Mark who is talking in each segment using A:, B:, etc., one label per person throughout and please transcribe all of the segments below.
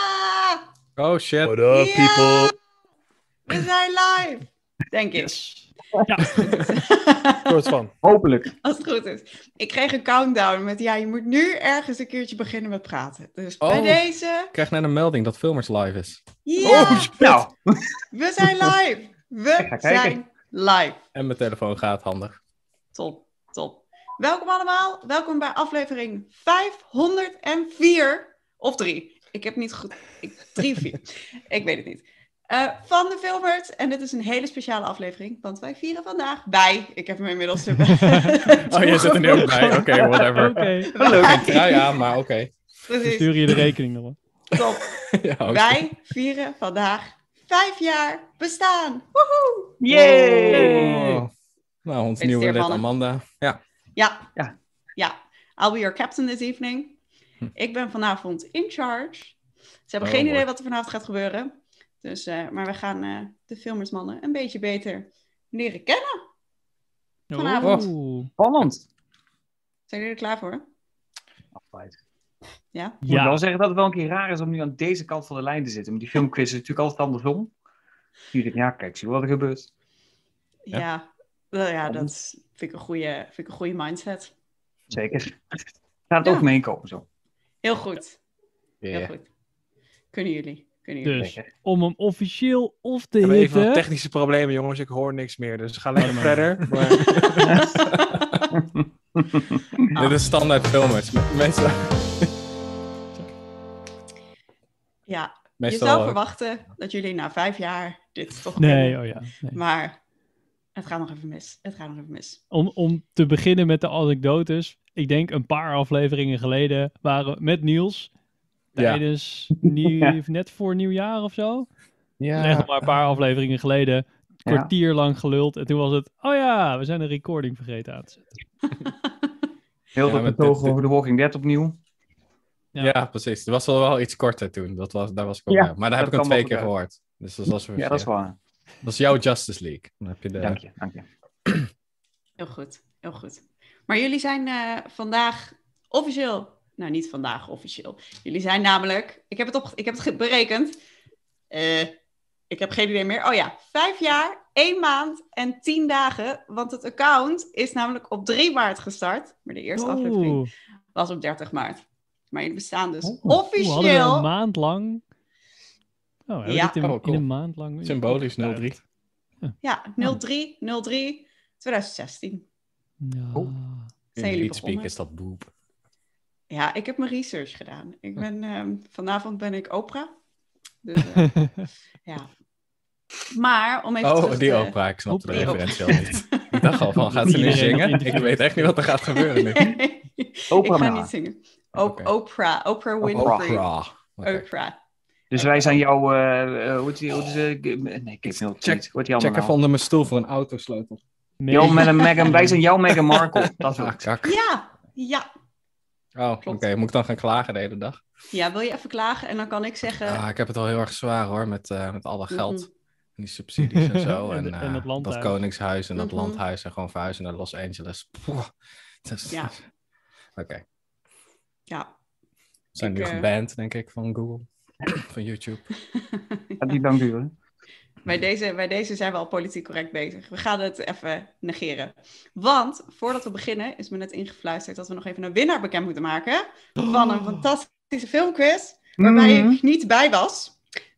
A: Ja!
B: Oh shit.
C: What up,
A: Ja!
C: people?
A: We zijn live! Denk ik.
C: Soort van.
D: Hopelijk.
A: Als het goed is. Ik kreeg een countdown met ja, je moet nu ergens een keertje beginnen met praten. Dus bij
B: Oh.
A: deze.
B: Ik krijg net een melding dat Filmers live is.
A: Ja!
C: Oh, shit.
D: Nou,
A: we zijn live! We
D: kijken.
A: zijn live.
B: En mijn telefoon gaat handig.
A: Top, top. Welkom allemaal. Welkom bij aflevering 504 of 3. Ik heb niet goed. Ik, 3 4. ik weet het niet. Eh, van de Filmert. En dit is een hele speciale aflevering, want wij vieren vandaag. Wij. Ik heb hem inmiddels erbij.
B: Oh, je zit er nu ook bij. Oké, whatever.
E: Oké,
D: eh,
E: dan
A: Wij.
B: Ja, ja, maar oké.
A: Precies.
E: stuur je de rekening nog wel.
A: Top.
B: Ja, oh, oké.
A: Wij vieren vandaag vijf jaar bestaan. Woehoe!
D: yay!
B: Oh. Nou, ons
A: Feliciteer,
B: nieuwe lid
A: mannen.
B: Amanda. Ja.
A: Ja.
D: Ja.
A: Ja. I'll be your captain this evening. Ik ben vanavond in charge. Ze hebben
B: Oh,
A: geen
B: mooi.
A: idee wat er vanavond gaat gebeuren. Dus, eh, maar we gaan eh, de filmersmannen een beetje beter leren kennen. Vanavond.
E: Oeh.
D: Spannend.
A: Zijn jullie er klaar voor?
D: Afwijs.
A: Ja.
D: Ik moet
E: Ja,
D: wel zeggen dat het wel een keer raar is om nu aan deze kant van de lijn te zitten. Maar die filmquiz is natuurlijk altijd andersom. Nu denk ik, ja, kijk, zie wat er gebeurt.
A: Ja. Ja, Wel, ja dat is- vind ik een goede, vind ik een goede mindset.
D: Zeker. Gaat het
A: Ja.
D: ook mee komen zo.
A: Heel goed. Heel
B: Yeah.
A: goed. Kunnen jullie. Kunnen jullie.
E: dus
D: Zeker.
E: om hem officieel of te
C: We hebben even wat
E: hitten.
C: technische problemen, jongens. Ik hoor niks meer, dus ga lekker
E: maar.
C: verder. Maar...
B: Dit is standaard Filmers. Me- Meestal,
A: Ja, je
B: meestal
A: zou
B: eh,
A: verwachten dat jullie na vijf jaar dit toch
E: Nee,
A: kennen.
E: oh ja. nee.
A: Maar het gaat nog even mis. Het gaat nog even mis.
E: Om, om te beginnen met de anekdotes. Ik denk een paar afleveringen geleden waren we met Niels.
B: Ja.
E: Tijdens nieuw,
D: Ja.
E: net voor nieuwjaar of zo.
B: ja.
E: Echt nog maar een paar afleveringen geleden. Een
D: Ja.
E: kwartier lang geluld. En toen was het, oh ja, we zijn een recording vergeten aan te zetten.
D: Heel
B: Ja,
D: dat
B: maar
D: betoog
B: dit- dit-
D: over de Walking Dead opnieuw.
B: Ja.
E: Ja.
B: precies. Het was wel, wel iets korter toen. Dat was, daar was ik ook
D: Ja,
B: bij. Maar daar heb
D: dat
B: ik hem
D: kan
B: twee
D: wel
B: keer
D: gebeuren.
B: gehoord. Dus dat was,
D: Ja, dat is waar.
B: dat is jouw Justice League. Dan heb je de...
D: Dank je, dank je.
A: Heel goed, heel goed. Maar jullie zijn eh, vandaag officieel... Nou, niet vandaag officieel. Jullie zijn namelijk... Ik heb het, op, ik heb het ge- berekend. Eh, ik heb geen idee meer. Oh ja, vijf jaar, één maand en tien dagen. Want het account is namelijk op 3 maart gestart. Maar de eerste aflevering
E: Oeh,
A: was op 30 maart. Maar jullie bestaan dus
D: Oh, we
E: we hadden
A: officieel...
E: een maand lang... Oh, we hebben
A: Ja.
E: dit in,
B: Oh, cool.
E: in een maand lang...
B: Symbolisch 03.
A: Ja, 03, 03, 2016.
E: Ja.
D: Cool.
A: Zijn
B: In
A: jullie
B: Lead Speak
A: begonnen?
B: is dat boep.
A: Ja, ik heb mijn research gedaan. Ik ben, ehm, vanavond ben ik Oprah. Dus, eh, ja. Maar om even terug eh,
B: Oh,
A: te-
B: die opera. Ik snapte de
E: Oep, die opera.
B: referentie al niet. Ik dacht al van, gaat ze nu
E: Iedereen op
B: zingen? Ik
E: interview.
B: weet echt niet wat er gaat gebeuren nu.
A: ik ga
D: Oprah
A: niet
D: maar.
A: zingen. O-
B: Oké.
A: Oprah, Oprah Winfrey. Oprah.
B: Opera. Oké.
D: Dus wij zijn jouw... eh, eh, hoe heet die? hoe heet die, eh, nee, ik heb heel
B: Check-
D: check. Wat die allemaal
B: Check even
D: nou?
B: onder mijn stoel voor een autosleutel.
E: Nee.
D: Jouw Meghan- Meghan- Wij zijn jouw Meghan Markle. Dat wil
B: Ah,
D: ik.
B: kak.
A: Ja, ja.
B: Oh, oké. Moet ik dan gaan klagen de hele dag?
A: Ja, wil je even klagen? En dan kan ik zeggen...
B: Ah, ik heb het al heel erg zwaar hoor, met, eh, met al dat geld.
A: Mhm.
B: En die subsidies en zo.
E: En
B: en
E: de- en
B: eh,
E: het landhuis.
B: dat koningshuis en dat
A: Mhm.
B: landhuis. En gewoon verhuizen naar Los Angeles. Poeh. Het is-
A: Ja.
B: Oké.
A: Ja.
B: We zijn
A: Ik,
B: nu
A: eh,
B: geband, denk ik, van Google. van YouTube.
D: Gaat niet lang duren.
A: Bij deze, bij deze zijn we al politiek correct bezig. We gaan het even negeren. Want voordat we beginnen is me net ingefluisterd dat we nog even een winnaar bekend moeten maken. Van
B: Oh.
A: een fantastische filmquiz waarbij
D: Mhm.
A: ik niet bij was.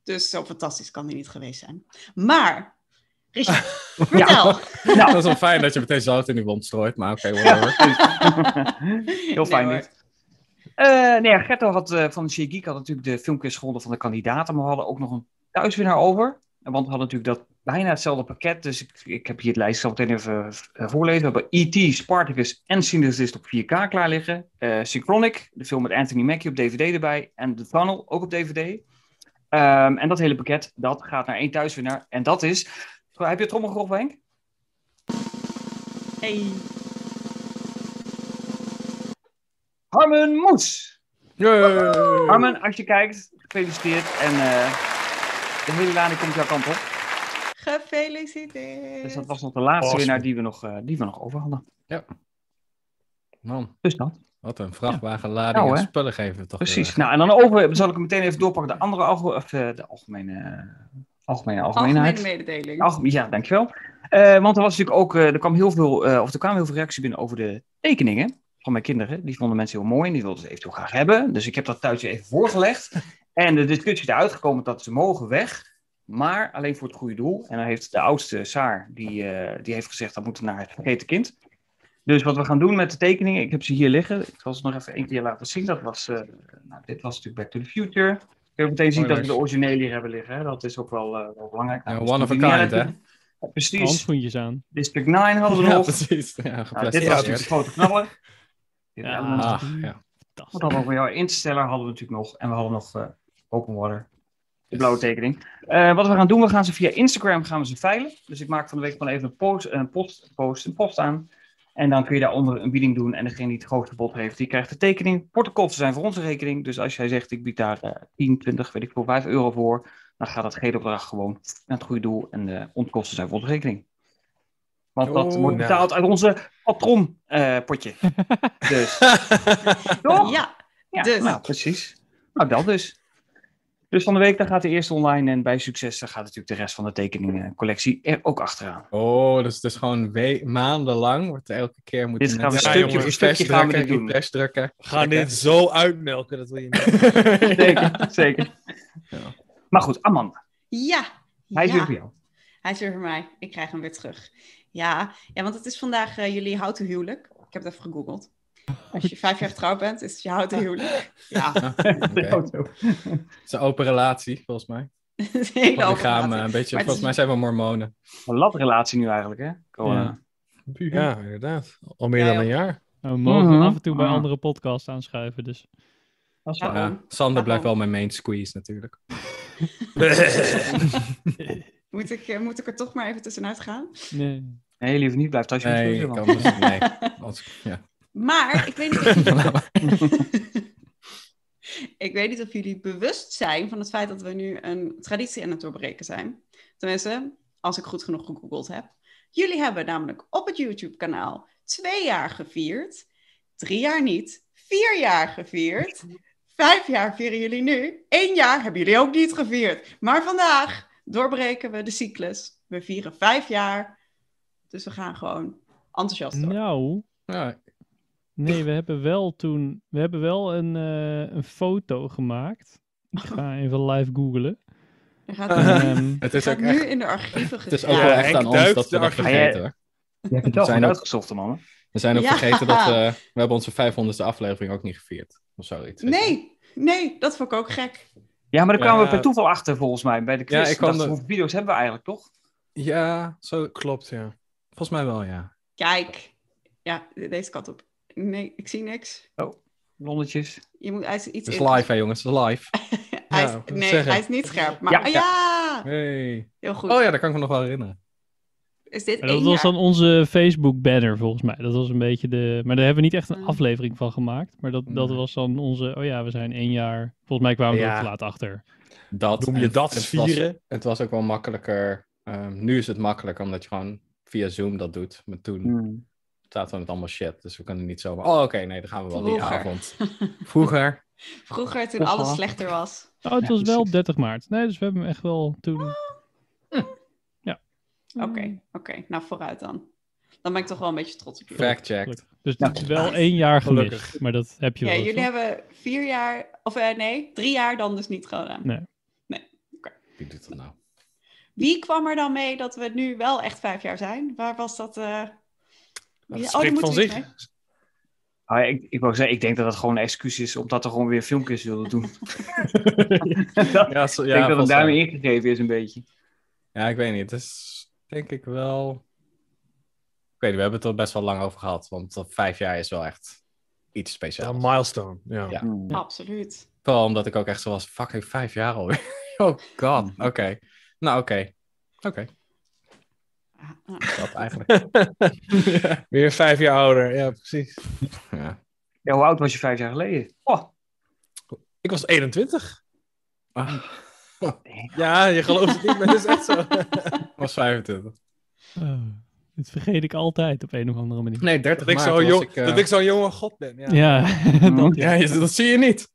A: Dus zo fantastisch kan die niet geweest zijn. Maar, Richard, vertel.
B: Dat is wel fijn dat je meteen zout in die wond strooit. Maar oké, whatever.
D: Mm. Heel fijn
A: Nee, hoor.
D: dit. Eh, nee, ja, Gerto had, eh, van She Geek had natuurlijk de filmquiz gewonnen van de kandidaten, maar we hadden ook nog een thuiswinnaar over. Want we hadden natuurlijk dat bijna hetzelfde pakket, dus ik, ik heb hier het lijstje zo meteen even eh, voorlezen. We hebben E.T., Spartacus en Synergist op 4K klaar liggen. Eh, Synchronic, de film met Anthony Mackie op DVD erbij. En The Tunnel, ook op DVD. Ehm, en dat hele pakket, dat gaat naar één thuiswinnaar. En dat is... Heb je trommelgeroffel, Henk?
A: Hey.
D: Harmen Moes!
B: Yay!
D: Armen, als je kijkt, gefeliciteerd. En eh, de hele lading komt jouw kant op.
A: Gefeliciteerd.
D: Dus dat was nog de laatste
B: Awesome.
D: winnaar die we nog, eh, die we nog over hadden.
B: Man.
D: Dus dat.
B: Wat een vrachtwagenlading
D: Nou,
B: aan
D: hè.
B: spullen geven we toch
D: Precies.
B: weer.
D: Nou, en dan over, zal ik hem meteen even doorpakken. De andere alge- of, eh, de algemene, algemene algemeenheid.
A: Algemene mededeling.
D: Algemeen, ja, dankjewel. Eh, want er was natuurlijk ook, eh, er kwam heel veel, eh, of er kwamen heel veel reacties binnen over de tekeningen van mijn kinderen. Die vonden mensen heel mooi en die wilden ze eventueel graag hebben. Dus ik heb dat thuis even voorgelegd. En de discussie is eruit gekomen dat ze mogen weg, maar alleen voor het goede doel. En dan heeft de oudste, Saar, die, eh, die heeft gezegd dat moet naar het vergeten kind. Dus wat we gaan doen met de tekeningen, ik heb ze hier liggen. Ik zal ze nog even één keer laten zien. Dat was, eh, nou, dit was natuurlijk Back to the Future. Kun je ook meteen zien
B: Mooi
D: dat we de
B: lijstje.
D: originele hier hebben liggen. Hè? Dat is ook wel, eh, wel belangrijk.
B: Ja,
D: Nou,
B: one of a
D: dat maakt
B: kind,
D: niet
B: hè?
D: uit. Ja, Precies.
E: Handschoentjes aan.
D: District 9 hadden we
B: Ja,
D: nog.
B: precies. Ja,
D: Nou, dit
B: geplastic.
D: was
B: Ja,
D: natuurlijk de grote knaller. Dit
E: Ja.
D: hadden we nog.
B: Ah, ja.
D: Wat hadden we ook weer? Interstellar hadden we natuurlijk nog. En we hadden nog eh, Open Water. De
B: Yes.
D: blauwe tekening. Eh, wat we gaan doen, we gaan ze via Instagram gaan we ze veilen. Dus ik maak van de week gewoon even een post, een post, post, een post aan. En dan kun je daaronder een bieding doen. En degene die het hoogste bod heeft, die krijgt de tekening. Portokosten zijn voor onze rekening. Dus als jij zegt, ik bied daar eh 10, 20, weet ik veel, 5 euro voor. Dan gaat dat gehele bedrag gewoon naar het goede doel. En de ontkosten zijn voor onze rekening. Want dat
B: Oh, nou.
D: wordt betaald uit onze patronpotje. dus. Toch?
A: Ja,
D: Ja,
A: Dus.
D: nou, precies. Nou, dat dus. Dus van de week dan gaat de eerste online en bij succes dan gaat natuurlijk de rest van de tekeningencollectie er ook achteraan.
B: Oh, dus het is gewoon we- maandenlang. Wordt elke keer moeten
D: Dit gaan we
B: mensen-
D: stukje
B: jongens,
D: voor stukje
B: flash
D: gaan we
B: drukken,
D: dit doen.
B: die flash drukken.
F: Ga dit zo uitmelken, dat wil je niet.
D: Zeker, zeker.
B: Ja.
D: Maar goed, Amanda,
A: ja.
D: hij is
A: ja.
D: weer voor jou.
A: Hij is weer voor mij. Ik krijg hem weer terug. Ja, ja want het is vandaag eh, jullie houten huwelijk. Ik heb het even gegoogeld. Als je vijf jaar getrouwd bent, is het je houten huwelijk. Ja,
D: De
B: Oké.
D: auto.
B: Het is een open relatie, volgens mij.
A: het is een hele
B: Lichaam,
A: overlating.
B: eh, een
A: Maar
B: beetje,
A: het
B: volgens mij
A: is-
B: zijn we mormonen.
D: Een latrelatie nu eigenlijk, hè? Corona.
B: Ja.
F: Ja, inderdaad. Al meer
A: Ja,
F: dan
A: joh.
F: een jaar.
E: Nou, we mogen
D: Mhm.
E: af en toe bij
D: Ah.
E: andere podcasts aanschuiven, dus
D: Dat is
A: Ja.
D: waar.
B: Ja, Sander blijft wel mijn main squeeze natuurlijk.
A: Moet ik, eh, moet ik er toch maar even tussenuit gaan?
E: nee.
D: Nee, liever niet, blijf thuis.
B: Nee, ik kan dus, nee. Als- ja.
A: Maar ik weet, niet of jullie... ik weet niet of jullie bewust zijn van het feit dat we nu een traditie aan het doorbreken zijn. Tenminste, als ik goed genoeg gegoogeld heb. Jullie hebben namelijk op het YouTube-kanaal twee jaar gevierd, drie jaar niet, vier jaar gevierd, vijf jaar vieren jullie nu, één jaar hebben jullie ook niet gevierd. Maar vandaag doorbreken we de cyclus. We vieren vijf jaar, dus we gaan gewoon enthousiast door.
E: Nou,
B: Ja,
E: nee, we hebben wel toen, we hebben wel een, eh, een foto gemaakt. Ik ga even live googlen.
A: Er gaat
E: Ehm,
B: Eh, het
A: Het
B: is
A: gaat
B: ook
A: nu
B: echt,
A: in de archieven
B: het is
A: gegraven.
B: ook wel echt
F: Henk
B: aan ons
F: duikt
B: dat we
F: de
B: dat
F: archieven.
B: vergeten hoor.
D: Je hebt het wel
B: Zijn
D: goed
B: ook-
D: uitgezocht, mannen.
B: We zijn ook
A: Ja.
B: vergeten dat we... We hebben onze 500ste aflevering ook niet gevierd. Of zoiets. weet je.
A: Nee, nee, dat vond ik ook gek.
D: Ja, maar daar
F: Ja.
D: kwamen we per toeval achter, volgens mij, bij de quiz.
B: Ja, ik kwam
D: Dachten we,
B: er-
D: Hoeveel video's hebben we eigenlijk, toch?
B: Ja, zo Oh, klopt, ja. Volgens mij wel, ja.
A: Kijk, ja, de- deze kant op. Nee, ik zie niks.
D: Lonnetjes.
A: Je moet, hij is iets
B: Het is
A: in-
B: live, hè jongens. Het is live.
A: hij
B: ja, wat
A: is,
B: wil
A: nee,
B: zeggen?
A: hij is niet scherp. Maar
D: Ja,
A: ah, ja,
B: Hey.
A: heel goed.
B: Oh ja, dat kan ik me nog wel herinneren.
A: Is dit
E: Maar dat
A: één
E: was
A: jaar?
E: dan onze Facebook banner volgens mij. Dat was een beetje de. Maar daar hebben we niet echt een
A: Mm.
E: aflevering van gemaakt. Maar dat, dat
B: Nee.
E: was dan onze. Oh ja, we zijn één jaar. Volgens mij kwamen we er
F: Ja.
E: ook te laat achter.
B: Dat,
F: Noem je
B: en
F: dat
B: het
F: vieren?
B: Was, het was ook wel makkelijker. Ehm, nu is het makkelijk, omdat je gewoon via Zoom dat doet. Maar toen
D: Hmm.
B: zaten we met allemaal shit. Dus we kunnen niet zomaar... Oh, oké, nee, dan gaan we wel
A: Vroeger.
B: die avond. Vroeger.
A: Vroeger, toen
D: Toch
A: alles
D: wel.
A: slechter was.
E: Oh, het
D: Ja,
E: was wel
D: precies.
E: 30 maart. Nee, dus we hebben hem echt wel toen. Ja.
A: Oké, oké. Nou, vooruit dan. Dan ben ik toch wel een beetje trots op jullie.
B: Fact-checked.
E: Dus
D: Ja.
E: het is wel één jaar gemist.
F: Gelukkig.
E: Maar dat heb je
A: Ja,
E: wel. eens,
A: jullie
E: toch?
A: hebben vier jaar, of eh, nee, drie jaar dan dus niet gedaan.
E: Nee.
B: Wie doet dat nou?
A: Wie kwam er dan mee dat we nu wel echt vijf jaar zijn? Waar was dat? eh,
F: Dat
A: Ja, oh, daar
F: spreekt
A: moeten
F: van
A: we iets mee.
F: zich.
D: Ah, ja, ik, ik wou zeggen, ik denk dat dat gewoon een excuus is, omdat er gewoon weer filmpjes willen doen. dat,
B: Ja, zo,
D: ik denk dat het
B: volgens mij.
D: daarmee ingegeven is een beetje.
B: Ja, ik weet niet. Het is denk ik wel. Ik weet niet, we hebben het er best wel lang over gehad. Want dat vijf jaar is wel echt iets
F: Ja,
B: speciaals.
F: een milestone. Ja.
B: Ja.
D: Hmm.
A: Absoluut.
B: Vooral omdat ik ook echt zo was: fucking vijf jaar alweer. oh god. Oké. Nou, oké. Oké,
A: Ah, ah.
B: dat eigenlijk. ja.
F: Weer vijf jaar ouder. Ja, precies.
D: Ja, hoe oud was je vijf jaar geleden? Oh,
F: Ik was 21.
B: Ah,
F: Ja, je gelooft het niet, maar dat is echt zo.
B: was 25.
E: Oh. Dit vergeet ik altijd op een of andere manier.
B: Nee, 30
F: Dat ik
B: maart
F: zo'n
B: was
F: jong,
B: ik, eh,
F: dat ik zo'n jonge god ben. Ja.
E: Ja, dat,
F: Ja, je- dat zie je niet.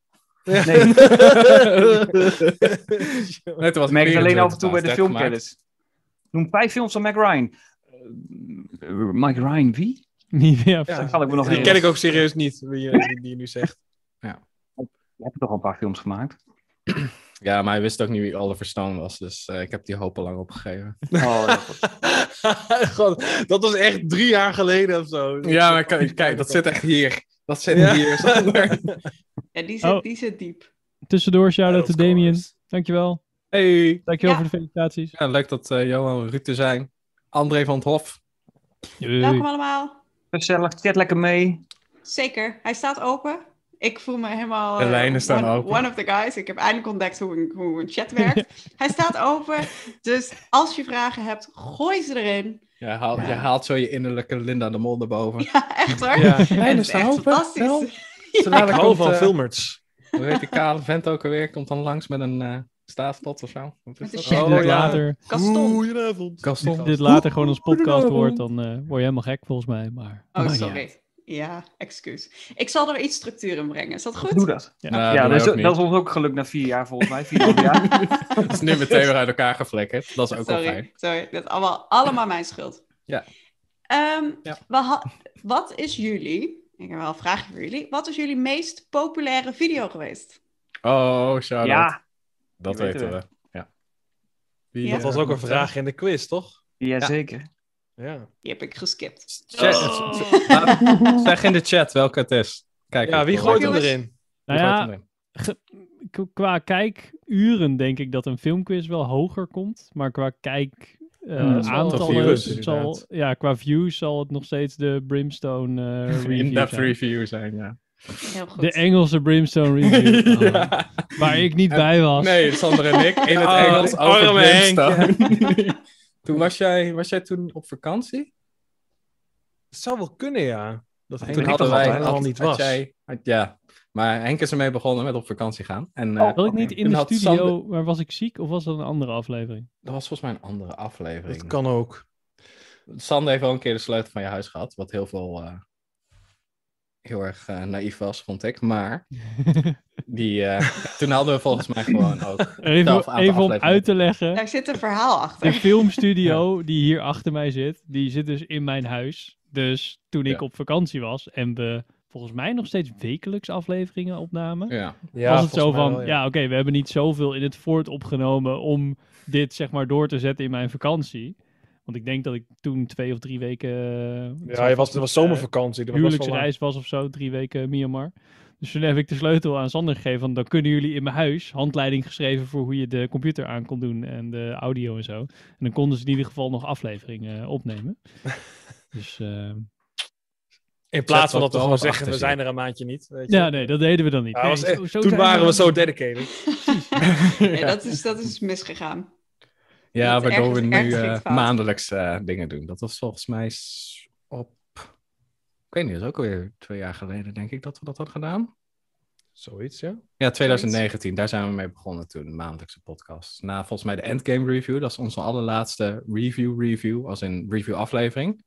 D: Nee, ik
B: Nee, toen was
D: merk het alleen
B: 24
D: af en toe bij
B: maart, 30
D: de
B: maart.
D: filmkennis. Noem vijf films van Mac Ryan. Eh, eh, Mike Ryan, wie?
E: niet meer.
F: Ja.
D: Dat kan ik me nog
F: Die ken ik ook serieus niet, wie je, die, die je nu zegt.
D: Je hebt toch al een paar films gemaakt?
B: Ja, maar hij wist ook niet wie Oliver Stone was, dus eh, ik heb die hoop al lang opgegeven.
D: Oh, ja, goed.
F: God, dat was echt drie jaar geleden of zo.
B: Ja, maar kijk, kijk dat zit echt hier. Dat zit
F: Ja.
B: hier. Sander.
A: Ja, die zit,
E: Oh.
A: die zit diep.
E: Tussendoor, shout-out
F: Of
E: to Damien.
F: course.
E: Dankjewel.
B: Hey.
E: Dankjewel
A: Ja.
E: voor de felicitaties.
B: Ja, leuk dat eh, Johan en Ruud er zijn. André van het Hof.
A: Welkom allemaal.
D: Gezellig, chat Dus, eh, lekker mee.
A: Zeker, hij staat open. Ik voel me helemaal...
B: De
A: eh,
B: lijnen staan
A: one,
B: open.
A: One of the guys. Ik heb eindelijk ontdekt hoe een, hoe een chat werkt. hij staat open. Dus als je vragen hebt, gooi ze erin.
B: Je haalt, je haalt zo je innerlijke Linda de Mol naar boven.
A: Ja, echt hoor.
F: Ja.
A: Het
B: Lijnen
A: is
B: staan
A: echt
B: open. Wel.
A: fantastisch.
B: Zo dadelijk
F: Ik hou
B: komt,
F: van
B: eh,
F: filmers.
B: Hoe heet die kale vent ook alweer? Komt dan langs met een eh staafpot of zo? Wat is
A: Met een
B: dat?
A: shit.
E: Dit
F: Oh, ja.
E: later,
A: Gaston.
F: Goedenavond.
E: als
B: Gaston.
E: dit later gewoon als podcast wordt, dan eh, word je helemaal gek volgens mij. Maar,
A: Oh,
B: Nou
E: maar
A: sorry. Ja, excuus. Ik zal er iets structuur in brengen. Is dat
D: Doe
A: goed?
D: dat.
E: Ja,
B: Nou,
D: ja,
B: doe
D: dat is,
B: mij ook
D: dat is
B: niet.
D: ons ook gelukt na vier jaar volgens mij. Vier jaar.
B: Dat is nu meteen weer uit elkaar geflikkerd. Dat is ook wel fijn.
A: Sorry, sorry. Dat is allemaal, allemaal mijn schuld.
B: Ja.
A: Ehm,
B: Ja.
A: we ha- wat is jullie, ik heb wel een vraagje voor jullie, wat is jullie meest populaire video geweest?
B: Oh, shout out.
D: Ja,
B: Dat
D: Die
B: weten
D: weten
B: we. Ja. Wie,
A: Ja.
F: Dat
B: eh,
F: was ook een vraag in de quiz, toch?
D: ja, zeker.
F: Ja,
A: Die heb ik geskipt.
B: Zeg, laat- zeg in de chat welke het is. Kijk,
F: ja
B: ik
F: wie
B: wil
F: gooit hem
B: weten.
A: Jongens.
F: erin?
E: Nou
B: Wie gooit
E: ja,
B: hem erin?
E: ge- k- qua kijkuren denk ik dat een filmquiz wel hoger komt. Maar qua kijk... eh,
D: Ja, dat is
B: wel
E: aantallen,
B: views,
E: zal,
F: inderdaad.
E: ja, qua views zal het nog steeds de Brimstone eh, review
B: In-depth
E: zijn.
B: review zijn, ja.
A: Heel goed.
E: De Engelse Brimstone review. Oh, Waar ik niet bij was.
B: Nee, Sander en ik in het
F: Oh,
B: Engels
F: die
B: over
F: arme Henk,
B: Brimstone. toen was jij, was jij toen op vakantie?
F: Het zou wel kunnen, ja. Dat Henk
B: toen
F: er
B: hadden
F: toch
B: wij
F: altijd al
B: had-
F: niet
B: had
F: was.
B: jij- had- ja, maar Henk is ermee begonnen met op vakantie gaan. En
F: Oh.
B: eh,
E: Had ik niet in
B: Toen
E: de
B: had
E: studio,
B: Sander-
E: maar was ik ziek of was dat een andere aflevering?
B: dat was volgens mij een andere aflevering.
F: Dat kan ook.
B: Sander heeft al een keer de sleutel van je huis gehad, wat heel veel... eh, heel erg eh, naïef was, vond ik. Maar die, eh, toen hadden we volgens mij gewoon ook... Zelf
E: Even,
B: aantal
E: even om
B: afleveringen.
E: uit te leggen.
A: Daar zit een verhaal
E: De
A: achter.
E: filmstudio die hier achter mij zit, die zit dus in mijn huis. Dus toen ik
B: Ja.
E: op vakantie was en we volgens mij nog steeds wekelijks afleveringen opnamen.
B: Ja.
F: Ja,
E: was het zo
F: volgens mij
E: van,
F: wel,
E: ja, oké, we hebben niet zoveel in het voort opgenomen om dit zeg maar door te zetten in mijn vakantie. Want ik denk dat ik toen twee of drie weken... eh,
F: Ja, je was, er was zomervakantie. dat was wel lang.
E: huwelijksreis was of zo, drie weken Myanmar. Dus toen heb ik de sleutel aan Sander gegeven. Van, dan kunnen jullie in mijn huis handleiding geschreven voor hoe je de computer aan kon doen en de audio en zo. En dan konden ze in ieder geval nog afleveringen eh, opnemen. Dus eh,
F: In plaats van
B: Chat
F: dat we
B: wat
F: gewoon
B: erachter
F: zeggen, we
B: zit.
F: zijn er een maandje niet. Weet je?
E: ja, nee, dat deden we dan niet.
F: Ja,
E: Nee,
F: was echt-
E: zo- zo
F: toen
E: zijn
F: waren we
E: dan
F: zo
E: niet.
F: dedicated.
A: Nee, dat, is, dat is misgegaan.
B: Ja,
A: Dat is
B: waardoor we
A: ergens-
B: nu
A: ergens
B: eh,
A: ging het fout.
B: maandelijks eh, dingen doen. Dat was volgens mij s- op. Ik weet niet, dat is ook alweer twee jaar geleden, denk ik, dat we dat hadden gedaan.
F: Zoiets, ja.
B: Ja, 2019, daar zijn we mee begonnen toen, de maandelijkse podcast. Na volgens mij de Endgame Review, dat is onze allerlaatste review-review, als in review-aflevering.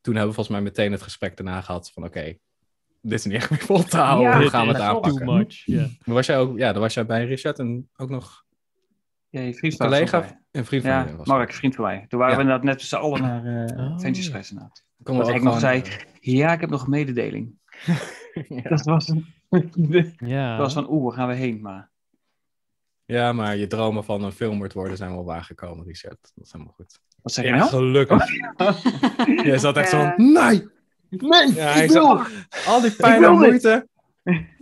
B: Toen hebben we volgens mij meteen het gesprek daarna gehad van: oké, dit is niet echt meer vol te houden,
D: Ja,
B: hoe
E: Dit
B: gaan we
E: is
B: het
E: Too
B: aanpakken?
E: much. Ja.
B: Dan was jij ook, ja, dan was jij bij Richard en ook nog
D: Jee,
B: een
D: vriend van mij.
B: collega, een vriend van
D: Ja,
B: mij was.
D: Mark, vriend van mij. Toen waren
B: Ja.
D: we inderdaad net tussen allen naar eh
E: Oh.
D: Adventures geweest inderdaad.
B: Konden we
D: Wat
B: ook
D: Henk nog
B: gewoon,
D: Ja, ik heb nog een mededeling.
B: eh,
D: Dat was een... Dat
E: Ja.
D: was van, oeh, waar gaan we heen? Maar
B: Ja, maar je dromen van een film wordt worden zijn wel waargekomen, Richard. Dat is helemaal goed.
D: wat zeg je
F: Ja,
D: nou?
F: gelukkig.
B: Jij zat echt
D: Eh,
B: zo'n, Oh, nee! Nee!
F: Ja, hij
D: ik,
F: zou-
D: wil,
B: Al die pijn
D: wil
B: en
D: dit.
B: moeite.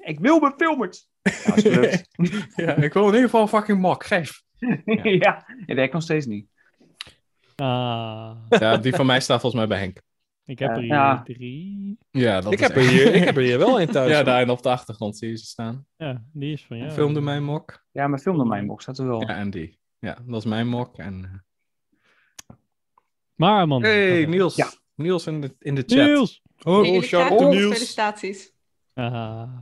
D: ik wil mijn filmers. Ja, is gelukt.
B: Ja, ik wil in ieder geval een fucking mok, geef.
D: ja. het werkt nog steeds niet.
E: Ah,
B: Ja, die van mij staat volgens mij bij Henk.
E: ik heb er hier
D: Ja.
E: drie.
B: Ja, dat
F: ik,
B: is
F: heb er hier, ik heb er hier wel in thuis.
B: Ja,
F: Ja,
B: daarin op de achtergrond zie je ze staan.
E: Ja, die is van jou.
B: Filmde mijn mok.
D: Ja, mijn filmdomein box staat er wel.
B: Ja, en die. Ja, dat is mijn mok. En... eh,
E: Maar man.
B: Hey,
E: Oké.
B: Niels.
D: Ja.
B: Niels in de, in de chat.
E: Niels!
A: Oh,
F: Oh, shout out to Niels.
A: Felicitaties.
E: Ah.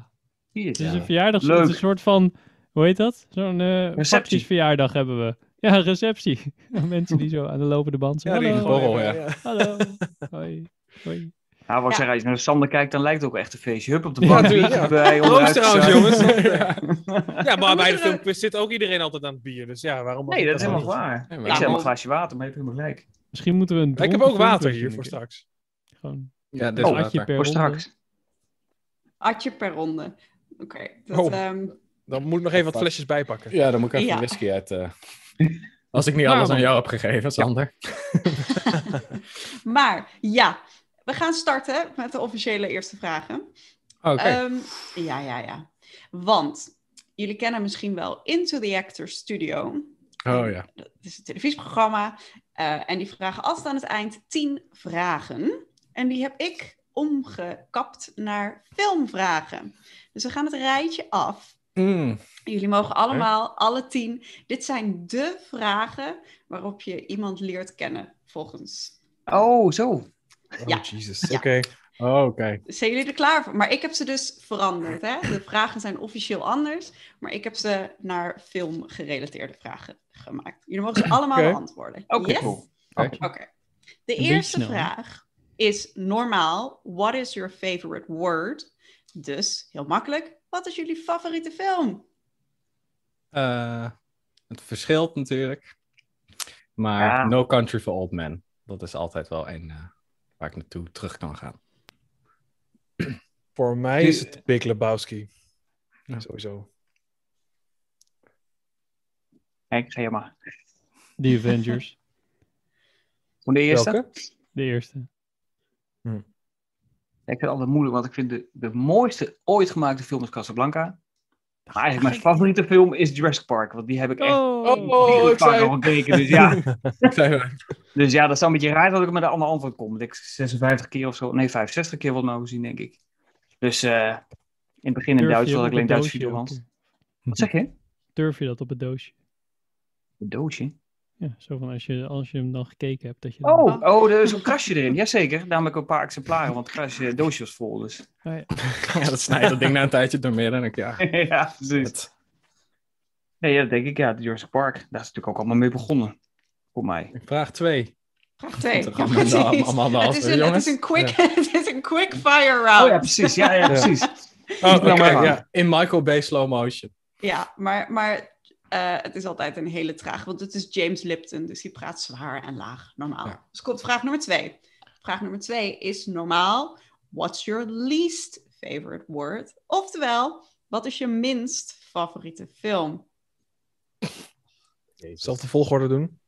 D: Hier is
E: Het is
D: het.
E: een verjaardag.
D: Leuk.
E: Het is een soort van, hoe heet dat? Zo'n eh
D: Receptie.
E: praktisch verjaardag hebben we. Ja, een receptie. Mensen die zo aan de lopende band zijn.
C: die
E: hallo,
C: gewoon
B: Borrel,
C: even,
B: ja.
E: hallo, hoi, hoi.
D: Nou, wat ik
A: Ja.
D: zeg, als je naar Sander kijkt, dan lijkt het ook echt een feestje. Hup op de
F: Ja,
D: bank,
F: tuurlijk,
D: biertje
F: ja.
D: erbij.
F: Proost
D: onderuit
F: trouwens,
D: gezakt.
F: jongens. Ja, maar bij
A: moeten
F: de
A: er-
F: filmquiz zit ook iedereen altijd aan het bier. Dus ja, waarom... mag
D: Nee,
F: ik
D: dat is helemaal waar.
B: Ja,
D: Ik
B: maar-
A: Ja,
D: zeg
A: maar-
D: een glaasje water, maar je hebt helemaal gelijk.
E: Misschien moeten we een
F: Ik heb
E: dronken
F: ook water
E: filmversie
F: hier
E: een
F: voor
E: keer-
F: straks.
E: Gewoon
B: Ja, dit is
E: een
D: Oh,
E: atje
B: water.
E: per
D: Voor
E: ronde.
D: straks.
A: Atje per ronde. Oké, dat...
F: Oh.
A: ehm,
F: Dan moet ik nog even wat flesjes bijpakken.
B: Ja, dan moet ik even
A: Ja.
B: whisky uit. eh, Als ik niet
F: Nou,
B: alles aan
F: dan-
B: jou heb gegeven, Sander.
A: maar ja, we gaan starten met de officiële eerste vragen.
B: Oké.
F: Oh,
A: Ehm, ja, ja, ja. Want jullie kennen misschien wel Into the Actors Studio.
B: oh ja.
A: Dat is een televisieprogramma. eh, en die vragen altijd aan het eind tien vragen. En die heb ik omgekapt naar filmvragen. Dus we gaan het rijtje af.
B: Mm,
A: Jullie mogen allemaal, alle tien. Dit zijn de vragen waarop je iemand leert kennen, volgens.
D: Oh, zo.
B: Oh,
A: Ja.
B: Jesus.
A: Ja.
F: Oké.
B: Oh, Oké.
A: Zijn jullie er klaar voor? Maar ik heb ze dus veranderd. Hè? De vragen zijn officieel anders. Maar ik heb ze naar filmgerelateerde vragen gemaakt. Jullie mogen ze allemaal
F: Oké.
A: beantwoorden.
D: Oké,
A: Yes?
D: cool.
A: Oké. De
E: beetje
A: eerste
E: snel, hè?
A: vraag is normaal. What is your favorite word? Dus, heel makkelijk. Wat is jullie favoriete film?
B: Eh, het verschilt natuurlijk. Maar
D: Ja.
B: No Country for Old Men. Dat is altijd wel een eh, waar ik naartoe terug kan gaan.
F: Voor mij is het Big Lebowski.
B: Ja.
F: Sowieso.
D: Kijk, ga je maar.
E: The Avengers,
D: Hoe de eerste?
F: Welke?
E: de eerste.
D: Ja, ik vind het altijd moeilijk, want ik vind de, de mooiste ooit gemaakte film is Casablanca. Maar eigenlijk mijn favoriete film is Jurassic Park, want die heb ik echt
E: Oh,
F: Oh, ik
D: vaak al
F: zei...
D: gekeken. Dus ja,
B: Ik zei wel,
D: dus ja, dat zou een beetje raar dat ik met een ander antwoord kom. Want ik 56 keer of zo, nee 65 keer wat nou gezien, denk ik. Dus eh, in het begin in
E: Durf je
D: Duits
E: op
D: had ik
E: het
D: alleen Duits
E: doosje ook eh?
D: videohand.
E: weer?
D: Wat zeg je? Een
E: Durf je dat op het doosje?
D: doosje?
E: Ja, zo van als je, als je hem dan gekeken hebt. Dat je dan-
D: Oh, oh, er is een krasje erin. Jazeker, daarom heb ik een paar exemplaren, want het krasje doosje was vol. Dus.
B: ja, dat snijdt dat ding na een tijdje door meer. En ik, ja,
D: ja, precies.
B: het-
D: Nee, ja, dat denk ik, ja, Jurassic Park. Daar is natuurlijk ook allemaal mee begonnen, voor mij.
B: vraag twee.
A: Vraag twee.
B: Toch
A: Ja,
B: allemaal
A: precies.
B: de- allemaal de
A: Het
B: halve,
A: is een- het
B: jongens.
A: is een quick- het is een quick fire round.
D: Oh ja, precies. Ja, ja, precies.
F: Oh,
D: Ja,
F: kijk,
D: maar-
F: ja.
B: In Michael Bay slow motion.
A: Ja, maar, maar eh, het is altijd een hele traag, want het is James Lipton, dus die praat zwaar en laag, normaal.
B: Ja.
A: Dus komt vraag nummer twee. Vraag nummer twee is normaal, what's your least favorite word? Oftewel, wat is je minst favoriete film?
F: Zelfde volgorde doen.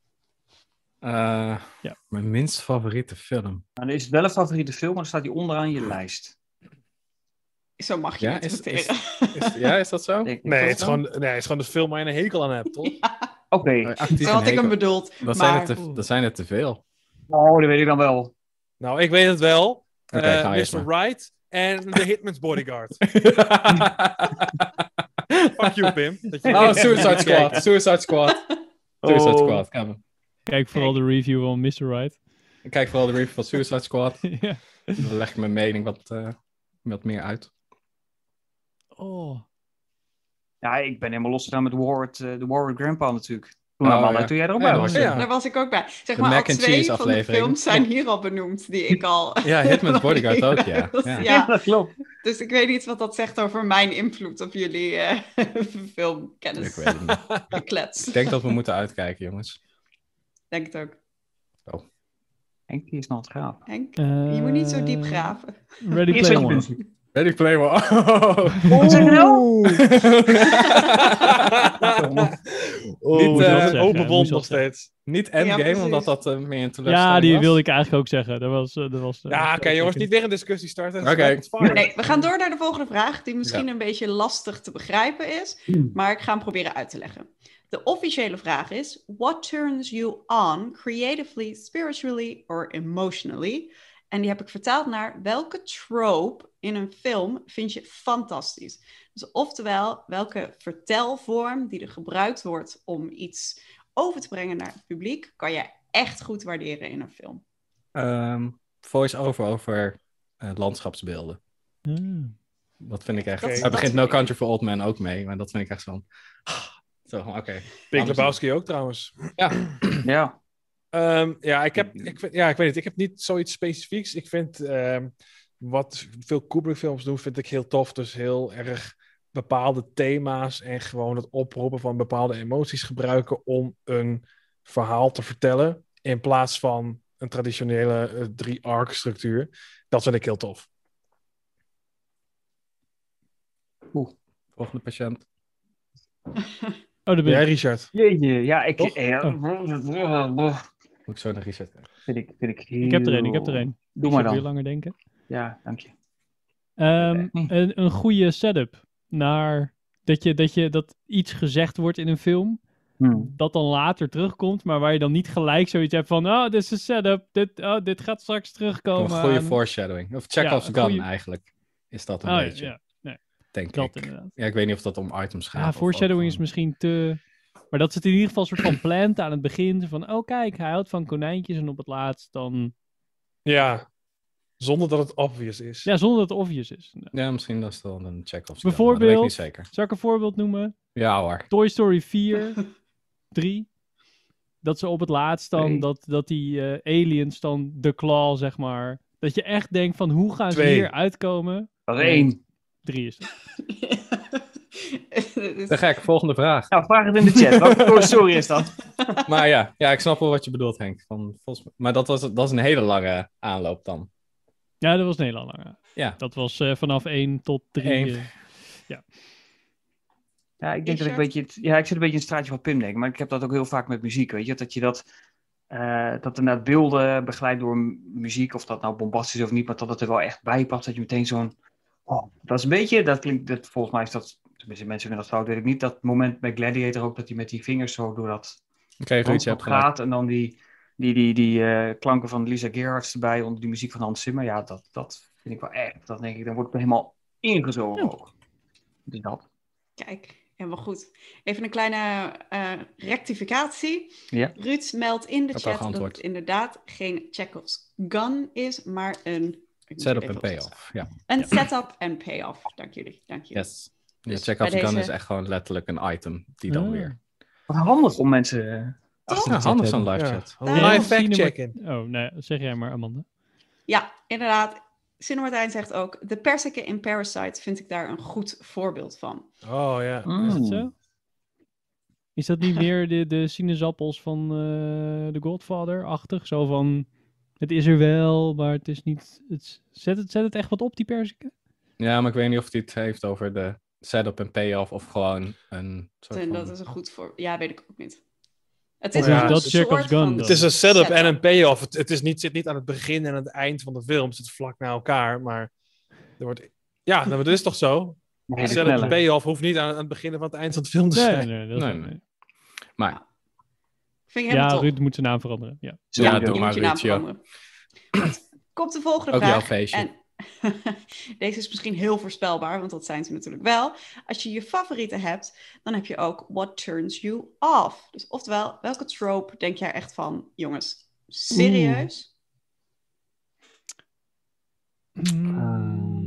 B: Eh,
E: Ja.
B: Mijn minst favoriete film.
D: Maar dan is het wel een favoriete film, maar dan staat die onderaan je lijst.
A: Zo mag je
B: Ja,
A: het
B: is- is-
A: interpreteren.
B: Is, ja, is dat zo?
D: Denk ik
F: Nee,
D: wel.
F: het is gewoon, nee, het is gewoon de film waar je een hekel aan hebt, toch?
D: Oké.
B: Actief
A: Zo had ik hem
B: een hekel.
A: bedoeld.
B: Oh, dat, zijn
A: maar
B: er te, dat zijn er te veel.
D: Oh, dat weet ik dan wel.
F: Nou, ik weet het wel.
B: Oké,
F: Eh,
B: ga eerst
F: Mr.
B: maar.
F: Right en The Hitman's Bodyguard. Fuck you, Pim. Dat je-
B: oh, Suicide Squad. Suicide Squad. Suicide
D: Oh.
B: Squad. Gaan we.
E: Kijk vooral de review van Mr. Right.
B: Ik kijk vooral de review van Suicide Squad.
E: ja.
B: Dan leg ik mijn mening wat, eh, wat meer uit.
E: Oh,
D: Ja, ik ben helemaal losgegaan met Warwick, eh, de Warwick Grandpa natuurlijk. Toen, nou,
B: Oh,
D: maar
B: ja.
D: toen jij er ook
B: Ja,
D: bij
B: dat
D: was.
B: was-
F: Ja.
A: daar was ik ook bij. Zeg
B: De
A: maar, al
B: mac and
A: twee van
B: cheese
A: de
B: aflevering.
A: films zijn hier al benoemd, die ik al...
B: Ja, Hitman's Bodyguard ook, ja. Ja.
D: Ja, dat klopt.
A: Dus ik weet niet wat dat zegt over mijn invloed op jullie eh,
B: Ik
A: filmkennis.
B: weet het niet.
A: Klets.
B: Ik denk dat we moeten uitkijken, jongens.
A: Denk het ook.
D: Henk, die is nog aan het graven.
A: Henk,
E: Eh,
A: je moet niet zo diep graven.
E: Ready
D: Eerst
E: Player
D: wat je
E: One.
D: vindt.
B: Ready Player One. Oh.
D: Wat zeg je nou?
F: Niet
E: Oh,
B: Oh,
E: moet je
F: eh,
E: dat zeggen,
F: open
E: hè? Moet
F: wond
E: je
F: nog
E: dat zeggen.
F: steeds.
B: Niet
A: Ja,
B: Endgame,
A: precies.
B: omdat dat eh, meer een teleurstelling
E: Ja, die
B: was.
E: wilde ik eigenlijk ook zeggen. Dat was, eh, dat was, eh,
F: Ja, oké,
E: dat
F: jongens,
E: ik-
F: niet weer een discussie starten. dus
B: Oké.
F: It's fire.
A: Nee, we gaan door naar de volgende vraag, die misschien een beetje lastig te begrijpen is, maar ik ga hem proberen uit te leggen. De officiële vraag is: What turns you on creatively, spiritually or emotionally? En die heb ik vertaald naar welke trope in een film vind je fantastisch? Dus oftewel, welke vertelvorm die er gebruikt wordt om iets over te brengen naar het publiek, kan je echt goed waarderen in een film.
B: Ehm, Voice-over over eh, landschapsbeelden.
E: Ah.
B: Dat vind ik echt...
A: Dat-
B: Daar
A: dat-
B: begint No Country for Old Men ook mee, maar dat vind ik echt zo'n... ah, Zo, oké.
F: Big
B: Anders-
F: Lebowski ook trouwens.
D: Ja.
F: Ehm, ja, ik heb, ik, vind- ja, ik weet het. Ik heb niet zoiets specifieks. Ik vind ehm, wat veel Kubrick-films doen, vind ik heel tof. Dus heel erg bepaalde thema's en gewoon het oproepen van bepaalde emoties gebruiken om een verhaal te vertellen. In plaats van een traditionele eh, drie-arc-structuur. Dat vind ik heel tof.
B: Volgende patiënt.
E: Oh, daar ben
F: Jij,
E: ik.
F: Richard?
D: Jeetje, ja, ik...
F: Toch?
D: eh,
B: Moet ik zo naar Richard kijken.
D: Vind ik, vind ik,
E: Oh. Ik heb er een, ik
D: heel-
E: heb er een.
D: Doe
E: Ik
D: maar
E: zal Weer
D: dan.
E: langer denken.
D: Ja, dank je.
E: Ehm,
D: Hm.
E: een, een goede setup naar dat, je, dat, je, dat iets gezegd wordt in een film,
D: Hm.
E: dat dan later terugkomt, maar waar je dan niet gelijk zoiets hebt van, oh, dit is een setup, dit, oh, dit gaat straks terugkomen.
B: Een goede
E: aan-
B: foreshadowing. Of Chekhov's
E: een
B: gun
E: goeie-
B: eigenlijk. Is dat een
E: Oh,
B: beetje,
E: ja,
B: denk
E: dat
B: ik.
E: inderdaad.
B: Ja, ik weet niet of dat om items gaat.
E: Ja,
B: of ook
E: foreshadowing is
B: gewoon-
E: misschien te... Maar dat zit in ieder geval een soort van plant aan het begin. Van, oh kijk, hij houdt van konijntjes en op het laatst dan...
F: Ja. Zonder dat het obvious is.
E: Ja, zonder dat het obvious is.
B: Ja, misschien dat is dan een Chekhov's gun.
E: Bijvoorbeeld-
B: maar Dat weet ik niet zeker.
E: Zal ik een voorbeeld noemen?
B: Ja hoor.
E: Toy Story 4, 3. Dat ze op het laatst dan,
D: Twee.
E: dat, dat die eh, aliens dan de claw, zeg maar. Dat je echt denkt van, hoe gaan ze
F: Twee.
E: hier uitkomen?
D: Dat is één.
E: Drie is dat.
A: Dit is-
B: Te gek, volgende vraag.
D: Nou, vraag het in de chat. Welke Toy Story is dat?
B: Maar ja, ja, ik snap wel wat je bedoelt, Henk. Van, volgens mij- maar dat, was, dat is een hele lange aanloop dan.
E: Ja, dat was een hele lange.
B: Ja.
E: Dat was eh, vanaf 1 tot eh, 3.
B: Eén.
D: Ja, ik denk dat ik een
A: Richard?
D: beetje... het- Ja, ik zit een beetje in het straatje van Pim, denk ik. Maar ik heb dat ook heel vaak met muziek, weet je. Dat je dat... eh dat inderdaad beelden begeleid door m- muziek, of dat nou bombastisch is of niet, maar dat het er wel echt bij past. Dat je meteen zo'n... Oh, dat is een beetje... Dat klinkt... Dat, volgens mij is dat... Tenminste, mensen vinden dat fout, weet ik niet. Dat moment bij Gladiator ook, dat hij met die vingers zo door dat...
B: Ik kreeg
D: Hans
B: iets
D: van
B: hebt gedaan.
D: Praat en dan die, die, die, die eh, klanken van Lisa Gerhards erbij onder die muziek van Hans Zimmer. Ja, dat, dat vind ik wel echt. Dat denk ik, dan wordt ik helemaal ingezogen ook. Dus dat.
A: Kijk, helemaal goed. Even een kleine eh, rectificatie.
D: Ja.
A: Ruud meldt in de
B: Heb al
A: chat dat
B: geantwoord.
A: het inderdaad geen Chekhov's gun is, maar een... ik moet
B: Setup
A: even
B: en
A: opzoeken.
B: payoff. Ja,
A: Een setup en payoff. Dank jullie. Dank jullie.
B: yes. Ja,
A: Dus
B: Chekhov's
A: bij
B: gun
A: deze- Mm.
B: is echt gewoon letterlijk een item. Die dan
E: Ah.
B: weer.
D: Wat handig om mensen... eh,
A: Toch?
B: Ja, handig zo'n
F: Ja.
B: live chat.
A: Ja.
F: Live fact-checken.
E: Oh, nee, zeg jij maar, Amanda.
A: Ja, inderdaad. Sinne Martijn zegt ook, de persikken in Parasite vind ik daar een goed voorbeeld van.
F: Oh ja.
E: Is dat zo? Is dat niet meer de, de sinaasappels van eh The Godfather-achtig? Zo van, het is er wel, maar het is niet... Het, is- zet, het, zet het echt wat op, die perziken?
B: Ja, maar ik weet niet of hij het heeft over de setup en payoff of gewoon een soort
A: En
B: van...
A: dat is een goed voorbeeld. Ja, weet ik ook niet. Het
F: Ja,
A: wel
F: dus dat
A: een
E: Oh Chekhov's
A: soort
E: gun
A: van-
E: dan.
F: Het is een setup en een payoff. Het, het is niet, zit niet aan het begin en aan het eind van de film. Het zit vlak na elkaar, maar er wordt... Ja, nou, dat is toch zo?
D: Nee,
F: Een
D: de
F: setup en
D: knellen.
F: payoff hoeft niet aan, aan het begin en aan het eind van de film te
E: Nee,
F: zijn.
E: nee, nee, dat is
B: Nee,
E: wel-
B: nee.
A: Vind ik
E: Ja,
A: helemaal top.
E: Ruud moet zijn naam veranderen. Ja.
B: Ja,
A: je
B: doe
A: moet
B: maar,
A: je naam
B: Ruud, ja.
A: veranderen. Goed, Komt de volgende
B: Ook
A: vraag.
B: jouw feestje.
A: En deze is misschien heel voorspelbaar, want dat zijn ze natuurlijk wel. Als je je favorieten hebt, dan heb je ook what turns you off. Dus oftewel, welke trope denk jij echt van, jongens, serieus?
B: Ehm,
E: Ehm,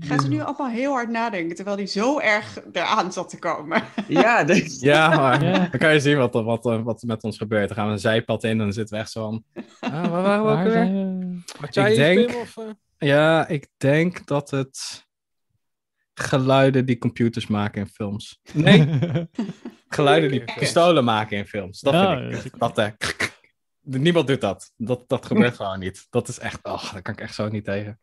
A: Gaan ze nu allemaal heel hard nadenken, terwijl die zo erg eraan zat te komen.
D: Ja, dat-
B: Ja, maar
E: Ja.
B: dan kan je zien wat, er- wat, er- wat er met ons gebeurt. Dan gaan we een zijpad in en dan zitten we echt zo van... Ah, waar waren we ook
E: Waar
B: weer?
E: zijn we?
F: Had jij
B: Ik
F: iets,
B: denk-
F: Pim, of, eh?
B: Ja, ik denk dat het geluiden die computers maken in films. Nee, geluiden die
F: Oké.
B: pistolen maken in films. Dat
E: Ja,
B: vind ik.
E: dat is ook-
B: Dat, eh, niemand doet dat. dat. Dat gebeurt gewoon niet. Dat is echt, oh, daar kan ik echt zo niet tegen.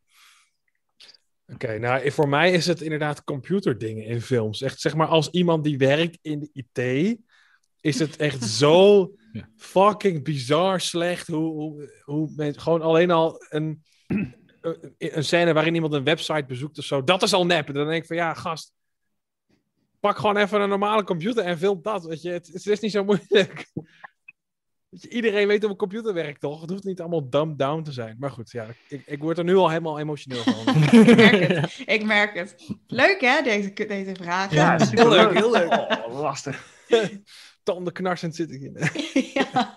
F: Oké, nou voor mij is het inderdaad computerdingen in films. Echt zeg maar als iemand die werkt in de IT, is het echt zo
B: Ja.
F: fucking bizar slecht hoe, hoe, hoe men- gewoon alleen al een, een, een scène waarin iemand een website bezoekt of zo, dat is al nep. En dan denk ik van ja, gast, pak gewoon even een normale computer en film dat. Weet je, het, het is niet zo moeilijk. Weet je, Iedereen weet hoe een computer werkt, toch? Het hoeft niet allemaal dumbed down te zijn. Maar goed, ja, ik, ik word er nu al helemaal emotioneel van.
A: Ik merk het. Ik merk het. Leuk hè, deze, deze vragen.
D: ja, heel
F: leuk, heel leuk.
D: Oh, lastig.
F: tandenknarsend zit ik in.
A: Ja.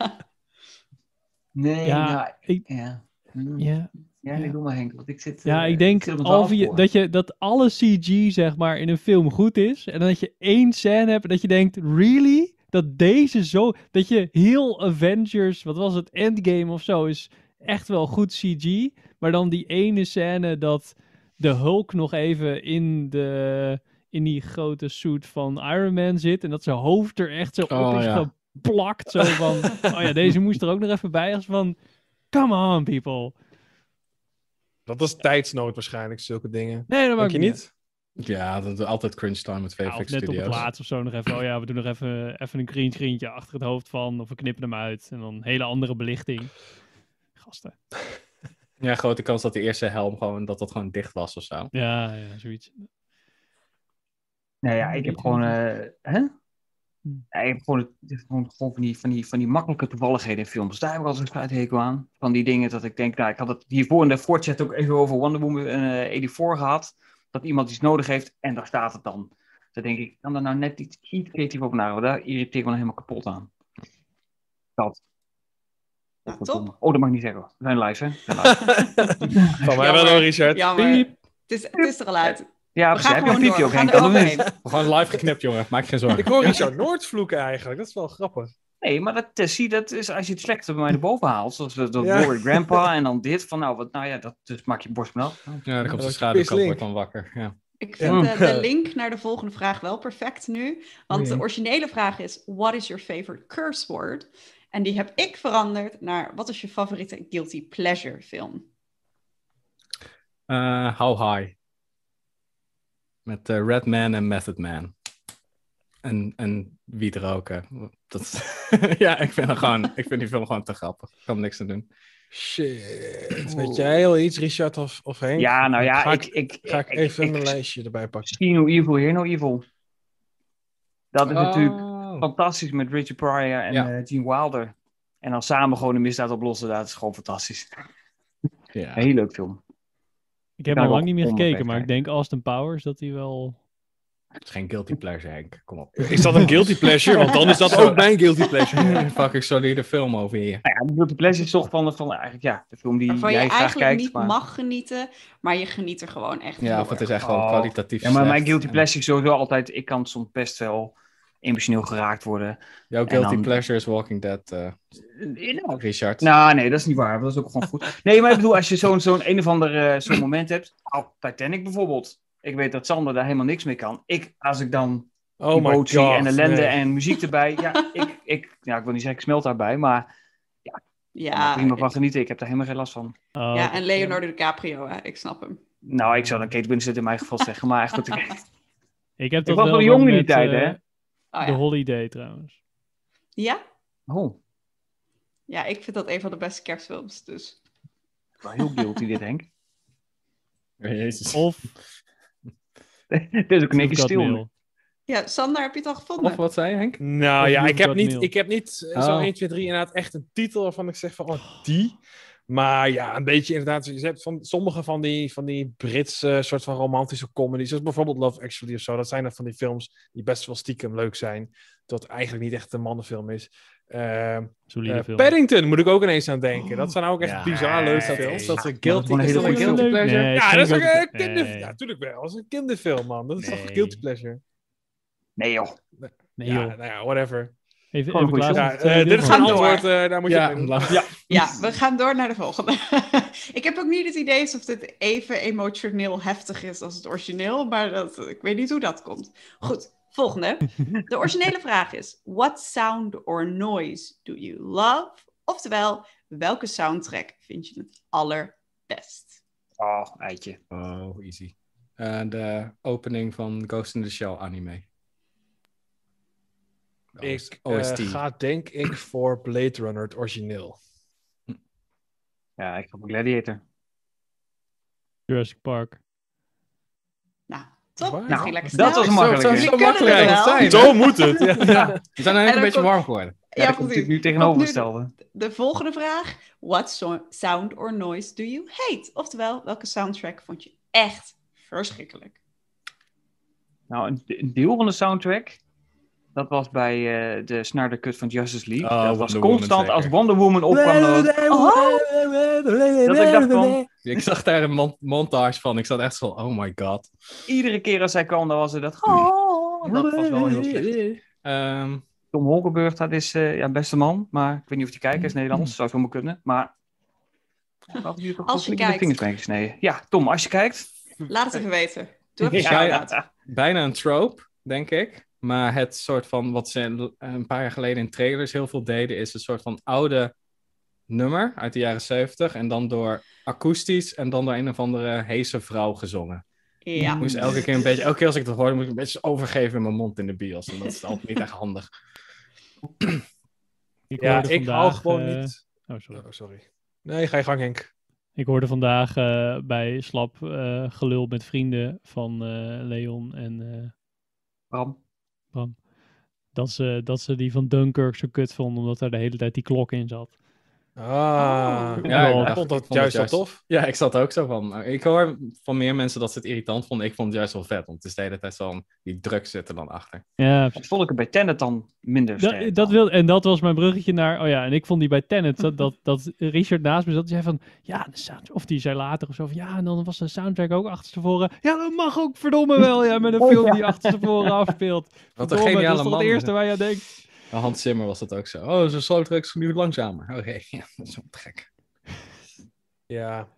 D: Nee,
E: Ja,
D: nou,
E: ik-
D: ja. Mm,
E: Ja,
D: Ja,
E: Ja.
D: ik doe maar Henk, want ik zit...
E: Ja,
D: eh,
E: ik denk
D: zit op het
E: al die-
D: halfvoor.
E: dat, je, dat alle CG zeg maar in een film goed is. En dat je één scène hebt en dat je denkt, really? Dat deze zo... Dat je heel Avengers, wat was het, Endgame of zo, is echt wel goed CG. Maar dan die ene scène dat de Hulk nog even in de... In die grote suit van Iron Man zit. En dat zijn hoofd er echt zo op
B: Oh,
E: is
B: ja.
E: geplakt. Zo van. oh ja, deze moest er ook nog even bij. Als van. Come on, people.
F: Dat is tijdsnood waarschijnlijk, zulke dingen.
E: Nee, dat maakt
F: Denk je
E: niet
F: niet?
B: Ja, dat altijd crunch time met
E: Ja,
B: VFX
E: of net op het
B: Studios.
E: laatst of zo nog even. Oh ja, we doen nog even, even een green screentje achter het hoofd van. Of we knippen hem uit. En dan een hele andere belichting. Gasten.
B: ja, grote kans dat de eerste helm gewoon, dat dat gewoon dicht was of zo.
E: Ja, ja zoiets.
D: Nou ja, ik heb gewoon... eh, hè?
E: Hm.
D: Ja, ik heb gewoon, het- gewoon, gewoon van, die, van, die, van die makkelijke toevalligheden in films. Daar heb ik altijd een hekel aan. Van die dingen dat ik denk... Nou, ik had het hiervoor in de voortchat ook even over Wonder Woman eh 84 gehad. Dat iemand iets nodig heeft en daar staat het dan. Dan denk ik, kan daar nou net iets iets creatief over nadenken. Daar irriteer ik me dan helemaal kapot aan. Dat.
A: Nou, top.
D: Oh, dat mag ik niet zeggen. We zijn live, hè? We zijn live.
F: Van mij wel
A: Jammer.
F: hoor, Richard.
A: Jammer.
E: Piep.
A: Het is, het is er al uit.
D: Ja,
A: We
D: precies.
A: gaan
D: Heb je een
A: gewoon door.
D: piepje
A: We
D: ook,
A: gaan
D: Henk?
A: er
D: Kan dat
A: overheen.
D: niet?
B: Gewoon live geknipt, jongen. Maak je geen zorgen.
F: Ik hoor Richard Noord vloeken eigenlijk. Dat is wel grappig.
D: Nee, maar dat, eh, zie, dat is als je het slechte bij mij erboven haalt. Zoals dat
F: Ja.
D: Glory Grandpa en dan dit. Van nou, wat, nou ja, dat, dus maak je borst melk.
B: Ja, dan komt de
F: Dat is
B: schaduwkant
F: pisslink.
B: wordt dan wakker. Ja.
A: Ik
F: Ja.
A: vind eh,
F: Ja.
A: de link naar de volgende vraag wel perfect nu. Want de originele vraag is: What is your favorite curse word? En die heb ik veranderd naar: Wat is je favoriete guilty pleasure film?
B: Eh, how high? Met eh, Red Man en Method Man. En, en wiet roken. Dat is- ja, ik vind, er gewoon, ik vind die film gewoon te grappig. Ik kan er niks aan doen.
F: Shit. Weet jij heel iets, Richard of, of Henk?
D: Ja, nou ja,
F: Ga
D: ik,
F: ik,
D: ik,
F: ga ik even
D: ik-
F: mijn lijstje erbij pakken.
D: See no evil, hear no evil. Dat is natuurlijk
B: Oh.
D: fantastisch met Richard Pryor en
B: Ja.
D: eh, Gene Wilder. En dan samen gewoon de misdaad oplossen, dat is gewoon fantastisch.
B: Ja.
D: Een heel leuk film.
E: Ik heb
D: daar
E: al
D: wel
E: lang niet meer
D: onderweg
E: gekeken. Maar ik
D: zijn.
E: denk Austin Powers dat hij wel...
B: Het is geen guilty pleasure, Henk. Kom op.
F: Is dat een guilty pleasure? Want dan is
E: Oh.
F: dat ook mijn guilty pleasure.
B: Fucking solide film over hier.
D: Nou ja, de Guilty Pleasure is toch van, van eigenlijk, ja, de film die
A: Waarvan
D: jij
A: je
D: graag
A: eigenlijk
D: kijkt.
A: niet
D: maar...
A: mag genieten, maar je geniet er gewoon echt
B: Ja,
A: heel
B: of het
A: erg
B: is echt gewoon
D: Oh.
B: kwalitatief
D: Ja, maar mijn
B: slecht.
D: guilty
B: En-
D: pleasure is sowieso altijd... Ik kan soms best wel emotioneel geraakt worden.
B: Jouw
D: En
B: guilty
D: dan-
B: pleasure is Walking Dead, eh,
D: Eh, nou,
B: Richard.
D: Nou, nee, dat is niet waar. Dat is ook gewoon goed. Nee, maar ik bedoel, als je zo'n zo'n een of ander eh, zo'n moment hebt. Nou, Titanic bijvoorbeeld. Ik weet dat Sander daar helemaal niks mee kan. Ik, als ik dan
F: Oh my god.
D: emotie en ellende
F: nee.
D: en muziek erbij. Ja, ik, ik, ja, ik wil niet zeggen, ik smelt daarbij. Maar ik kan er
A: Ja,
D: prima van genieten. Ik heb daar helemaal geen last van.
E: Oh,
A: ja, en Leonardo DiCaprio, hè? ik snap hem.
D: Nou, ik zou dan Kate Winslet in mijn geval zeggen. Maar goed, ik,
E: Ik heb
D: ik
E: toch
D: was
E: wel
D: wel jong in die
E: met,
D: tijd,
E: eh,
D: hè?
A: Oh,
E: The
A: ja.
E: Holiday trouwens.
A: Ja?
D: Oh,
A: ja, ik vind dat een van de beste kerstfilms. Dus.
D: wel heel guilty dit, Henk.
B: Jezus.
E: Of
D: Dit is ook een
E: You've
D: beetje
E: Got
D: stil. nu.
E: Mail.
A: Ja, Sander, heb je het al gevonden?
B: Of wat zei je, Henk?
F: Nou
E: Of
F: ja,
E: You've
F: ik heb
E: Got
F: niet,
E: Mail.
F: ik heb niet eh, zo
B: Oh.
F: 1, 2, 3 inderdaad echt een titel waarvan ik zeg van, oh, die. Maar ja, een beetje inderdaad, je hebt van sommige van die, van die Britse eh, soort van romantische comedies, zoals bijvoorbeeld Love Actually of zo, dat zijn dan van die films die best wel stiekem leuk zijn, dat eigenlijk niet echt een mannenfilm is. Ehm,
E: Solide
F: eh,
E: film.
F: Paddington moet ik ook ineens aan denken. Dat zijn nou ook echt
B: Ja.
F: bizar leuke
B: Nee.
F: films. Dat is een
D: Dat is
F: guilty,
D: gewoon een
F: is
D: hele
F: dat een
D: goede
F: guilty
D: film.
F: pleasure?
E: Nee,
F: ja,
E: geen
F: dat is ook
E: guilty-
F: een kinderfilm.
E: nee.
F: Ja, natuurlijk wel. Dat is een kinderfilm, man. Dat is toch
E: Nee.
F: een guilty pleasure?
D: Nee, joh.
E: Nee,
F: Ja,
E: joh.
F: nou ja, whatever.
E: Even,
D: Gewoon
E: even
D: een goede
E: klaar.
F: Ja,
E: voor het tweede
F: eh, dit is
E: deel.
F: een
A: Gaan door.
F: antwoord, eh, daar moet je
B: Ja,
F: mee doen.
B: laat-
A: Ja, we gaan door naar de volgende. ik heb ook niet het idee of dit even emotioneel heftig is als het origineel, maar dat, ik weet niet hoe dat komt. Goed, volgende. De originele vraag is: What sound or noise do you love? Oftewel, welke soundtrack vind je het allerbest?
D: Oh, eitje.
B: Oh, easy. Eh, de opening van Ghost in the Shell anime.
F: Ik
E: Oh,
F: eh,
B: OST.
F: ga denk ik voor Blade Runner, het origineel.
D: Ja, ik heb een gladiator.
E: Jurassic Park.
A: Nou, top.
F: Waar?
A: Misschien
D: Nou,
A: lekker
D: dat
A: snel.
B: Zo,
D: was
B: zo,
D: makkelijk.
A: Jullie
B: zo
A: kunnen
B: makkelijk
A: het
B: kan
A: wel.
B: het zijn.
F: Zo moet het. Ja.
B: We
A: En
B: zijn eigenlijk een
A: dan
B: beetje
A: komt-
B: warm geworden.
D: Ja, dat
A: precies.
D: komt natuurlijk nu tegenovergestelde.
A: De volgende vraag. What so- sound or noise do you hate? Oftewel, welke soundtrack vond je echt verschrikkelijk?
D: Nou, een, een deel van de soundtrack Dat was bij eh, de snarde kut van Justice League.
B: Oh,
D: dat
B: Wonder
D: was
B: Woman
D: constant als
B: zeker.
D: Wonder Woman opkwam. dan was-
A: Oh.
D: Dat ik dacht van,
B: Ik zag daar een mon- montage van. Ik zat echt zo van, oh my god.
D: iedere keer als zij kwam, dan was er dat... Oh, dat was wel heel slecht.
B: Ehm,
D: Tom Holkenburg, dat is eh ja, beste man. Maar ik weet niet of die kijkt, is Nederlands. Zou zomaar kunnen. Maar. Had hij er
A: Als je
D: toch wel een beetje de
A: kijkt.
D: Vingers mee gesneden. Ja, Tom, als je kijkt.
A: Laat het even weten. Doe even
B: Ja.
A: een
B: Ja.
A: shout-out.
B: bijna een trope, denk ik. Maar het soort van wat ze een paar jaar geleden in trailers heel veel deden, is een soort van oude nummer uit de jaren zeventig. En dan door akoestisch en dan door een of andere heese vrouw gezongen.
A: Ja.
B: Ik moest elke keer een beetje, elke keer als ik dat hoorde, moest ik een beetje overgeven in mijn mond in de bios. En dat is altijd niet echt handig.
E: Ik
F: Ja,
E: hoorde
F: ik hou
E: vandaag,
F: gewoon
E: eh,
F: niet.
E: oh, sorry.
F: Oh, sorry. Nee, ga je gang, Henk.
E: Ik hoorde vandaag eh, bij slap eh, gelul met vrienden van eh, Leon en eh,
D: Bram.
E: Bram. Dat ze, dat ze die van Dunkirk zo kut vonden, omdat daar de hele tijd die klok in zat.
F: Ah,
E: Oh.
B: Ja,
E: Ja,
B: ik
E: ik
F: ik vond dat
B: vond het
F: juist wel tof.
B: Ja, ik zat er ook zo van. Maar Ik hoor van meer mensen dat ze het irritant vonden. Ik vond het juist wel vet, want het is de hele tijd zo'n... Die druk zit er dan achter.
E: Ja,
D: Dat vond ik er bij Tenet dan minder
E: Da-
D: sterk
E: dat
D: aan.
E: wil, en dat was mijn bruggetje naar. Oh ja, en ik vond die bij Tenet. Dat, dat, dat Richard naast me zat. Die zei van. Ja, de sound, of die zei later of zo. Van, ja, en dan was de soundtrack ook achterstevoren. Ja, dat mag ook verdomme wel. Ja, met een film die achterstevoren afspeelt.
B: Wat een
E: Verdomme, dat
B: geniale
E: is toch
B: man.
E: het eerste waar je aan denkt.
B: Hans Zimmer was dat ook zo. Oh, zijn slowtrack is nu langzamer. Oké, ja, dat is wel te gek.
F: Ja.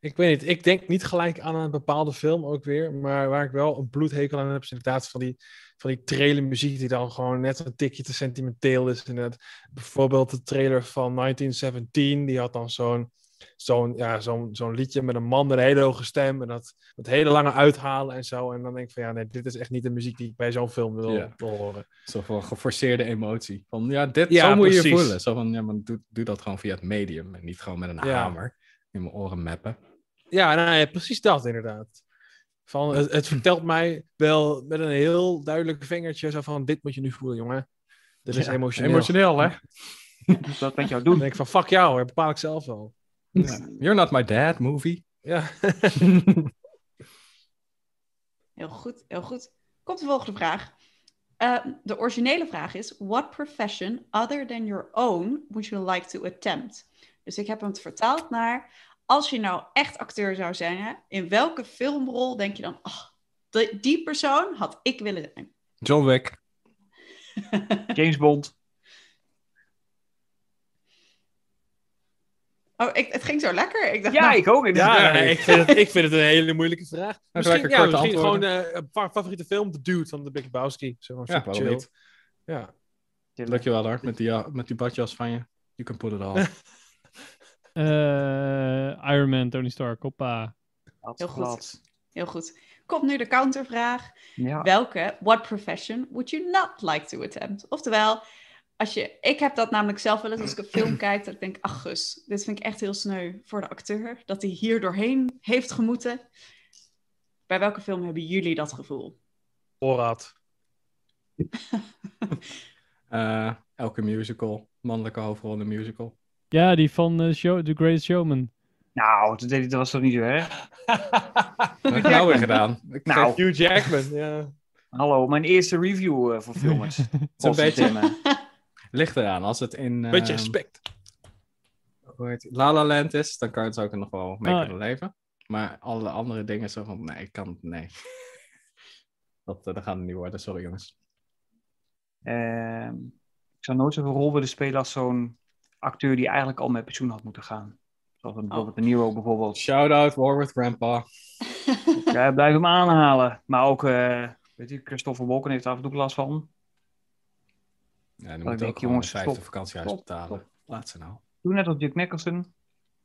F: Ik weet niet, ik denk niet gelijk aan een bepaalde film ook weer, maar waar ik wel een bloedhekel aan heb, is inderdaad van die, van die trailer muziek die dan gewoon net een tikje te sentimenteel is. Inderdaad. Bijvoorbeeld de trailer van 1917, die had dan zo'n zo'n ja, zo'n zo'n liedje met een man met een hele hoge stem en dat met hele lange uithalen en zo. En dan denk ik van ja, nee, dit is echt niet de muziek die ik bij zo'n film wil,
B: Ja.
F: wil horen.
B: Zo van geforceerde emotie. Van ja, dit,
F: Ja,
B: zo moet je je
F: precies.
B: voelen. Zo van, ja, maar doe, doe dat gewoon via het medium. En niet gewoon met een
F: Ja.
B: hamer in mijn oren meppen.
F: Ja, nou ja, precies dat inderdaad. Van, het, het vertelt mij wel met een heel duidelijk vingertje zo van, dit moet je nu voelen, jongen. Dit is
B: Ja,
F: emotioneel.
B: Emotioneel, hè?
D: Dus dat met jou
F: Dan
D: doen.
F: denk ik van, fuck jou, dat bepaal ik zelf wel.
B: You're not my dad, movie.
F: Ja.
A: Heel goed, heel goed. Komt de volgende vraag. Eh, de originele vraag is: What profession other than your own would you like to attempt? Dus ik heb hem vertaald naar: Als je nou echt acteur zou zijn, hè, in welke filmrol denk je dan, "Ah, die, die persoon had ik willen zijn?
B: John Wick.
D: James Bond.
A: Oh, ik, het ging zo lekker. Ik dacht,
D: Ja,
A: nou,
D: ik ook. inderdaad.
F: Ja, nee, ik, vind het, ik vind het een hele moeilijke vraag. Misschien,
B: lekker
F: ja,
B: korte
F: misschien gewoon
B: antwoorden.
F: eh, een fa- favoriete film, The Dude van The Big Lebowski. Zo gewoon
B: Ja,
F: super
B: waarom
F: chill.
B: niet?
F: Ja.
B: Dankjewel, hoor. Met die, ja- met die badjas van je. You can put it on.
E: Eh, Iron Man, Tony Stark, hoppa.
D: Dat
A: Heel goed.
D: klopt.
A: heel goed. Komt nu de countervraag.
D: Ja.
A: Welke, what profession would you not like to attempt? Oftewel, als je, ik heb dat namelijk zelf wel eens als ik een film kijk, dat ik denk, ach gus, dit vind ik echt heel sneu voor de acteur, dat hij hier doorheen heeft gemoeten. Bij welke film hebben jullie dat gevoel?
F: Borat.
B: Eh, elke musical. Mannelijke hoofdrol in een musical.
E: Ja, die van eh, show, The Great Showman.
D: Nou, dat, deed, dat was toch niet zo erg?
B: Wat heb ik nou weer gedaan? Ik
D: Nou,
F: Hugh Jackman, ja.
D: hallo. Mijn eerste review eh, voor filmers.
B: een beetje-
D: Timmen.
B: Ligt eraan. Als het in eh,
F: Beetje respect.
B: hoe heet- La La Land is, dan kan het ook nog wel mee
E: Oh,
B: kunnen leven. Maar alle andere dingen zo van, nee, ik kan het, nee. Dat, eh, dat gaat het niet worden, sorry jongens.
D: Ehm, ik zou nooit zo'n rol willen spelen als zo'n acteur die eigenlijk al met pensioen had moeten gaan. Zoals een- bijvoorbeeld De Niro bijvoorbeeld.
B: Shout-out Warwick Grandpa.
D: Ja, blijf hem aanhalen. Maar ook, eh, weet je, Christopher Walken heeft er af en toe last van.
B: Ja, dan
D: Oh,
B: moet
D: ik denk,
B: ook jongens,
D: jongens,
B: vijfde
D: stop,
B: vakantiehuis
D: stop,
B: betalen. Laat ze nou.
D: Doe net als Jack Nicholson.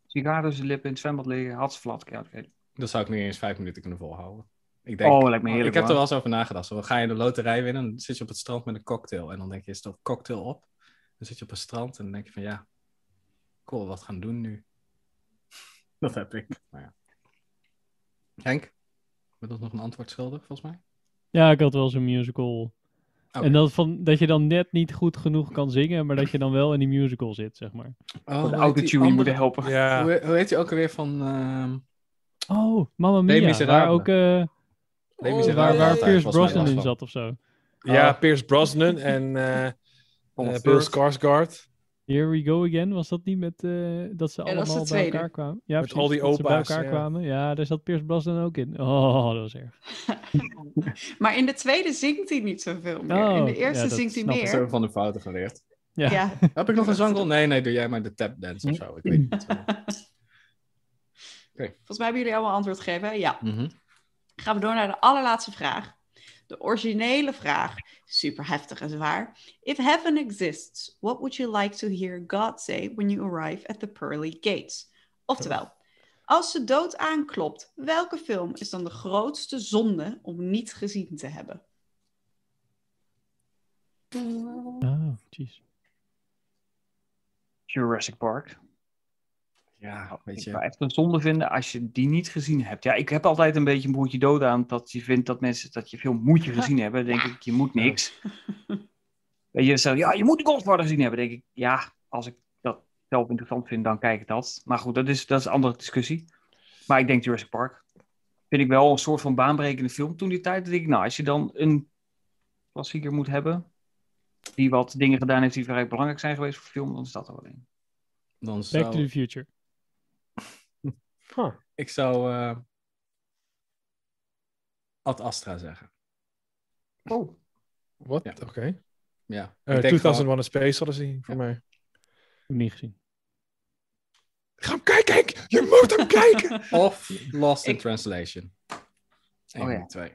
D: Sigaar tussen de lippen in het zwembad liggen. Hartsvlat. Ja, oké.
B: Dat zou ik nu eens vijf minuten kunnen volhouden. Ik denk,
D: Oh, lijkt me heerlijk,
B: Ik heb er
D: hoor.
B: wel eens over nagedacht. Zo, ga je de loterij winnen, dan zit je op het strand met een cocktail. En dan denk je, is dat cocktail op? Dan zit je op het strand en dan denk je van, ja, cool, wat gaan doen nu? Dat heb ik. Maar ja. Henk, ben dat nog een antwoord schuldig, volgens mij? Oh.
E: Ja, ik had wel zo'n musical.
B: Oké.
E: En dat, van, dat je dan net niet goed genoeg kan zingen, maar dat je dan wel in die musical zit, zeg maar.
B: Oh,
D: de autotune moeten helpen.
F: Ja.
B: Hoe, hoe heet hij ook alweer van... ehm
E: Oh, Mamma
B: Les
E: Mia. Waar
B: Misérables.
E: ook eh,
B: Les
F: Oh,
B: Misérables
E: Oh, waar, waar
B: had daar
E: Pierce
B: eh, volgens mij
E: Brosnan
B: last
E: in
B: van.
E: zat of zo.
F: Ja,
D: Oh.
F: Pierce Brosnan en eh eh,
D: Colin
F: Bill
D: Firth.
F: Skarsgård.
E: Here we go again. Was dat niet met eh, dat ze
A: is de
E: allemaal bij
A: tweede.
E: elkaar kwamen? Ja,
F: Met al die
E: dat ze bij
F: opa's,
E: elkaar
F: ja.
E: kwamen. Ja, daar zat Pierce Brosnan ook in. Oh, dat was erg.
A: Maar in de tweede zingt hij niet zoveel meer.
E: Oh,
A: in de
E: ja,
A: eerste
E: dat
A: zingt hij
E: snap ik
A: meer.
B: Dat hebben we van de fouten geleerd.
E: Ja.
A: Ja,
B: Heb ik nog een zangrol? Nee, nee, doe jij maar de tapdance of zo. Ik weet niet.
A: volgens mij hebben jullie allemaal antwoord gegeven. hè? Ja.
B: Mhm.
A: Gaan we door naar de allerlaatste vraag. De originele vraag. Super heftig en zwaar. If heaven exists, what would you like to hear God say when you arrive at the pearly gates? Oftewel, als de dood aanklopt, welke film is dan de grootste zonde om niet gezien te hebben?
E: Oh, jeez.
D: Jurassic Park.
B: Ja, weet
D: Ik
B: je.
D: zou echt een zonde vinden als je die niet gezien hebt. Ja, ik heb altijd een beetje een broertje dood aan dat je vindt dat mensen dat je veel moet je gezien hebben. Dan denk ik, je moet niks. Weet je, zo, ja, je moet de Godfather gezien hebben. Dan denk ik, ja, als ik dat zelf interessant vind, dan kijk ik dat. Maar goed, dat is, dat is een andere discussie. Maar ik denk Jurassic Park. Vind ik wel een soort van baanbrekende film toen die tijd. Dan denk ik, nou, als je dan een klassieker moet hebben, die wat dingen gedaan heeft die vrij belangrijk zijn geweest voor film, dan is dat er wel een.
B: Dan
E: Back to the
B: zou,
E: Future.
B: ik zou eh, Ad Astra zeggen.
D: Oh,
F: Wat?
B: Ja.
F: Oké.
B: Ja.
F: Eh,
B: Ik denk
F: 2001
B: gewoon-
F: A Space Odyssey voor mij.
E: Heb ik niet gezien.
F: Ga hem kijken, Henk! Je moet hem kijken!
B: Of Lost in
A: Ik-
B: Translation. Eén
D: Oh,
B: van
D: ja.
B: die twee.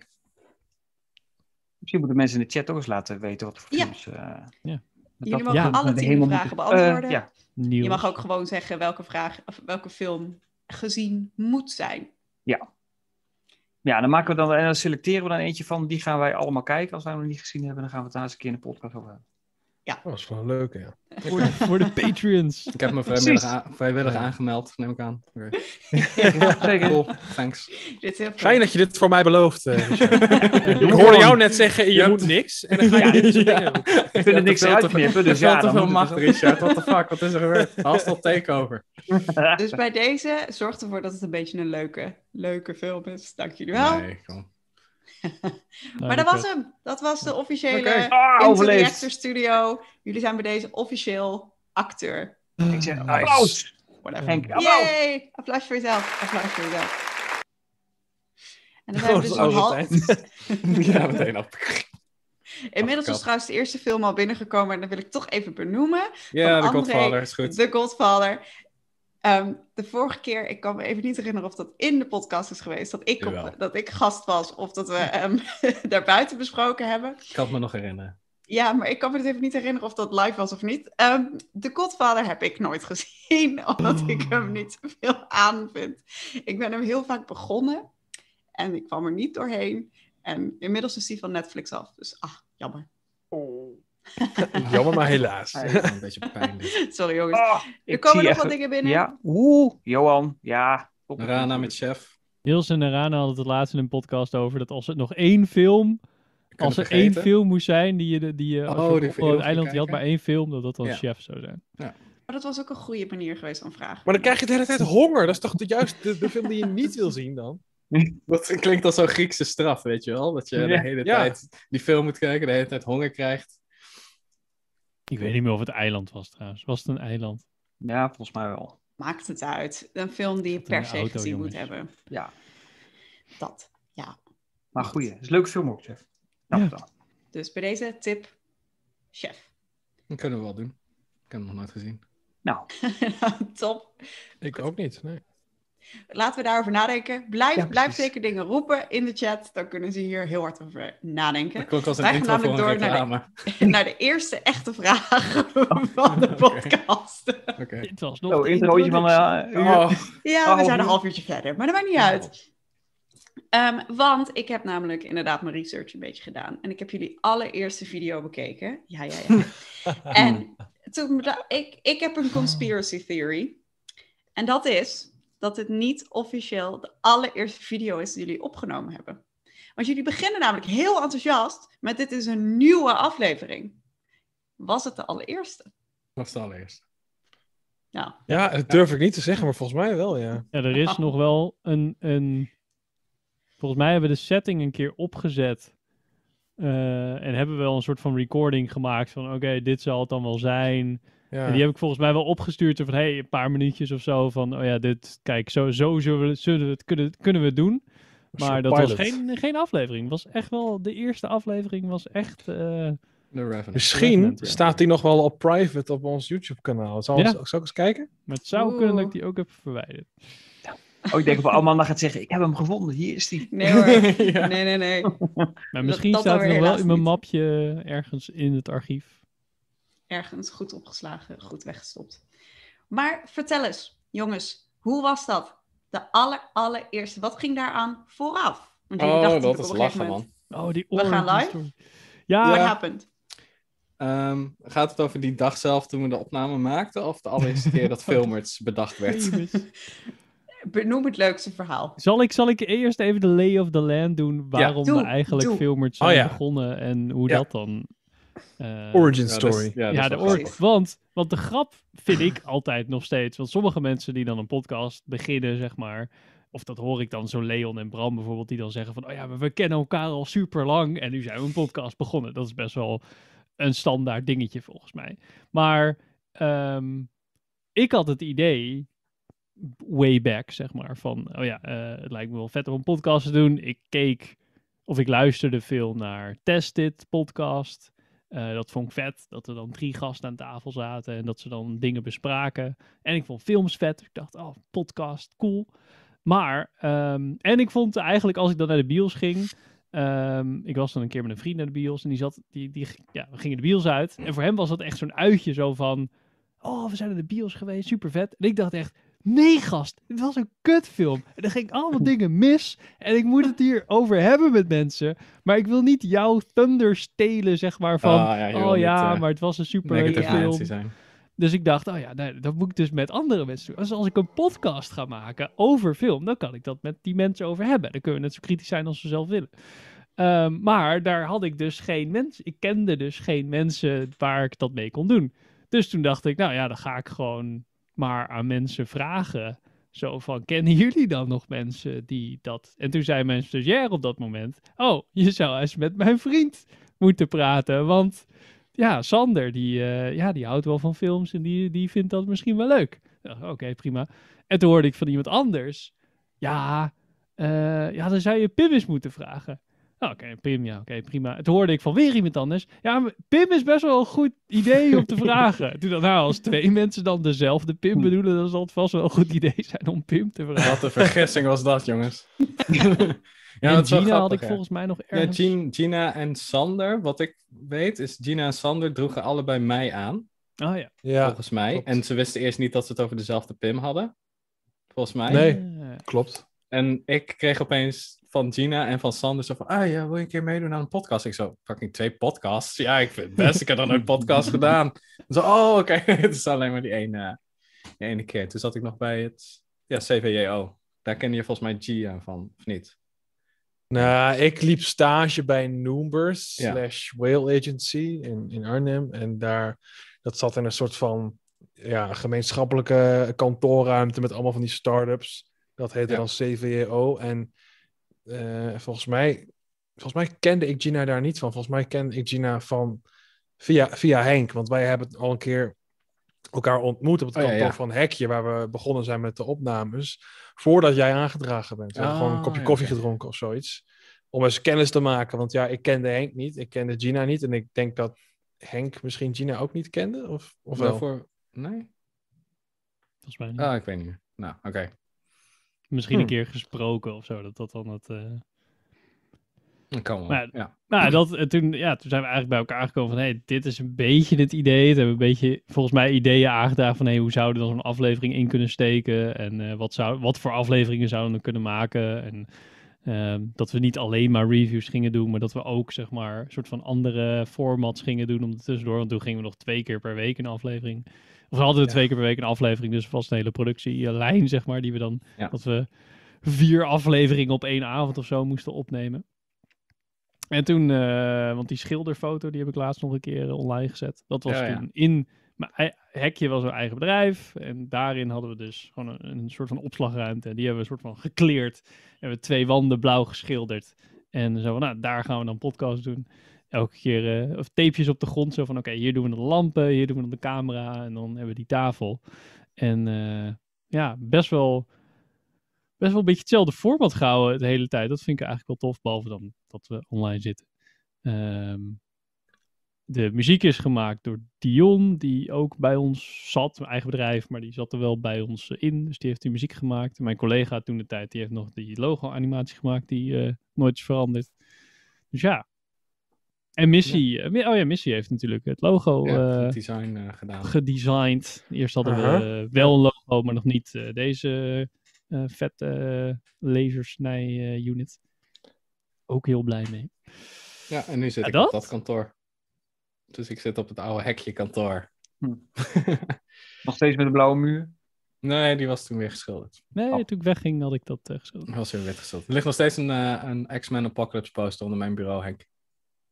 D: Misschien moeten mensen in de chat ook eens laten weten wat voor
A: Ja.
D: films... eh,
E: Ja.
D: dat
A: Jullie
D: dat
A: mogen
E: ja,
D: we
A: alle
D: de
A: tien
D: hemel
A: de vragen
D: moeten- Eh,
A: beantwoorden.
D: ja,
E: Nieuws.
A: Je mag ook gewoon zeggen welke, vraag, of welke film gezien moet zijn.
D: ja, dan maken we dan, en dan selecteren we dan eentje van, die gaan wij allemaal kijken. Als wij hem nog niet gezien hebben, dan gaan we het daar eens een keer in de podcast over hebben.
F: Oh, dat is wel leuk, ja.
E: Voor de, voor de Patreons.
B: Ik heb me vrijwillig, a- vrijwillig
D: Oh
B: aangemeld, neem ik aan. Oké.
D: Zeker.
B: Cool, thanks.
A: Dit is heel fijn.
F: Fijn dat je dit voor mij belooft. eh, Michel. ik hoorde
D: gewoon.
F: jou net zeggen, je
B: hebt-
F: moet niks. En dan ga je dit soort dingen doen.
D: Ik vind er niks
B: veel te-
D: uitknippen, dus
B: Veel
D: ja,
B: te
D: dan
B: veel
D: moet
B: macht,
D: het-
B: Richard. What the fuck, wat is er gebeurd? Hostile takeover.
A: Dus bij deze, zorg ervoor dat het een beetje een leuke, leuke film is. Dank jullie wel.
B: Nee, gewoon.
E: Nou,
A: maar dat was hem. Dat was de officiële
F: Oké.
A: okay.
D: Ah, overleefd.
A: Director Studio. Jullie zijn bij deze officieel acteur.
D: Ik zeg,
F: Nice.
D: applaus.
A: Whatever.
D: Henk, applaus.
A: Yay! Applaus voor jezelf. Applaus voor jezelf. En dan zijn we
F: Zoals
A: dus een half...
F: altijd.
B: ja, meteen op.
A: Inmiddels is trouwens de eerste film al binnengekomen. En dat wil ik toch even benoemen.
B: Ja, de
A: André.
B: Godfather is goed.
A: The Godfather. Ehm, de vorige keer, ik kan me even niet herinneren of dat in de podcast is geweest, dat ik, op-
B: Jawel.
A: dat ik gast was of dat we ehm daarbuiten besproken hebben.
B: Ik kan het me nog herinneren.
A: Ja, maar ik kan me het even niet herinneren of dat live was of niet. Ehm The Godfather heb ik nooit gezien, omdat ik hem niet veel aan vind. Ik ben hem heel vaak begonnen en ik kwam er niet doorheen. En inmiddels is die van Netflix af, dus ah, jammer.
F: Jammer, maar helaas.
B: Een beetje pijn. dit.
A: Sorry jongens.
D: Ah,
A: Er
D: ik
A: komen
D: zie
A: nog
D: echt-
A: wat dingen binnen.
D: Ja, oeh, Johan, ja. Op-
B: Rana met chef.
E: Niels en Narana hadden het laatst in een podcast over dat als het nog één film, als er één
B: vergeten.
E: film moest zijn die je, de- die je als
B: Oh,
E: je op
B: die
E: het
B: film
E: eiland
B: kijken.
E: je had maar één film, dat dat dan
B: Ja.
E: Chef zou zijn.
A: Maar dat was ook een goede manier geweest om vragen.
F: Maar dan krijg je de hele tijd honger. Dat is toch de- juist de, de film die je niet wil zien dan?
B: Dat klinkt als zo'n Griekse straf, weet je wel? Dat je de
D: Ja.
B: hele
F: Ja.
B: tijd die film moet kijken, de hele tijd honger krijgt.
E: Ik weet niet meer of het eiland was trouwens. Was het een eiland?
D: Ja, volgens mij wel.
A: Maakt het uit. Een film die je
E: Zat in
A: per
E: de
A: se
E: auto,
A: gezien moet
E: jongens.
A: hebben.
D: Ja,
A: Dat.
D: maar goeie. Het is een leuke film ook, zeg. Nou,
E: Ja.
D: dan.
A: Dus bij deze tip, chef.
B: Dat kunnen we wel doen. Ik heb hem nog nooit gezien.
D: nou
A: Top.
F: Ik ook niet, nee.
A: Laten we daarover nadenken. Blijf,
D: Ja,
A: blijf
D: precies.
A: zeker dingen roepen in de chat. Dan kunnen ze hier heel hard over nadenken.
B: Dat klonk als een
A: Wij
B: intro
A: gaan
B: voor een
A: namelijk door naar de-
B: reclame.
A: Naar de eerste echte vraag van de
B: oké.
A: podcast.
B: Oké.
E: Dit was nog
D: zo,
E: de
D: introotje van...
E: introductie.
D: eh, uur.
B: Oh,
A: Ja, we
D: Oh,
A: zijn een
D: nu-
A: half uurtje verder, maar dat maakt niet
B: Oh.
A: uit. Ehm, want ik heb namelijk inderdaad mijn research een beetje gedaan. En ik heb jullie allereerste video bekeken. Ja, ja, ja. en toen, beda- ik, ik heb een conspiracy theory. En dat is dat het niet officieel de allereerste video is die jullie opgenomen hebben. Want jullie beginnen namelijk heel enthousiast met dit is een nieuwe aflevering. Was het de allereerste?
B: dat is het allereerst.
A: Nou,
F: Ja, dat durf ik niet te zeggen, maar volgens mij wel, ja.
E: Ja, er is nog wel een, een... Volgens mij hebben we de setting een keer opgezet Eh, en hebben we wel een soort van recording gemaakt van oké, dit zal het dan wel zijn.
F: Ja.
E: En die heb ik volgens mij wel opgestuurd zo van hey, een paar minuutjes of zo van oh ja, dit, kijk, zo, zo zullen we, zullen we het kunnen, kunnen we het doen. Maar dat was geen, geen aflevering. Was echt wel, de eerste aflevering was echt. eh,
B: The Revenant.
F: Misschien
E: Revenant, ja.
F: staat die nog wel op private op ons YouTube-kanaal. Zal
E: Ja.
F: zal ik eens kijken?
E: maar het zou kunnen dat ik
A: Oeh.
E: die ook heb verwijderd.
D: Oh, ik denk dat Amanda gaat zeggen, ik heb hem gevonden, hier is die.
A: Nee hoor. Nee, nee, nee.
E: Maar
A: Dat-
E: misschien
A: dat
E: staat
A: dan
E: het nog
A: weer
E: wel
A: helaas
E: in mijn
A: niet.
E: mapje ergens in het archief.
A: Ergens goed opgeslagen, goed weggestopt. Maar vertel eens, jongens, hoe was dat? De aller, allereerste. Wat ging daaraan vooraf? Want jullie dachten
B: Oh, dat
A: natuurlijk
B: is
A: op een gegeven
B: lachen,
A: moment,
B: man.
E: Oh, die
A: We gaan
E: origin
A: live?
E: story. Ja,
A: What
E: ja.
A: happened?
B: Ehm, gaat het over die dag zelf toen we de opname maakten? Of de allereerste keer dat Filmerts bedacht werd?
A: Benoem het leukste verhaal.
E: Zal ik, zal ik eerst even de lay of the land doen? Waarom
A: doe,
E: we eigenlijk
A: doe.
E: Filmert zijn
F: Oh ja.
E: begonnen en hoe
F: Ja.
E: dat dan... eh,
F: Origin
B: Ja, dat is-
F: Story.
B: ja, dat
E: ja,
B: is
E: de
B: wel
E: origin.
B: grappig.
E: Want, want de grap vind ik altijd nog steeds. Want sommige mensen die dan een podcast beginnen, zeg maar. Of dat hoor ik dan, zo Leon en Bram bijvoorbeeld, die dan zeggen van... Oh ja, maar we kennen elkaar al super lang en nu zijn we een podcast begonnen. Dat is best wel een standaard dingetje volgens mij. Maar ehm, ik had het idee, way back zeg maar, van... Oh ja, eh, het lijkt me wel vet om een podcast te doen. Ik keek, of ik luisterde veel naar Test It podcast. Eh, dat vond ik vet, dat er dan drie gasten aan tafel zaten en dat ze dan dingen bespraken. En ik vond films vet. Ik dacht, oh, podcast, cool. Maar, ehm, en ik vond eigenlijk als ik dan naar de bios ging. ehm, ik was dan een keer met een vriend naar de bios en die zat, die, die, ja, we gingen de bios uit. En voor hem was dat echt zo'n uitje zo van, oh, we zijn naar de bios geweest, super vet. En ik dacht echt, nee gast, dit was een kutfilm. En er ging allemaal dingen mis en ik moet het hier over hebben met mensen. Maar ik wil niet jouw thunder stelen, zeg maar, van,
B: Ah, ja, je wil
E: oh
B: niet,
E: ja,
B: eh,
E: maar het was een superleuke
B: Negative
A: Ja.
E: film.
B: Nancy zijn.
E: Dus ik dacht, oh ja, nee, dat moet ik dus met andere mensen doen. Dus als ik een podcast ga maken over film, dan kan ik dat met die mensen over hebben. Dan kunnen we net zo kritisch zijn als we zelf willen. Ehm, maar daar had ik dus geen mensen. Ik kende dus geen mensen waar ik dat mee kon doen. Dus toen dacht ik, nou ja, dan ga ik gewoon maar aan mensen vragen. Zo van, kennen jullie dan nog mensen die dat... En toen zei mijn stagiair op dat moment... Oh, je zou eens met mijn vriend moeten praten, want ja, Sander, die, eh, ja, die houdt wel van films en die, die vindt dat misschien wel leuk. Ik dacht, Oké, prima. En toen hoorde ik van iemand anders, ja, eh, ja dan zou je Pim eens moeten vragen. Nou, Oké, Pim, ja, oké, prima. En toen hoorde ik van weer iemand anders, ja, maar Pim is best wel een goed idee om te vragen. Toen dacht ik, nou, als twee mensen dan dezelfde
B: Hm.
E: Pim bedoelen, dan zal het vast wel een goed idee zijn om Pim te vragen.
B: Wat een vergissing was dat, jongens. ja,
E: en
B: dat is wel
E: Gina had
B: grappig,
E: ik
B: ja.
E: volgens mij nog
B: Ja,
E: ergens...
B: Gin- Gina en Sander, wat ik weet, is Gina en Sander droegen allebei mij aan,
E: Oh ja.
F: Ja,
B: volgens mij.
F: klopt.
B: En ze wisten eerst niet dat ze het over dezelfde Pim hadden, volgens mij.
F: Nee.
E: Eh,
F: klopt.
B: En ik kreeg opeens van Gina en van Sander zo van, ah ja, wil je een keer meedoen aan een podcast? Ik zo, fucking twee podcasts? Ja, ik vind het best, ik heb dan een podcast gedaan. Zo, oh, oké, het is alleen maar die ene, die ene keer. Toen zat ik nog bij het, ja, CVJO. Daar kende je volgens mij Gia van, of niet?
F: Nou, ik liep stage bij Noombers
B: Ja.
F: slash Whale Agency in, in Arnhem. En daar, dat zat in een soort van ja, gemeenschappelijke kantoorruimte met allemaal van die start-ups. Dat heette
B: Ja.
F: dan CVEO. En eh, volgens mij, volgens mij kende ik Gina daar niet van. Volgens mij kende ik Gina van via, via Henk. Want wij hebben al een keer elkaar ontmoet op het
B: Oh, ja,
F: kantoor
B: ja.
F: van Hekje, waar we begonnen zijn met de opnames. Voordat jij aangedragen bent. We hebben gewoon een
B: Ah,
F: kopje
B: ja,
F: koffie
B: oké.
F: gedronken of zoiets om eens kennis te maken. Want ja, ik kende Henk niet, ik kende Gina niet. En ik denk dat Henk misschien Gina ook niet kende. Of, of wel?
B: Daarvoor- Nee?
E: volgens mij niet.
B: Ah, ik weet niet meer. Nou, oké.
E: Misschien een
F: hmm.
E: keer gesproken of zo, dat dat dan het... eh,
B: Dan kan wel.
E: Maar-
B: ja.
E: Nou, dat, eh, toen, ja, toen zijn we eigenlijk bij elkaar gekomen van... hey, dit is een beetje het idee. Toen hebben we een beetje, volgens mij, ideeën aangedragen van... hey, hoe zouden we dan zo'n aflevering in kunnen steken? En eh, wat, zou, wat voor afleveringen zouden we kunnen maken? En ehm, dat we niet alleen maar reviews gingen doen... maar dat we ook, zeg maar, een soort van andere formats gingen doen... om er tussendoor, want toen gingen we nog twee keer per week een aflevering... Of hadden we
F: Ja.
E: twee keer per week een aflevering, dus vast een hele productielijn, zeg maar, die we dan...
B: Ja.
E: Dat we vier afleveringen op één avond of zo moesten opnemen. En toen, eh, want die schilderfoto die heb ik laatst nog een keer eh, online gezet. Dat was
B: Ja, ja.
E: toen in mijn ei- hekje was een eigen bedrijf. En daarin hadden we dus gewoon een, een soort van opslagruimte. En die hebben we een soort van gekleerd. En we twee wanden blauw geschilderd. En En zo van, nou, daar gaan we dan podcast doen. Elke keer, eh, of tapejes op de grond, zo van, oké, hier doen we de lampen, hier doen we dan de camera en dan hebben we die tafel. En eh, ja, best wel, best wel een beetje hetzelfde voorbeeld gehouden de hele tijd. Dat vind ik eigenlijk wel tof, behalve dan dat we online zitten. Ehm, de muziek is gemaakt door Dion, die ook bij ons zat, mijn eigen bedrijf, maar die zat er wel bij ons eh, in. Dus die heeft die muziek gemaakt. En mijn collega toen de tijd, die heeft nog die logo-animatie gemaakt, die eh, nooit is veranderd. Dus ja. En Missy, eh, mi- oh ja, Missy heeft natuurlijk het logo
B: Ja,
E: eh,
B: design eh, gedaan.
E: gedesigned. Eerst hadden
F: Aha.
E: we eh, wel een logo, maar nog niet eh, deze eh vet eh lasersnij-unit. Ook heel blij mee.
B: Ja, en nu zit
E: Ja,
B: ik
E: dat?
B: op dat kantoor. Dus ik zit op het oude hekje kantoor.
D: Hm. Nog steeds met de blauwe muur.
B: nee, die was toen weer geschilderd.
E: Nee,
D: Oh.
E: toen ik wegging had ik dat eh, geschilderd.
B: Die was weer wit geschilderd. Er ligt nog steeds een, eh, een X-Men Apocalypse poster onder mijn bureau, Henk.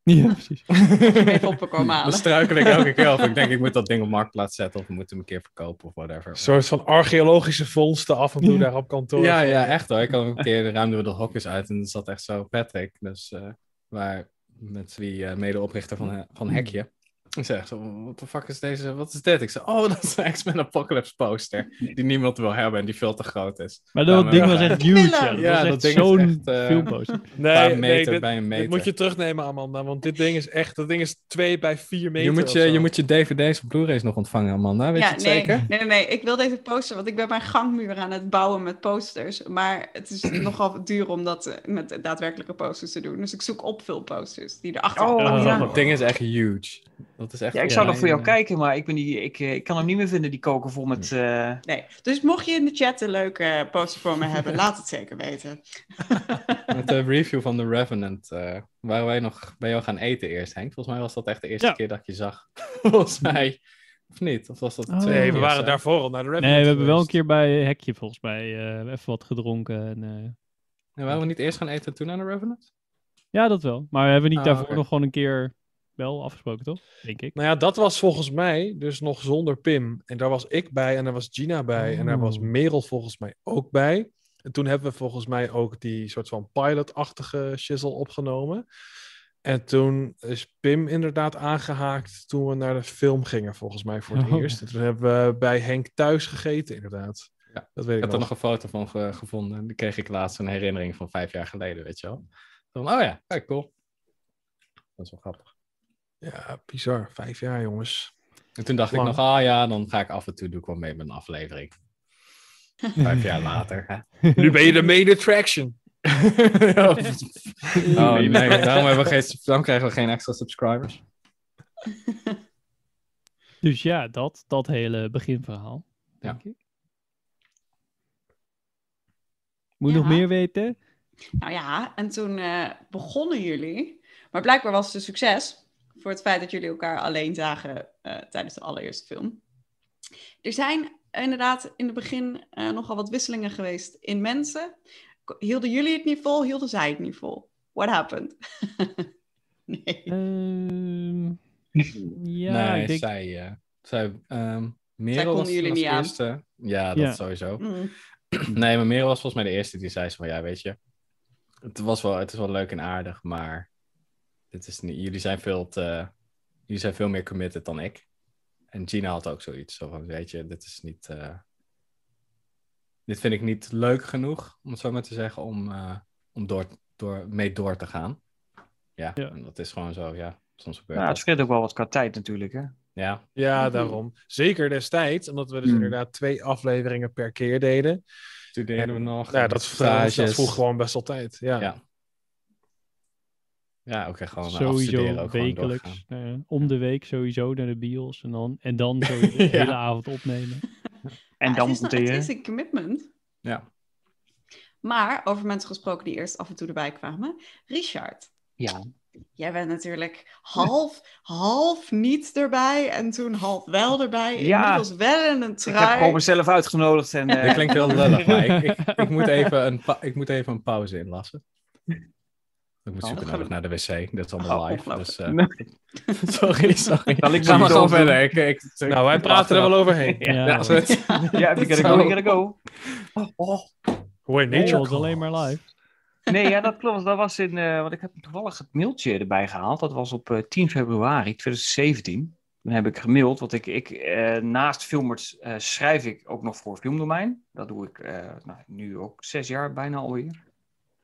E: Ja, precies.
A: Even op komen
B: Dan
A: halen.
B: struikel ik elke keer over. Ik denk, ik moet dat ding op marktplaats zetten of we moeten hem een keer verkopen of whatever.
F: Een soort van archeologische vondsten af en toe
E: Ja.
F: daar op kantoor.
B: Ja, ja, echt hoor. Ik had een keer ruimde we de hokjes uit en er zat echt zo Patrick, dus eh, waar met die eh, medeoprichter van, eh, van Hekje. Ik zei echt zo, wat de fuck is deze, wat is dit? Ik zei, oh, dat is een X-Men Apocalypse poster die niemand wil hebben en die veel te groot is.
E: Maar dat
B: Daarom
E: ding was
B: hebben we
E: echt huge. Ja,
A: Film!
E: dat
B: Ja,
E: was
B: dat
E: echt
B: ding is
E: zo'n
B: echt, eh,
E: filmposter.
F: nee,
B: een paar
F: nee,
B: meter
F: dit-
B: bij een
F: dit
B: meter.
F: moet je terugnemen, Amanda. Want dit ding is echt, dat ding is 2 bij 4 meter.
B: Je moet
F: of
B: je,
F: zo.
B: je moet je dvd's of blu-rays nog ontvangen, Amanda, weet je
A: Ja,
B: het
A: nee,
B: zeker?
A: nee, nee, nee. Ik wil deze poster, want ik ben mijn gangmuur aan het bouwen met posters. Maar het is nogal duur om dat eh, met daadwerkelijke posters te doen. Dus ik zoek opvulposters die erachter
D: Oh,
A: plakken.
D: ja.
B: Dat ding is echt huge. Dat is echt
D: Ja, ik zou
E: Ja,
D: nog voor jou
B: klein, eh,
D: kijken, maar ik, ben die, ik, eh, ik kan hem niet meer vinden, die koker vol
B: Hm.
D: met... eh,
A: Nee. Dus mocht je in de chat een leuke poster voor me hebben, laat het zeker weten.
B: Met de review van The Revenant eh, waren wij nog bij jou gaan eten eerst, Henk. Volgens mij was dat echt de eerste
E: Ja.
B: keer dat ik je zag. Volgens mij. Of niet? Of was dat de
E: Oh.
B: tweede
F: Nee, we
B: keer
F: waren
B: of zo?
F: daarvoor al naar de
E: Nee, we hebben wel een keer bij Hekje volgens mij eh, even wat gedronken. En, eh,
B: En waren we niet eerst gaan eten en toen aan The Revenant?
E: ja, dat wel. Maar we hebben niet
B: Ah,
E: daarvoor
B: oké.
E: nog gewoon een keer wel afgesproken, toch? Denk ik.
F: Nou ja, dat was volgens mij dus nog zonder Pim. En daar was ik bij en daar was Gina bij en daar was
E: Oh.
F: Merel volgens mij ook bij. En toen hebben we volgens mij ook die soort van pilot-achtige shizzle opgenomen. En toen is Pim inderdaad aangehaakt toen we naar de film gingen volgens mij voor het
E: Oh.
F: eerst. En toen hebben we bij Henk thuis gegeten inderdaad.
B: Ja.
F: Dat weet
B: Ik heb
F: ik nog.
B: er nog een foto van ge- gevonden. Die kreeg ik laatst een herinnering van vijf jaar geleden, weet je wel. Van, oh ja, kijk, cool. Dat is wel grappig.
F: Ja, bizar. Vijf jaar jongens.
B: En toen dacht
F: Lang.
B: ik nog, ah ja, dan ga ik af en toe doe ik wel mee met een aflevering. Vijf jaar later. Hè?
F: nu ben je de main attraction.
B: Oh nee, daarom, hebben we geen, daarom krijgen we geen extra subscribers.
E: Dus ja, dat, dat hele beginverhaal, denk ik. Moet je nog
A: Ja.
E: meer weten?
A: Nou ja, en toen eh, begonnen jullie. Maar blijkbaar was het een succes voor het feit dat jullie elkaar alleen zagen eh, tijdens de allereerste film. Er zijn inderdaad in het begin eh, nogal wat wisselingen geweest in mensen. K- Hielden jullie het niet vol? Hielden zij het niet vol? What happened? nee.
E: Eh, Ehm, ja,
B: nee,
E: ik denk...
B: zij, eh, zij, ehm, Merel
A: konden
B: was
A: jullie
B: was
A: niet
B: de
A: aan.
B: eerste. Ja, dat
E: Ja.
B: sowieso.
A: Mm.
B: Nee, maar Merel was volgens mij de eerste die zei zo van, ja, weet je, het, was wel, het is wel leuk en aardig, maar dit is niet, jullie, zijn veel te, jullie zijn veel meer committed dan ik. En Gina had ook zoiets zo van, weet je, dit is niet, eh, dit vind ik niet leuk genoeg, om het zo maar te zeggen, om, eh, om door, door, mee door te gaan. Ja,
E: Ja.
B: en dat is gewoon zo, ja, soms gebeurt
D: nou, het
B: dat.
D: scheelt ook wel wat qua tijd natuurlijk, hè.
B: Ja,
F: Ja,
A: Mhm.
F: daarom. Zeker destijds, omdat we dus
D: Hmm.
F: inderdaad twee afleveringen per keer deden.
B: studeerden we nog.
F: Nou, ja, dat, dat,
B: stages.
F: dat vroeg gewoon best wel tijd. Ja.
B: Ja. Ja, oké, gewoon eh, afstuderen,
E: Sowieso
B: ook gewoon doorgaan.
E: wekelijks. eh, om de week sowieso naar de bios. En dan, en dan sowieso de
B: Ja.
E: hele avond opnemen.
D: En
A: Ja,
D: dan
A: Ah, het is,
D: moet eh,
A: nog- het is
D: je...
A: een commitment.
B: Ja.
A: Maar over mensen gesproken die eerst af en toe erbij kwamen. Richard,
D: Ja.
A: jij bent natuurlijk half, half niet erbij en toen half wel erbij.
D: Ja.
A: Inmiddels wel in een
D: Ik heb
A: trui.
D: gewoon mezelf uitgenodigd en... eh,
B: Dat klinkt heel lullig, maar ik, ik, ik, moet even een pa- ik moet even een pauze inlassen. Ik moet
D: Oh,
B: super
A: gelukkig.
B: nodig naar de wc. Dat is allemaal
A: Oh,
B: live.
A: ongelooflijk.
B: Dus, eh, sorry, sorry.
D: Zal ik
B: Ga maar
D: zo
B: gewoon
D: doen?
B: verder. Ik, ik,
F: Nou, wij praten er wel overheen.
E: Ja,
B: Ja,
E: hoor.
B: goed.
D: Ja, we gotta go, we gotta go.
F: Hoor je
E: Nee,
F: nature
E: joh, het is alleen maar live.
D: Nee, ja, dat klopt. Dat was in, eh, want ik heb toevallig het mailtje erbij gehaald. Dat was op eh, 10 februari 2017. Toen heb ik gemaild, want ik, ik eh, naast filmers eh, schrijf ik ook nog voor Filmdomein. Dat doe ik eh, nou, nu ook zes jaar bijna alweer.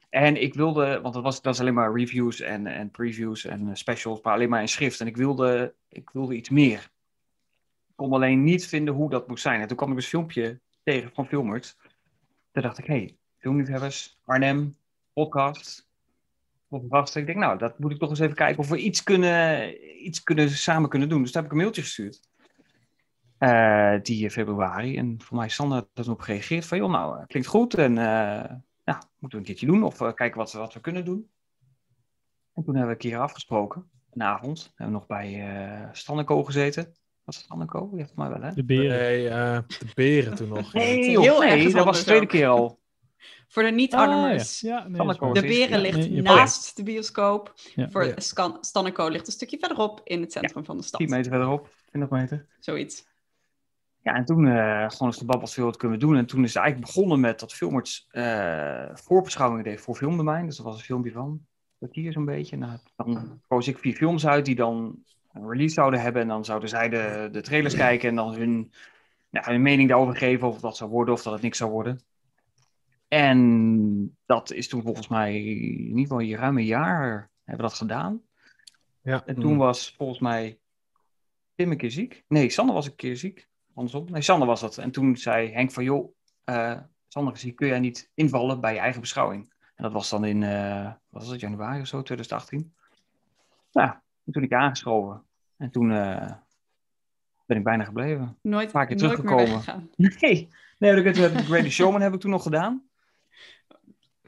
D: En ik wilde, want dat, was, dat is alleen maar reviews en, en previews en eh, specials, maar alleen maar in schrift. En ik wilde, ik wilde iets meer. Ik kon alleen niet vinden hoe dat moest zijn. En toen kwam ik een filmpje tegen van Filmert. Daar dacht ik, hé, hey, filmliefhebbers, Arnhem, podcast. Of wacht, ik denk, nou, dat moet ik toch eens even kijken of we iets, kunnen, iets kunnen, samen kunnen doen. Dus daar heb ik een mailtje gestuurd. eh, die februari. En voor mij is Sander daar toen op gereageerd. Van, joh, nou, eh, klinkt goed. En eh, ja, moeten we een keertje doen. Of eh, kijken wat, we- wat we kunnen doen. En toen hebben we een keer afgesproken. Een avond. Hebben we nog bij eh Stanneco gezeten. Was het Stanneco? Ja, volgens mij wel, hè?
E: De beren.
F: Nee, eh, de beren toen nog.
A: Nee,
D: joh,
A: heel erg
D: dat was
A: anders
D: de tweede
A: ook.
D: keer al.
A: Voor de
E: Ah, ja.
A: niet-Arnhemmers.
E: Ja, nee,
D: Kan
E: dat is
D: ik
E: waar.
D: ook.
A: De
D: Precies,
A: Beren
E: ja.
A: ligt
E: Nee, je-
A: naast de bioscoop.
E: Ja.
A: Voor
F: Ja.
A: Scan- Stanneco ligt een stukje verderop in het centrum van de
D: 10
A: stad.
D: meter verderop. 20 meter.
A: Zoiets.
D: Ja, en toen eh, gewoon eens de babbels veel wat kunnen we doen. En toen is het eigenlijk begonnen met dat Filmerts eh voorbeschouwingen deed voor Filmdomein. Dus dat was een filmpje van kwartier zo'n beetje. Nou, dan koos ik vier films uit die dan een release zouden hebben. En dan zouden zij de, de trailers kijken en dan hun, ja, hun mening daarover geven. Of dat zou worden of dat het niks zou worden. En dat is toen volgens mij in ieder geval hier ruim een jaar hebben we dat gedaan.
F: Ja.
D: En toen was volgens mij Tim een keer ziek. Nee, Sander was een keer ziek. Andersom. Nee, Sander was dat. En toen zei Henk van, joh, eh, Sander is ziek, kun jij niet invallen bij je eigen beschouwing? En dat was dan in, eh, wat was het, januari of zo, 2018. Nou, en toen ik aangeschoven. En toen eh, ben ik bijna gebleven.
A: Nooit,
D: Vaak weer
A: nooit meer
D: teruggekomen.
A: weggegaan.
D: Nee, nee ik heb de Greatest Showman heb ik toen nog gedaan.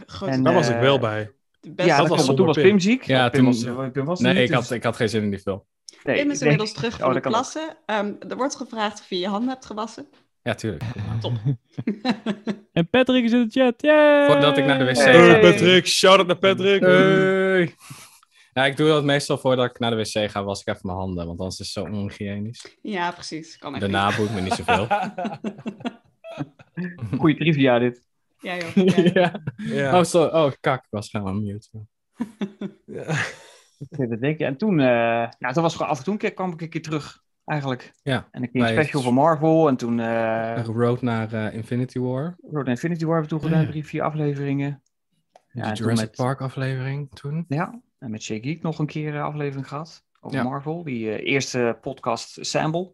A: Goed,
D: En,
F: Daar was
D: eh,
F: ik wel bij.
A: de beste
D: Ja, dat
F: was
D: was,
F: zonder
D: toen was
F: Pim.
D: Pim ziek.
B: Ja,
D: Pim was,
B: toen-
D: Pim was er
B: Nee,
D: niet,
B: ik
D: dus-
B: had, ik had geen zin in die film.
D: Nee,
A: Pim is
D: nee.
A: inmiddels terug van
D: Oh,
A: de
D: dat kan ook.
A: klasse. Ehm, er wordt gevraagd of je je handen hebt gewassen.
B: Ja, tuurlijk.
E: En Patrick is in de chat. Yay!
B: Voordat ik naar de wc
D: Hey.
F: Hey, Patrick, shout out naar Patrick.
B: Hey. Nou, ik doe dat meestal voordat ik naar de wc ga, was ik even mijn handen, want anders is het zo onhygiënisch.
A: Ja, precies. Kan echt niet.
B: Daarna boeit me niet zoveel.
D: Goeie trivia dit.
A: Ja, joh. Ja, joh.
B: ja.
F: Ja.
B: Oh, sorry. Oh, kak, ik was gewoon mute.
D: Ja, dat denk je. En toen, eh, nou, toen was gewoon af en toe een keer, kwam ik een keer terug, eigenlijk.
B: Ja,
D: En een keer een
B: bij-
D: special van Marvel. En toen eh
B: Road naar eh, Infinity War.
D: Road to Infinity War hebben we toen gedaan, drie, vier afleveringen. Ja,
B: de
D: en toen
B: Jurassic
D: met-
B: Park aflevering toen.
D: Ja, en met Shay Geek nog een keer een aflevering gehad over
B: Ja.
D: Marvel. Die eh, eerste podcast Sample.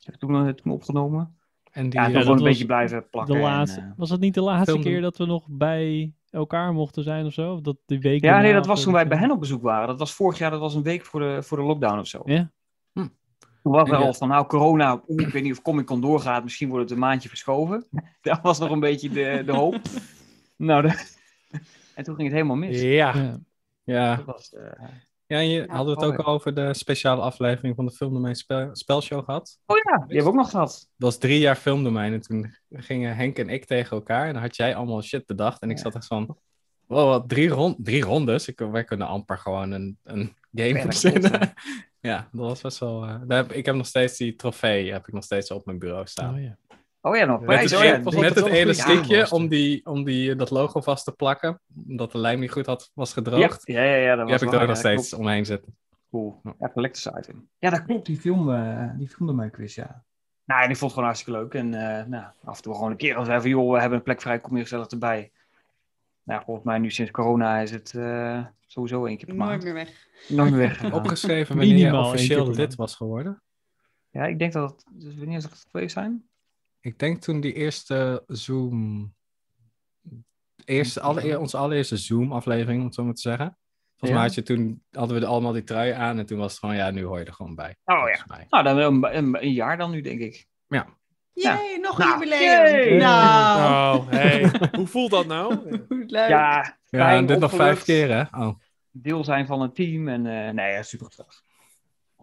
D: Heb ik toen, eh, toen opgenomen.
B: En die
D: Ja, en
B: eh,
D: toch
E: dat
D: wel een
E: was
D: beetje blijven plakken.
E: de
D: en,
E: laatste,
D: eh,
E: was dat niet de laatste
B: film-
E: keer dat we nog bij elkaar mochten zijn of zo? Of dat de week
D: ja, nee,
E: daarna
D: dat
E: of
D: was
E: zo,
D: toen wij bij hen op bezoek waren. Dat was vorig jaar, dat was een week voor de, voor de lockdown of zo.
E: Ja.
B: Hm.
D: Toen was er
B: Ja.
D: al van, nou, corona, oeh, ik weet niet of Comic Con doorgaat. Misschien wordt het een maandje verschoven. Dat was nog een beetje de, de hoop. nou, de- en toen ging het helemaal mis.
F: Ja.
E: Ja.
B: ja.
D: Dat was, eh,
B: ja, en je
A: Ja,
B: hadden we het
D: mooi.
B: ook al over de speciale aflevering van de Filmdomein spel, Spelshow gehad.
D: Oh ja, die hebben we ook nog gehad.
B: Dat was drie jaar Filmdomein en toen gingen Henk en ik tegen elkaar en dan had jij allemaal shit bedacht. En ik
D: Ja.
B: zat echt van, wow, wat, drie, rond, drie rondes? Ik, wij kunnen amper gewoon een, een game
D: Verder
B: verzinnen. Ja, dat was best wel... eh, daar heb, ik heb nog steeds die trofee heb ik nog steeds op mijn bureau staan.
E: Oh, ja.
D: Oh ja, nog
B: Met
D: prijs.
B: het,
F: oh ja,
B: e-
F: het was
B: met het
F: altijd wel een
B: ene
F: goede
B: stickje
F: aanwas
B: om,
F: toen.
B: die, om die, dat logo vast te plakken. Omdat de lijm niet goed had, was
D: ja,
B: gedroogd.
D: ja, ja, ja, dat
B: die heb
D: was
B: ik
D: wel-
B: er ook nog
D: ja, dat
B: steeds omheen zitten.
D: Cool.
B: Ja.
D: Ja, collectors item. Ja, dat klopt. Die film, eh die film mijn quiz, ja. Nou, en ik vond het gewoon hartstikke leuk. En eh, nou, af en toe gewoon een keer als even, joh, we hebben een plek vrij, kom je gezellig erbij. Nou, volgens mij nu sinds corona is het eh, sowieso één keer per
A: Nooit
D: maand.
A: meer weg.
D: Nooit meer weg.
B: Opgeschreven wanneer
E: Minimaal
B: je
E: één keer
B: officieel
E: per maand.
B: lid was geworden.
D: Ja, ik denk dat het, dus wanneer zou het geweest zijn?
B: Ik denk toen die eerste Zoom... Eerste, alle, onze allereerste Zoom-aflevering, om het zo maar te zeggen. Volgens
D: Ja.
B: mij had je toen, hadden we allemaal die trui aan en toen was het gewoon, ja, nu hoor je er gewoon bij.
D: ja.
B: volgens mij.
D: Nou, dan wel een, een, een jaar dan nu, denk ik. Ja.
A: Jee, nog een
D: Nou,
A: jubileum.
D: yay.
A: Nou,
F: Oh, hey. Hoe voelt dat nou?
A: hoe leuk.
D: Ja,
B: Ja, en dit nog vijf
D: opgelucht.
B: keer, hè? Oh.
D: deel zijn van een team. En eh, nee, ja, super gezellig.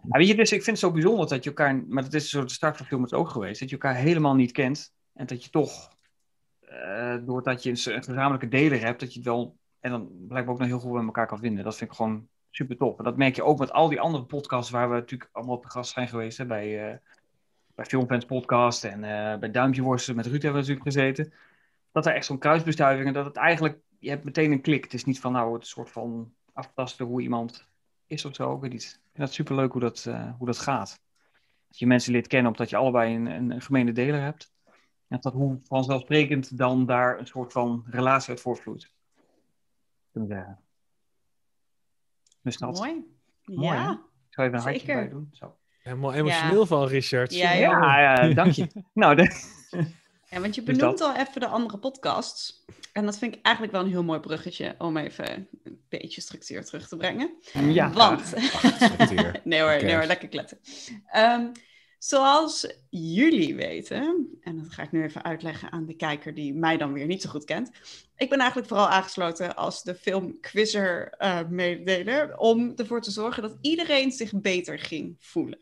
D: Ja, weet je, dus ik vind het zo bijzonder dat je elkaar, maar dat is een soort start van filmers ook geweest, dat je elkaar helemaal niet kent. En dat je toch, eh, doordat je een s- een gezamenlijke deler hebt, dat je het wel, en dan blijkbaar ook nog heel goed bij elkaar kan vinden. Dat vind ik gewoon super top. En dat merk je ook met al die andere podcasts waar we natuurlijk allemaal op de gast zijn geweest. Hè, bij, eh, bij Filmfans Podcast en eh, bij Duimpje Worsten met Ruud hebben we natuurlijk gezeten. Dat er echt zo'n kruisbestuiving en dat het eigenlijk, je hebt meteen een klik. Het is niet van nou het soort van aftasten hoe iemand is of zo. Ik weet niet. Ik vind dat superleuk hoe dat, eh, hoe dat gaat. Dat je mensen leert kennen omdat je allebei een, een, een gemene deler hebt. En dat hoe vanzelfsprekend dan daar een soort van relatie uit voortvloeit. Kunnen we zeggen. Dus dat.
A: Mooi.
D: Mooi, hè?
A: ja.
D: Ik zou even een hartje
A: Zeker.
D: bij doen. Zo.
F: Helemaal emotioneel van Richard.
A: Ja,
D: Ja,
A: joh.
D: ja, dank je. nou, de-
A: Ja, want je
D: Dus
A: benoemt al even de andere podcasts. En dat vind ik eigenlijk wel een heel mooi bruggetje om even een beetje structuur terug te brengen.
D: ja.
A: want.
B: structuur.
A: nee hoor, nee
B: cares?
A: hoor, lekker kletten. Ehm, zoals jullie weten, en dat ga ik nu even uitleggen aan de kijker die mij dan weer niet zo goed kent. Ik ben eigenlijk vooral aangesloten als de filmquizzer eh mededeler om ervoor te zorgen dat iedereen zich beter ging voelen.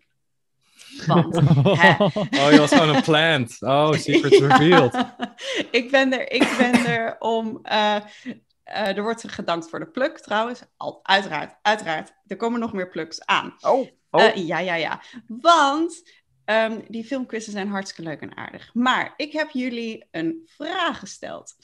A: Want hè,
B: Oh, je was gewoon een plant. Oh, secrets
A: Ja.
B: revealed.
A: Ik ben er, ik ben er om. eh, eh, er wordt gedankt voor de pluk trouwens. Al, uiteraard, uiteraard. Er komen nog meer pluks aan.
D: Oh, oh.
A: Eh, ja, ja, ja. Want ehm, die filmquizzen zijn hartstikke leuk en aardig. Maar ik heb jullie een vraag gesteld.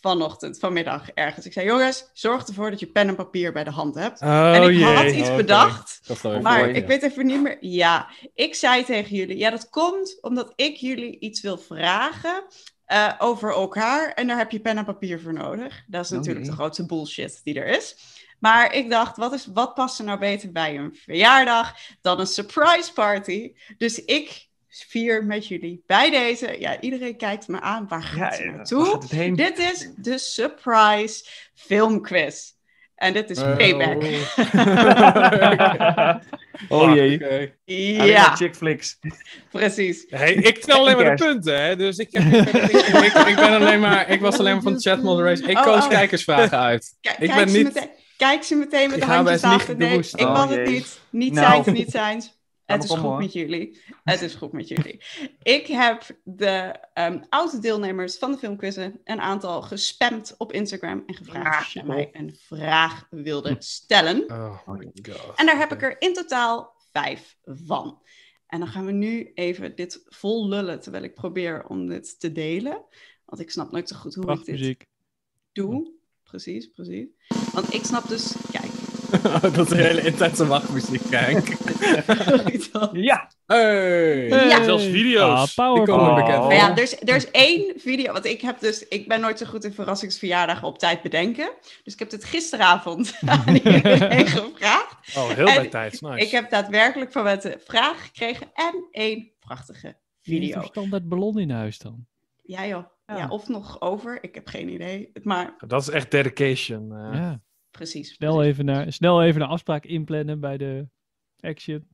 A: Vanochtend, vanmiddag ergens. Ik zei: jongens, zorg ervoor dat je pen en papier bij de hand hebt.
F: Oh,
A: en ik had
F: jee.
A: iets
B: Oké.
A: bedacht.
B: Dat geloof ik
A: Maar
B: wel,
A: ik
B: ja.
A: weet even niet meer. Ja, ik zei tegen jullie. Ja, dat komt omdat ik jullie iets wil vragen eh, over elkaar. En daar heb je pen en papier voor nodig. Dat is
D: Oh,
A: natuurlijk
D: jee.
A: de grootste bullshit die er is. Maar ik dacht, wat, is, wat past er nou beter bij een verjaardag dan een surprise party? Dus ik vier met jullie bij deze. Ja, iedereen kijkt me aan. Waar
D: Ja,
A: gaat ze
D: eh,
A: naartoe?
D: waar gaat het heen?
A: Dit is de surprise filmquiz. En dit is
B: Oh.
A: payback.
D: Oh jee.
B: Oké.
D: Alleen maar
A: ja,
D: chick flicks.
A: precies.
F: Hey, ik knal alleen maar de punten, hè? Dus ik, heb, ik, ben- ik-
B: ik, ik ben alleen maar, ik was alleen maar van de chat moderation. Ik
A: Oh,
B: koos
A: oh.
B: kijkersvragen uit.
A: Kijk,
B: Ik
A: kijk
B: ben
A: ze
B: niet-
A: meteen, kijk ze meteen met
B: Ik
A: de
B: ga
A: handjes
B: bij
A: achter.
B: Sneaky de
A: Nee,
B: Woest.
A: ik
D: Oh,
A: was het
D: jee.
A: niet. Niet
D: Nou.
A: zijns, niet zijns.
D: maar
A: Het is
D: kom
A: goed
D: hoor.
A: met jullie. Het is goed met jullie. Ik heb de ehm oude deelnemers van de filmquizzen een aantal gespamd op Instagram en gevraagd of ze mij een vraag wilden stellen.
F: Oh my god.
A: En daar heb ik er in totaal vijf van. En dan gaan we nu even dit vol lullen terwijl ik probeer om dit te delen. Want ik snap nooit zo goed hoe ik dit
E: Prachtmuziek.
A: doe. Precies, precies. Want ik snap dus, kijk,
B: dat is een hele intense wachtmuziek, kijk.
A: sorry dan.
D: Ja.
B: Hey. Oh.
A: Ja.
F: Zelfs video's.
E: Ah, power
B: Die komen
E: play.
B: bekend.
A: Maar ja, er is, er is één video, want ik heb dus, ik ben nooit zo goed in verrassingsverjaardagen op tijd bedenken. Dus ik heb dit gisteravond aan iedereen gevraagd.
F: Oh, heel
A: En
F: bij tijd. Nice.
A: Ik heb daadwerkelijk van mensen een vraag gekregen en één prachtige video.
E: standaard ballon in huis dan.
A: Ja joh, ja. of nog over, ik heb geen idee. Maar
F: Dat is echt dedication. eh.
E: Ja.
A: precies.
E: Snel, even naar, snel even een afspraak inplannen bij de Action.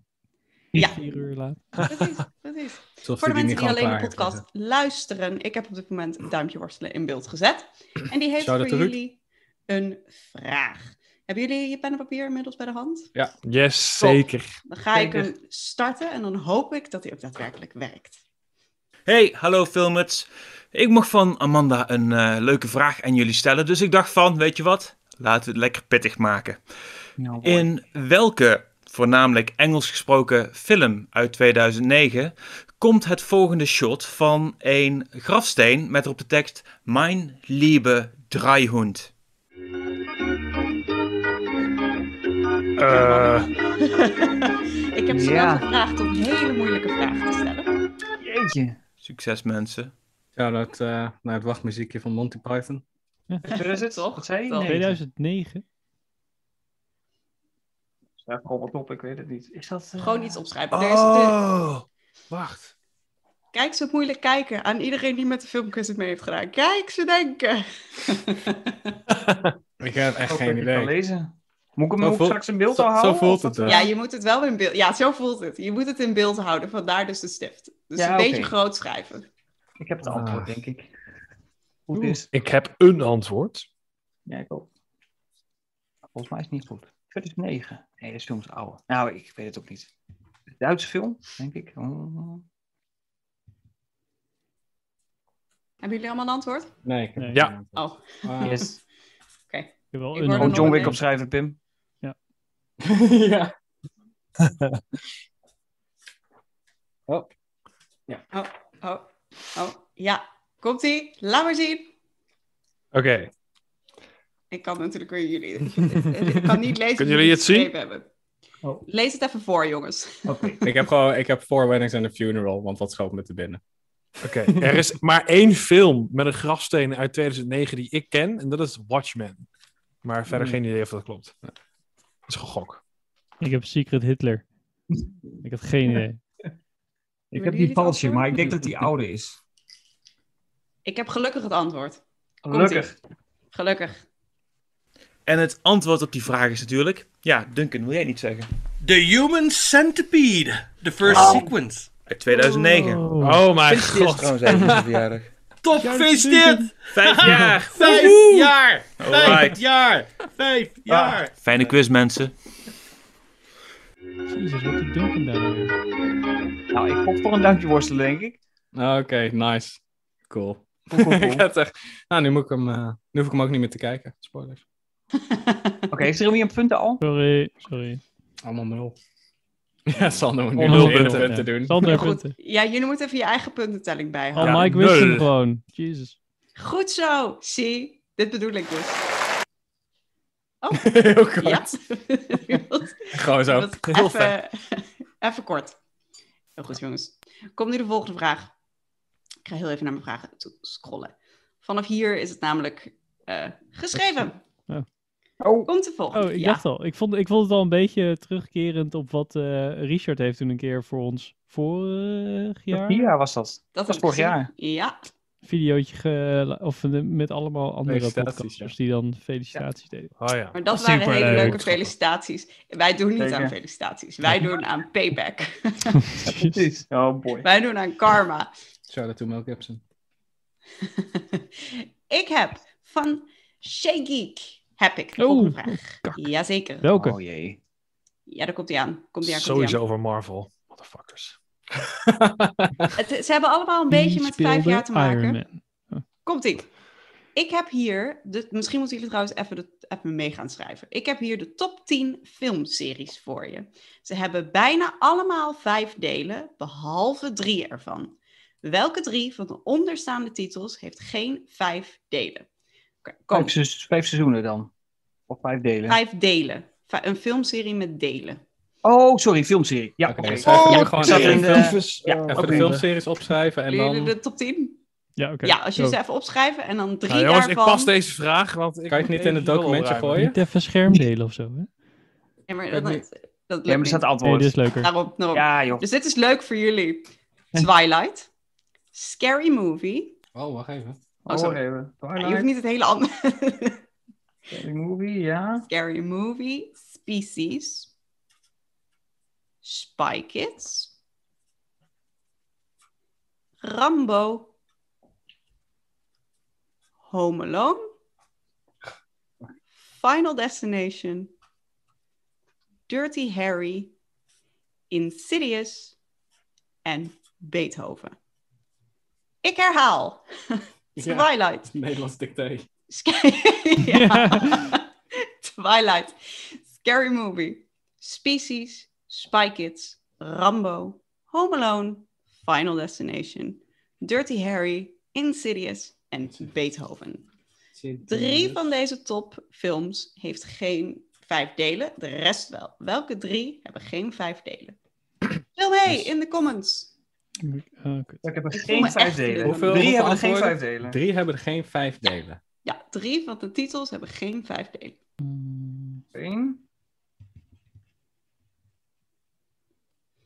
A: Ja.
E: Vier uur laat.
A: precies. Precies, precies.
B: Alsof
A: Voor de
B: die
A: mensen
B: niet
A: die
B: gewoon
A: alleen de
B: klaar
A: podcast
B: hebben.
A: luisteren, ik heb op dit moment een duimpje worstelen in beeld gezet. En die heeft
B: Shout-out
A: voor
B: to Ruud.
A: jullie een vraag. Hebben jullie je pen en papier inmiddels bij de hand?
F: Yes, zeker.
A: Dan ga ik hem starten en dan hoop ik dat hij ook daadwerkelijk werkt.
G: Hey, hallo filmers. Ik mocht van Amanda een eh, leuke vraag aan jullie stellen, dus ik dacht van, weet je wat? Laten we het lekker pittig maken.
D: Nou, mooi.
G: In welke, voornamelijk Engels gesproken film uit 2009, komt het volgende shot van een grafsteen met erop de tekst Mijn lieve draaihond?
F: Eh,
A: ik heb ze
D: Ja.
A: wel gevraagd om hele moeilijke vragen te stellen.
D: Jeetje.
G: Succes mensen.
B: Shout-out eh, naar het wachtmuziekje van Monty Python.
D: Zo is het,
A: Toch?
D: Wat zei je?
A: Toch.
D: Nee.
E: 2009?
D: Ja, gewoon wat op, ik weet het niet. Is dat... eh,
A: Gewoon iets opschrijven. Er is de-
F: Oh, wacht.
A: Kijk ze moeilijk kijken aan iedereen die met de filmquiz het mee heeft gedaan. Kijk ze denken.
B: Ik heb
D: Ik
B: echt
A: Oh,
D: hoop
B: geen
D: dat ik kan
B: idee.
D: lezen. Moet ik hem
B: Zo
D: ook
B: voelt-
D: straks in beeld
B: zo-
D: al
B: zo
D: houden?
B: voelt
D: Of
B: het,
D: wat?
B: eh.
F: dus.
A: Ja, je moet het wel in beeld. Ja, zo voelt het. Je moet het in beeld houden. Vandaar dus de stift. Dus
D: Ja,
A: een beetje
D: oké.
A: groot schrijven.
D: Ik heb het antwoord, denk ik. Hoe het is.
F: Ik heb een antwoord.
D: Ja, ik ook. Volgens mij is het niet goed. 2009. Nee, dat is films oude. Nou, ik weet het ook niet. Een Duitse film, denk ik. Oh.
A: Hebben jullie allemaal een antwoord?
B: Nee, ik heb
E: Nee.
B: geen
F: Ja.
B: idee.
A: Oh,
B: Ah.
D: Yes.
E: Ik
A: Ik
E: heb wel een
A: hoorde
D: Gewoon
A: nog
E: hand-
D: John
A: een
D: Wick
A: ding.
D: opschrijven, Pim.
B: ja.
A: oh, oh, oh. Ja, komt ie. Laat maar zien.
F: Oké.
A: Ik kan natuurlijk weer jullie. Ik kan niet lezen.
F: Kunnen
A: wie
F: jullie het zien?
A: geschreven hebben.
D: Oh.
A: Lees het even voor, jongens.
B: Ik heb gewoon, ik heb Four Weddings and a Funeral, want wat schoot me te binnen.
F: Oké, er is maar één film met een grafsteen uit 2009 die ik ken. En dat is Watchmen. Maar verder
A: Hmm.
F: geen idee of dat klopt. Dat is gegok.
E: Ik heb Secret Hitler. Ik had geen idee.
A: Willen
D: Ik heb
A: jullie
D: die
A: het
D: valsje,
A: antwoord?
D: maar ik denk dat die oude is.
A: Ik heb gelukkig het antwoord.
D: Gelukkig.
A: Gelukkig.
G: En het antwoord op die vraag is natuurlijk... Ja, Duncan, wil jij niet zeggen? The Human Centipede. The first sequence. Uit 2009. Oh,
F: Oh mijn
G: god.
F: god.
G: trouwens even zijn verjaardag.
H: Top, gefeliciteerd!
G: Vijf jaar.
H: Vijf jaar! Ah. Vijf
G: Alright.
H: jaar! Vijf jaar!
G: Fijne quiz, mensen.
E: Jezus, wat die Duncan daar nou weer.
D: Nou, ik kocht toch een duimpje worstelen, denk ik.
B: Ah, Oké, nice. Cool.
D: Cool, cool, cool.
B: ik
D: Oké,
B: had echt... Nou, nu, moet ik hem, eh, nu hoef ik hem ook niet meer te kijken. Spoilers.
D: heeft er iemand punten al?
E: Sorry, sorry.
B: Allemaal nul. Ja, Sander moet nu
E: Allemaal
B: nul
E: nul.
B: punten te
E: Ja.
B: doen.
E: Sander,
A: Goed.
E: punten.
A: Ja, jullie moeten even je eigen puntentelling
E: Oh,
A: bijhouden.
F: Ja,
E: Mike wist hem
F: nul.
E: gewoon. Jezus.
A: Goed zo. Zie, dit bedoel ik dus. Oh,
B: Heel kort.
A: ja.
B: Gewoon zo.
A: Dat was even, even kort. Heel goed, jongens. Komt nu de volgende vraag. Ik ga heel even naar mijn vragen toe scrollen. Vanaf hier is het namelijk eh, geschreven.
E: Oh.
D: Oh.
A: Komt de volgende.
E: Oh, ik
A: Ja.
E: dacht al. Ik vond, ik vond het al een beetje terugkerend op wat eh, Richard heeft toen een keer voor ons vorig jaar
D: Ja, was dat.
A: dat
D: was
A: heb ik
D: vorig
A: gezien. Ja,
E: videootje ge- of de- met allemaal andere
B: Felicitaties,
E: podcasters die dan felicitaties deden.
F: Oh ja.
A: maar dat
E: Superleuk.
A: waren hele leuke felicitaties. Wij doen niet
D: Zeker.
A: aan felicitaties. Wij doen aan payback.
D: Precies. Oh boy.
A: Wij doen aan karma.
B: Shout out to Mel Gibson.
A: ik heb van Shay Geek heb ik de
E: Oh,
A: volgende vraag.
E: kak.
A: Jazeker.
E: Welke?
D: Oh jee.
A: Ja, daar komt hij aan. Komt hij aan, komt
F: Sowieso over Marvel. Motherfuckers.
A: Het, ze hebben allemaal een beetje
E: Die
A: met vijf
E: speelde
A: jaar te maken.
E: Iron Man.
A: Komt ie. Ik heb hier, de, misschien moeten jullie trouwens even, de, even mee gaan schrijven. Ik heb hier de top 10 filmseries voor je. Ze hebben bijna allemaal vijf delen, behalve drie ervan. Welke drie van de onderstaande titels heeft geen vijf delen? Oké, Kom,
D: Vijf, seizoen- vijf seizoenen dan. Of vijf delen.
A: vijf delen. Vij- een filmserie met delen.
D: Oh, sorry, filmserie. Ja,
B: Oké,
D: oké.
B: dus even
A: ja,
B: nu gewoon
D: ik zat
B: even,
D: in de-
A: ja,
B: even
D: oké.
B: de filmseries opschrijven en
A: Willen jullie
B: dan...
A: de top 10?
E: Ja, oké. Oh.
A: Ja, als je
E: Go.
A: ze even opschrijven en dan drie
F: Nou, jongens, ik
A: daarvan...
F: pas deze vraag. Want ik
B: Kan je het niet in het
F: wil
B: documentje
F: opruimen.
B: gooien?
E: Niet even schermdelen of zo, hè?
A: Ja, maar
B: Ik
A: dat,
B: weet
A: dat, dat
D: Ja, maar
A: lukt
D: er staat
A: niet.
E: Nee,
D: antwoord.
E: dit is leuker.
A: Daarom, daarom.
D: Ja, joh.
A: Dus dit is leuk voor jullie. Twilight. Scary Movie.
B: Oh, wacht even.
A: Oh, sorry.
D: even.
A: Ja, je hoeft niet het hele andere.
D: movie, ja.
A: Scary Movie. Species. Spy Kids. Rambo. Home Alone. Final Destination. Dirty Harry. Insidious. En Beethoven. Ik herhaal. Twilight.
B: Nederlands dicté.
A: Sky-
E: Ja.
A: ja. Twilight. Scary Movie. Species. Spy Kids. Rambo. Home Alone. Final Destination. Dirty Harry. Insidious. En Beethoven. Drie van deze topfilms heeft geen vijf delen. De rest wel. Welke drie hebben geen vijf delen? Film mee in de comments.
E: Ah, kut.
D: Ik heb
A: Ik voel
D: er
A: me
D: geen vijf
A: echt
D: delen.
A: Hoeveel-
D: Drie hebben er
B: antwoorden?
D: geen vijf delen.
B: Drie hebben er geen vijf delen.
A: Ja, drie van de titels hebben geen vijf delen.
E: Mm,
D: Eén.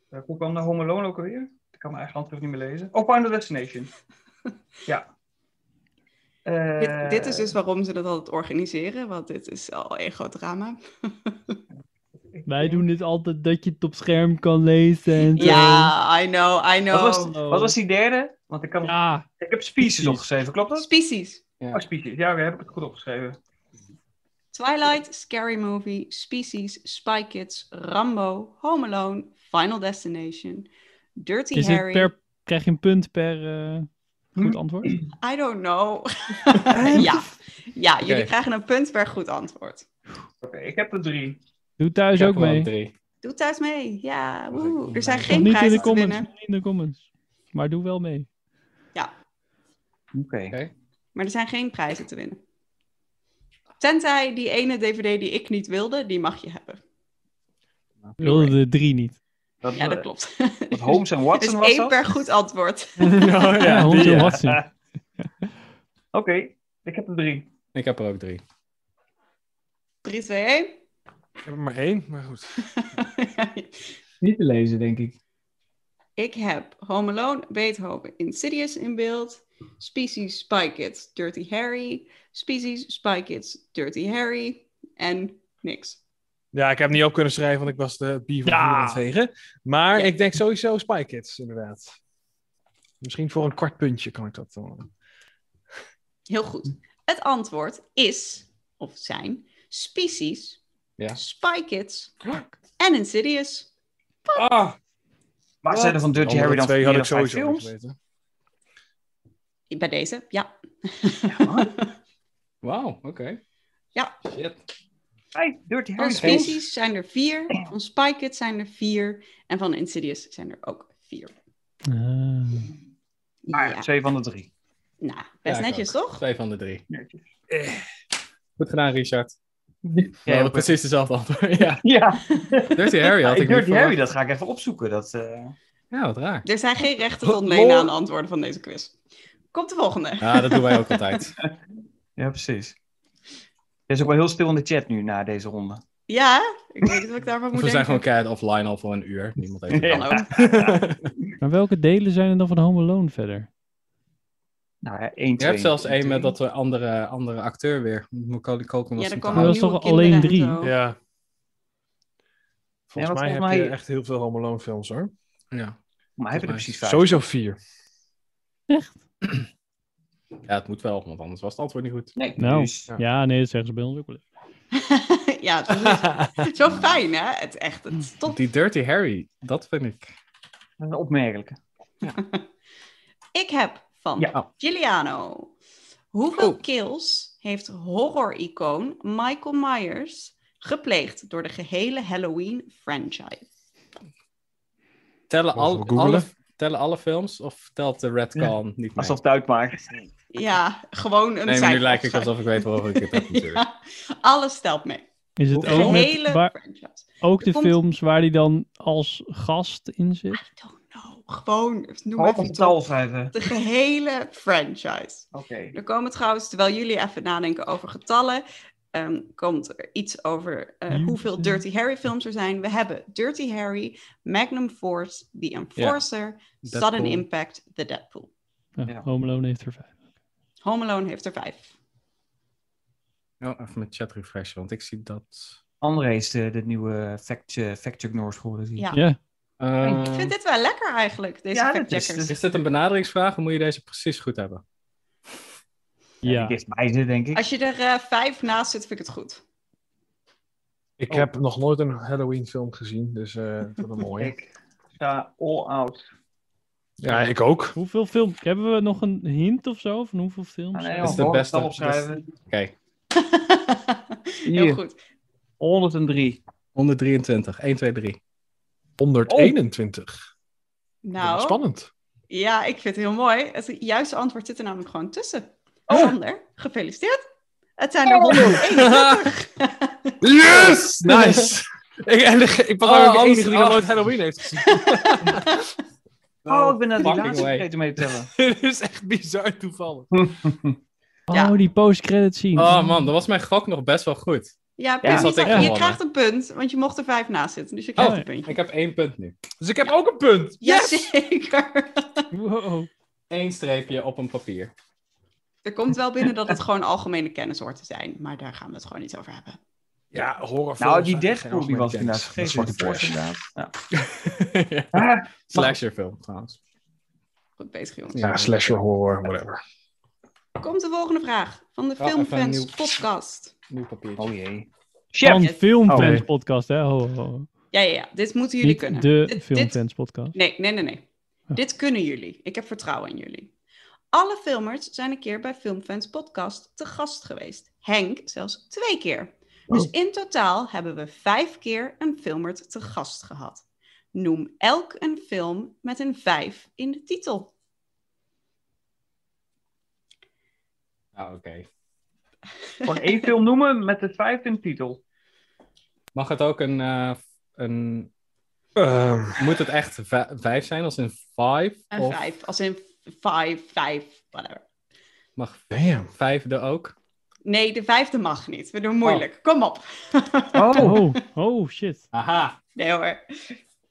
D: Daar komt dan Eh, de Home Alone ook alweer. Ik kan mijn eigen handschrift niet meer lezen. Oh, Final Destination. ja. Eh,
A: Dit, dit is dus waarom ze dat altijd organiseren, want dit is al een groot drama.
D: ik
E: Wij
D: denk-
E: doen dit altijd dat je het op scherm kan lezen en zo.
A: Ja, I know, I
D: Wat
A: know.
D: was, wat was die derde? Want ik, kan,
E: Ja,
D: ik heb Species opgeschreven, klopt dat?
A: Species.
D: Oh, Species. Ja, we hebben het goed opgeschreven.
A: Twilight, Scary Movie, Species, Spy Kids, Rambo, Home Alone, Final Destination, Dirty
E: is dit
A: Harry.
E: per, krijg je een punt per eh, goed
D: Hm?
E: antwoord?
A: I don't know. ja, ja jullie krijgen een punt per goed antwoord.
D: Oké, ik heb er drie.
E: Doe thuis ook mee.
B: Drie.
A: Doe thuis mee. Ja,
B: Was
A: woe.
B: ik
A: Er zijn
B: nog
A: geen
E: Nog niet in de
A: prijzen te
E: comments,
A: winnen.
E: nog niet in de comments. Maar doe wel mee.
D: Oké.
A: Maar er zijn geen prijzen te winnen. Tenzij die ene DVD die ik niet wilde, die mag je hebben.
E: Ik wilde de drie niet.
D: Dat,
A: Ja, dat
D: eh,
A: klopt.
D: wat Holmes en Watson
A: Dus
D: was
A: één
D: dat?
A: per goed antwoord.
E: ja, Holmes en
D: ja.
E: Watson.
D: Oké, ik heb er drie.
B: Ik heb er ook drie.
A: 3, 2, 1.
F: Ik heb er maar één, maar goed.
I: Niet te lezen, denk ik.
A: Ik heb Home Alone, Beethoven, Insidious in beeld. Species, Spy Kids, Dirty Harry. Species, Spy Kids, Dirty Harry. En niks.
F: Ja, ik heb hem niet op kunnen schrijven, want ik was de bier
E: Ja.
F: van het vegen. Maar
A: Ja.
F: ik denk sowieso Spy Kids, inderdaad. Misschien voor een kwart puntje kan ik dat dan.
A: Heel goed. Het antwoord is, of zijn, Species,
B: Ja.
A: Spy Kids en Insidious.
D: Ah. Maar zijn er van
F: De
D: Dirty
F: andere
D: Harry dan
F: Oh, twee
D: vier
F: had ik
D: of vijf
F: sowieso niet
D: films?
F: weten.
A: Bij deze, ja.
B: Wauw, oké.
A: Ja.
B: Shit.
D: Vijf Dirty
A: Van
D: Harry films.
A: Species zijn er vier, van Spy Kids zijn er vier en van Insidious zijn er ook vier.
E: Ah.
D: Maar
A: Ja,
D: Ah, twee van de drie.
A: nou, best
B: Ja, ik
A: netjes
B: ook.
A: toch?
B: Twee van de drie. Goed gedaan, Richard. We
D: Ja,
B: hadden precies dezelfde antwoord. ja.
D: ja.
B: Dirty Harry had ik niet
D: Dirty
B: verwacht.
D: Harry, dat ga ik even opzoeken. Dat, eh,
B: Ja, wat raar.
A: Er zijn geen rechten tot lenen aan de antwoorden van deze quiz. Komt de volgende.
B: Ja, dat doen wij ook altijd.
D: Ja, precies. Er is ook wel heel stil in de chat nu na deze ronde.
A: Ja, ik weet niet wat ik daarvan
B: Of
A: moet
B: we zijn gewoon
A: denken.
B: keihard offline al voor een uur. Niemand heeft
D: Ja.
B: het
A: Hallo.
E: Maar welke delen zijn er dan van Home Alone verder?
D: Nou ja, 1,
B: Je hebt zelfs één met dat we andere, andere acteur weer. Macaulay Culkin was
A: Ja, er
B: een
A: komen
E: Maar
A: ook
E: dat
B: taal.
A: nieuwe
E: is toch alleen
A: kinderen
E: drie?
A: en zo.
F: Ja. Volgens
D: want
F: mij heb
D: volgens mij-
F: je echt heel veel Home Alone films hoor.
B: Ja.
D: Maar hebben we er precies vijf?
F: Sowieso vier.
B: ja, het moet wel, want anders was het antwoord niet goed.
D: Nee,
E: Nou,
D: dus-
E: ja. nee, dat zeggen ze bij ons ook wel. eens.
A: ja, zo is- zo fijn hè? Het is echt, het is top.
B: Die Dirty Harry, dat vind ik.
D: dat is een opmerkelijke.
A: Ik heb
B: Oh,
A: van
D: Ja.
A: Giuliano. Hoeveel kills heeft horror-icoon Michael Myers gepleegd door de gehele Halloween-franchise?
B: Tellen,
F: Mogen
B: al,
F: we googlen?
B: alle, tellen alle films of telt de Red Con niet mee?
D: Alsof het uitmaakt.
A: Ja, gewoon een
B: nee, maar nu
A: cijfer
B: lijk ik
A: opzij.
B: alsof ik weet waarover ik het heb natuurlijk.
A: Ja, alles telt mee.
E: Is het
A: De
E: ook,
A: gehele
E: met, waar,
A: franchise.
E: ook de
A: Er komt-
E: films waar hij dan als gast in zit?
A: I don't know. Gewoon, noem maar
D: Hoog
A: even
D: op
A: iets
D: taal
A: op.
D: schrijven.
A: De gehele franchise.
D: Oké.
A: Er komen trouwens, terwijl jullie even nadenken over getallen, ehm, komt er iets over eh,
E: Hmm.
A: hoeveel Dirty Harry films er zijn. We hebben Dirty Harry, Magnum Force, The Enforcer, Sudden
B: Deadpool.
A: Impact, The Deadpool.
E: Oh,
D: Ja.
E: Home Alone heeft er vijf.
A: Home Alone heeft er vijf.
B: Oh, even mijn chat refreshen, want ik zie dat.
D: André is de, de nieuwe fact, eh, fact-check Norse geworden. zie ik.
A: Ja.
E: Ja,
B: Eh,
A: Ik vind dit wel lekker eigenlijk, deze
D: Ja, dat is- dus
A: factcheckers.
D: dat
B: Is dit een benaderingsvraag of moet je deze precies goed hebben?
E: ja.
D: Die dichtbij zit, denk ik.
A: Als je er eh, vijf naast zit, vind ik het goed.
F: Ik heb nog nooit een Halloween film gezien, dus eh dat wordt een mooie.
D: Ik sta all out.
F: Ja, ik ook.
E: Hoeveel films? Hebben we nog een hint of zo van hoeveel films?
D: Ah, nee,
B: Dat is de
D: hoog op
B: beste.
D: taal opschrijven.
B: Oké,
A: Heel goed.
D: 103.
B: 123. 1, 2, 3.
F: 121.
A: Nou,
F: Spannend.
A: ja, ik vind het heel mooi. Het juiste antwoord zit er namelijk gewoon tussen.
B: Oh.
A: Sander, gefeliciteerd. Het zijn er 131.
F: Yes! Nice! ik, en ik- ik was
B: Oh,
F: ook de
B: alles-
F: enige die nog
B: oh.
F: nooit Halloween heeft gezien.
D: Oh, ik ben naar die
B: fucking
D: laatste
B: way.
D: vergeten mee te tellen.
F: Dit is echt bizar toevallig.
A: Ja.
E: Oh, die post-credit scene.
B: Oh man, dan was mijn gok nog best wel goed.
A: Ja,
D: Ja,
A: precies.
B: dat had ik
A: je
B: gewonnen.
A: krijgt een punt, want je mocht er vijf naast zitten. Dus je krijgt
B: Oh.
A: een puntje.
B: Ik heb één punt nu.
F: Dus ik heb ook een punt.
A: Jazeker.
E: Wow.
B: Eén streepje op een papier.
A: Er komt wel binnen dat het gewoon algemene kenniswoorden zijn, maar daar gaan we het gewoon niet over hebben.
F: Ja, horrorfilms.
D: Nou, die
F: zijn geen
D: Deadpool die was
F: algemene
D: inderdaad
F: kennis.
D: vergeten.
F: Dat is
D: Zwarte
F: wel
D: Porsche
F: trash.
D: inderdaad. Ja.
A: Ah.
B: Slasherfilm trouwens.
A: Goed bezig, jongens.
F: Ja, slasher, horror, whatever.
A: Komt de volgende vraag van de
B: Oh, even een
A: Filmfans
B: nieuw-
A: podcast.
B: Nieuw papiertje.
D: Oh jee.
E: Van
A: Yes.
E: Filmfans
F: Oh.
E: podcast, hè? Ho, ho, ho.
A: Ja, ja, ja. Dit moeten jullie
E: Niet
A: kunnen.
E: de
A: Dit- dit-
E: Filmfans podcast.
A: Nee, nee, nee, nee. Dit kunnen jullie. Ik heb vertrouwen in jullie. Alle filmers zijn een keer bij Filmfans Podcast te gast geweest. Henk zelfs twee keer. Dus in totaal hebben we vijf keer een filmert te gast gehad. Noem elk een film met een vijf in de titel.
B: Ah, oké.
D: Gewoon één film noemen met de vijfde in de titel.
B: Mag het ook een... eh, een...
F: Ehm,
B: Moet het echt vij- vijf zijn, als in five?
A: En
B: of
A: vijf, als in vijf, vijf, whatever.
B: mag vijfde ook?
A: Nee, de vijfde mag niet. We doen moeilijk. Kom op.
E: Oh, oh shit.
B: Aha.
A: Nee hoor.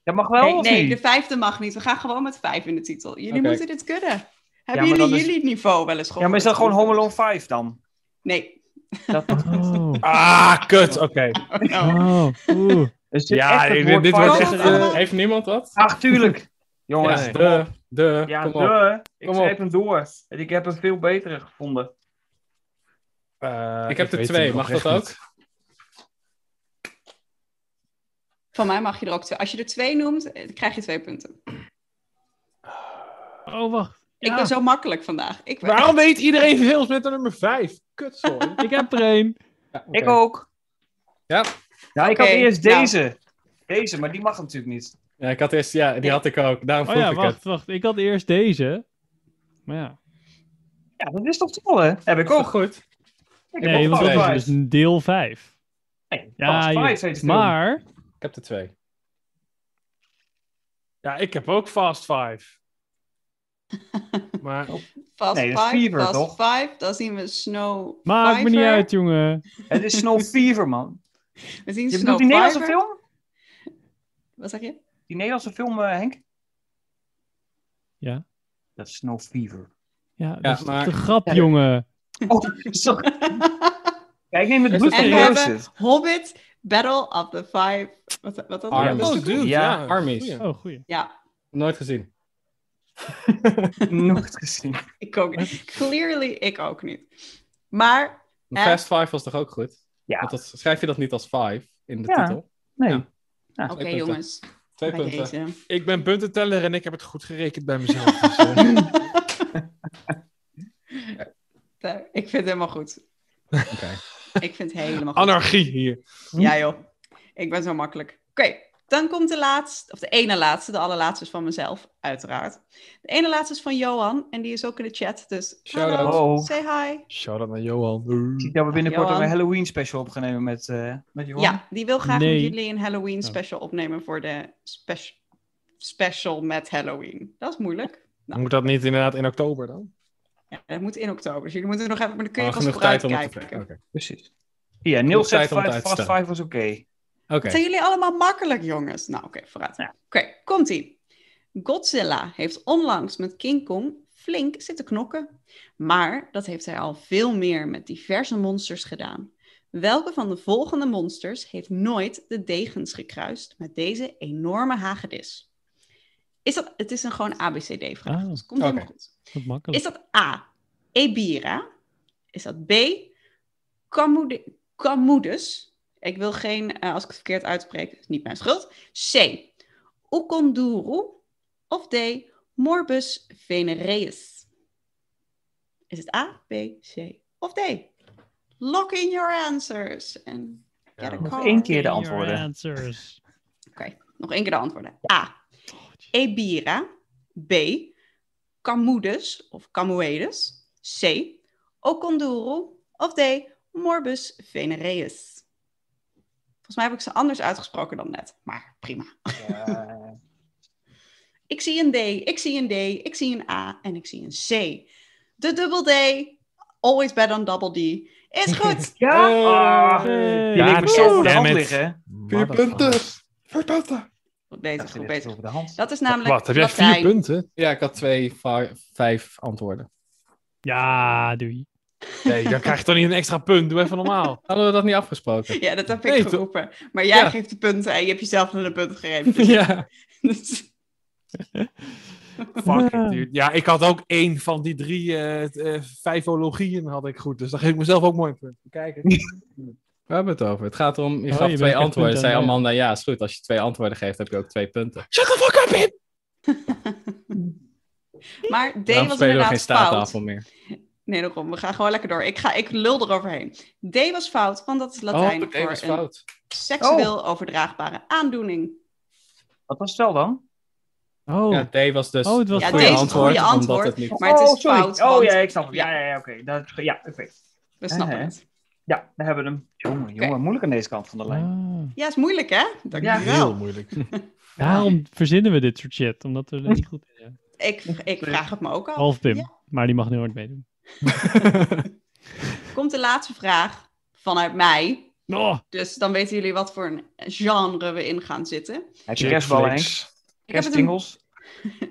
D: Dat mag wel,
A: nee,
D: Oh, of
A: nee,
D: niet?
A: de vijfde mag niet. We gaan gewoon met vijf in de titel. Jullie
B: Oké.
A: moeten dit kunnen. Hebben
D: maar
A: jullie
D: dat is-
A: jullie niveau wel eens gehoord?
D: Ja, maar is dat gewoon Home Alone 5 dan?
A: Nee.
D: Dat,
E: Oh,
F: Ah, kut. Oké.
E: oh, oeh.
D: is dit
F: Ja,
D: echt het
F: dit-
D: woord
F: dit wordt
D: vijf?
A: echt, eh,
B: Heeft niemand wat?
D: Ach, tuurlijk. Jongens,
B: Ja, de, de,
D: ja,
B: kom op.
D: de, ik
B: Kom
D: schreef
B: op.
D: hem door. En ik heb een veel betere gevonden.
F: Eh,
B: Ik heb er
F: weet
B: twee,
F: het
B: mag
F: nog
B: dat
F: echt
B: ook?
F: niet.
A: Van mij mag je er ook twee. Als je er twee noemt, eh, krijg je twee punten.
E: Oh, wacht.
A: Ik
E: Ja,
A: ben zo makkelijk vandaag. Ik ben...
F: Waarom weet iedereen films met de nummer vijf? Kut, sorry.
E: ik heb er één.
D: Ik ook.
B: Ja.
D: Nou, ik
A: Oké,
D: had eerst
A: nou.
D: deze. Deze, maar die mag natuurlijk niet.
B: Ja, ik had eerst, ja, die had ik ook. Daarom
E: Oh
B: vroeg
E: ja,
B: ik
E: wacht,
B: het.
E: wacht. Ik had eerst deze. Maar ja.
D: Ja, dat is toch toll, hè? Heb ik ook.
B: goed.
D: Ik heb
E: Nee,
D: ook
E: want
B: vijf.
E: dat is
D: vijf.
E: dus een deel 5.
D: Nee,
E: Ja,
D: Fast Five
E: joh.
D: heet de film.
E: Maar,
B: Ik heb er twee.
F: Ja, ik heb ook Fast Five. Maar
A: Fast
D: Nee, dat is
A: Five,
D: Fever,
A: Fast
D: toch?
A: Five. Dan zien we Snow
E: maakt me niet
A: Fiver.
E: uit, jongen.
D: Het is Snow Fever, man.
A: We zien
D: Je
A: Snow
D: bedoelt die Nederlandse
A: Fiver.
D: film?
A: Wat zeg je?
D: Die Nederlandse film, eh, Henk?
E: Ja.
D: Dat is Snow Fever.
E: Ja, dat
B: Ja,
E: is toch
B: maar-
E: de grap,
D: Ja.
E: jongen.
D: Oh, sorry. Kijk, neem het bloed
A: En
D: van
A: we hebben
D: Jozef.
A: Hobbit, Battle of the Five... Wat, wat dat
B: Arm.
A: was?
F: oh, dude,
D: Ja,
F: ja,
B: Armies.
F: goeie.
E: Oh, goeie.
A: Ja,
B: Nooit gezien.
D: Nooit gezien.
A: ik ook niet. Clearly, ik ook niet. Maar
B: Maar
A: Eh?
B: Fast Five was toch ook goed?
D: Ja.
B: Want dat, schrijf je dat niet als Five in de
D: Ja.
B: titel?
D: Nee.
B: Ja.
A: oké
B: punten.
A: jongens,
B: Twee
A: bij
B: punten.
A: deze.
F: ik ben puntenteller en ik heb het goed gerekend bij mezelf. dus, eh,
A: Eh, Ik vind het helemaal goed.
B: Oké.
A: Ik vind het helemaal goed.
F: anarchie hier.
A: Ja joh, ik ben zo makkelijk. Oké, dan komt de laatste, of de ene laatste, de allerlaatste is van mezelf, uiteraard. De ene laatste is van Johan en die is ook in de chat, dus
B: Shout-out.
A: hallo,
D: Oh.
A: say hi.
F: Shout out naar Johan.
D: Ik zie dat we binnenkort
A: Johan.
D: ook een Halloween special opgenomen met, eh met Johan.
A: Ja, die wil graag
E: Nee.
A: met jullie een Halloween special opnemen voor de spec- special met Halloween. Dat is moeilijk. Nou,
F: Moet dat niet inderdaad in oktober dan?
A: ja, dat moet in oktober, dus jullie moeten nog even, maar dan kun je
B: Oh,
A: pas
B: genoeg
A: vooruit
B: tijd om het te
A: kijken.
B: kijken. Oké.
D: Precies. Ja, Niels zegt
B: tijd om het
D: Fast
B: uit te
D: Fast
B: stellen.
D: Five was oké.
B: Oké.
A: Zijn jullie allemaal makkelijk, jongens? Nou, oké, vooruit.
D: Ja.
A: Oké, komt-ie. Godzilla heeft onlangs met King Kong flink zitten knokken. Maar dat heeft hij al veel meer met diverse monsters gedaan. Welke van de volgende monsters heeft nooit de degens gekruist met deze enorme hagedis? Is dat, het is een gewoon ABCD-vraag,
E: Ah,
A: dus het komt helemaal
B: oké.
A: goed.
E: Wat makkelijk.
A: Is dat A, Ebira? Is dat B, Camude, Camudes? Ik wil geen, eh, als ik het verkeerd uitspreek, is niet mijn schuld. C, Ukonduru? Of D, Morbus Venereus? Is het A, B, C of D? Lock in your answers. En get a
D: Nog
A: card.
D: één keer de
E: Your
D: antwoorden.
E: answers.
A: Oké, nog één keer de antwoorden. A. Ebira. B. Camudes of Camuedes. C. Oconduro. Of D. Morbus venereus. Volgens mij heb ik ze anders uitgesproken dan net, maar prima.
D: Eh,
A: Ik zie een D, ik zie een D, ik zie een A en ik zie een C. De dubbel D, always better than double D, is goed.
D: ja!
B: Oh.
D: Ah,
E: Hey.
D: die leek me zo voor de
F: damn
D: hand
F: it.
D: liggen. hè?
B: Vier punten. Vier punten.
A: Goed
D: Dat
A: bezig, goed
D: ging echt zo
A: bezig.
D: over de hand.
A: Dat is namelijk
F: Wat, heb jij vier
A: Latijn.
F: punten?
B: Ja, ik had twee, fi- vijf antwoorden.
E: Ja, doei.
F: Nee, dan krijg je toch niet een extra punt. Doe even normaal.
B: Hadden we dat niet afgesproken?
A: Ja, dat heb ik
F: Nee, toch?
A: geroepen. Maar jij
B: Ja.
A: geeft de punten en je hebt jezelf naar de punten gegeven.
B: ja.
A: Dus-
F: Fuck it, dude. Ja, ik had ook één van die drie eh, eh, vijfologieën had ik goed. Dus dan geef ik mezelf ook mooi een punt. Kijk.
B: We hebben het over. Het gaat om, je
E: Oh,
B: gaf
E: je bent
B: twee
E: echt
B: antwoorden.
E: punten
B: Zei
E: aan mij.
B: Amanda, ja, is goed. Als je twee antwoorden geeft, heb je ook twee punten.
F: Shut the fuck up, Pim!
A: maar D
B: Daarom
A: was
B: spelen we geen
A: inderdaad fout.
B: staattafel meer.
A: Nee, daarom. We gaan gewoon lekker door. Ik, ga, ik lul eroverheen. D was fout, want dat is Latijn
B: oh,
A: voor
B: dat is
A: een
B: fout.
A: seksueel overdraagbare aandoening.
D: Wat was het wel dan?
E: Oh,
B: Ja, D was dus
E: Oh, het was
A: Ja,
E: D
B: goede
E: is het
B: antwoord,
A: goede
B: Omdat
A: antwoord.
B: het niet...
A: Maar het is
D: oh, sorry.
A: fout,
D: Oh
A: want-
D: ja, ik snap het. Ja, ja, ja oké. Dat- Ja, oké.
A: We We snappen
D: Eh,
A: het.
D: Ja, we hebben hem. Jongen, jongen,
A: Oké.
D: moeilijk aan deze kant van de lijn.
E: Ah,
A: Ja, is moeilijk hè? Dankjewel.
F: Heel moeilijk.
E: daarom verzinnen we dit soort shit, omdat we er niet goed in zijn.
A: Ik, ik vraag het me ook af.
E: Half Pim,
A: Ja.
E: maar die mag nu hard meedoen.
A: Komt de laatste vraag vanuit mij.
E: Oh,
A: Dus dan weten jullie wat voor een genre we in gaan zitten.
D: Heb je kerstballen, Henk?
A: heb het een-
D: Kerstingels?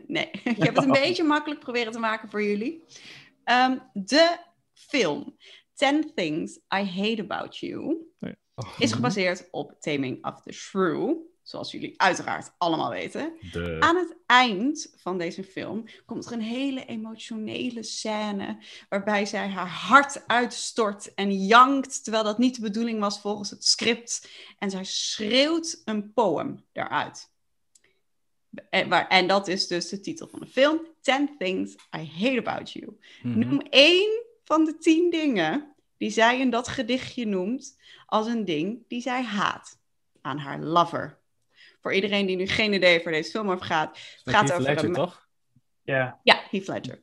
A: Nee, ik heb het een beetje makkelijk proberen te maken voor jullie. Ehm, de film Ten Things I Hate About You
E: Oh ja.
A: is gebaseerd op Taming of the Shrew, zoals jullie uiteraard allemaal weten.
B: De...
A: Aan het eind van deze film komt er een hele emotionele scène waarbij zij haar hart uitstort en jankt, terwijl dat niet de bedoeling was volgens het script. En zij schreeuwt een poem daaruit. En, waar, en dat is dus de titel van de film, Ten Things I Hate About You.
D: Mhm.
A: Noem één van de tien dingen die zij in dat gedichtje noemt als een ding die zij haat aan haar lover. Voor iedereen die nu geen idee voor deze film over gaat, het gaat
B: Heath
A: over
B: Ledger,
A: een-
B: toch?
D: Ja.
A: ja, Heath Ledger.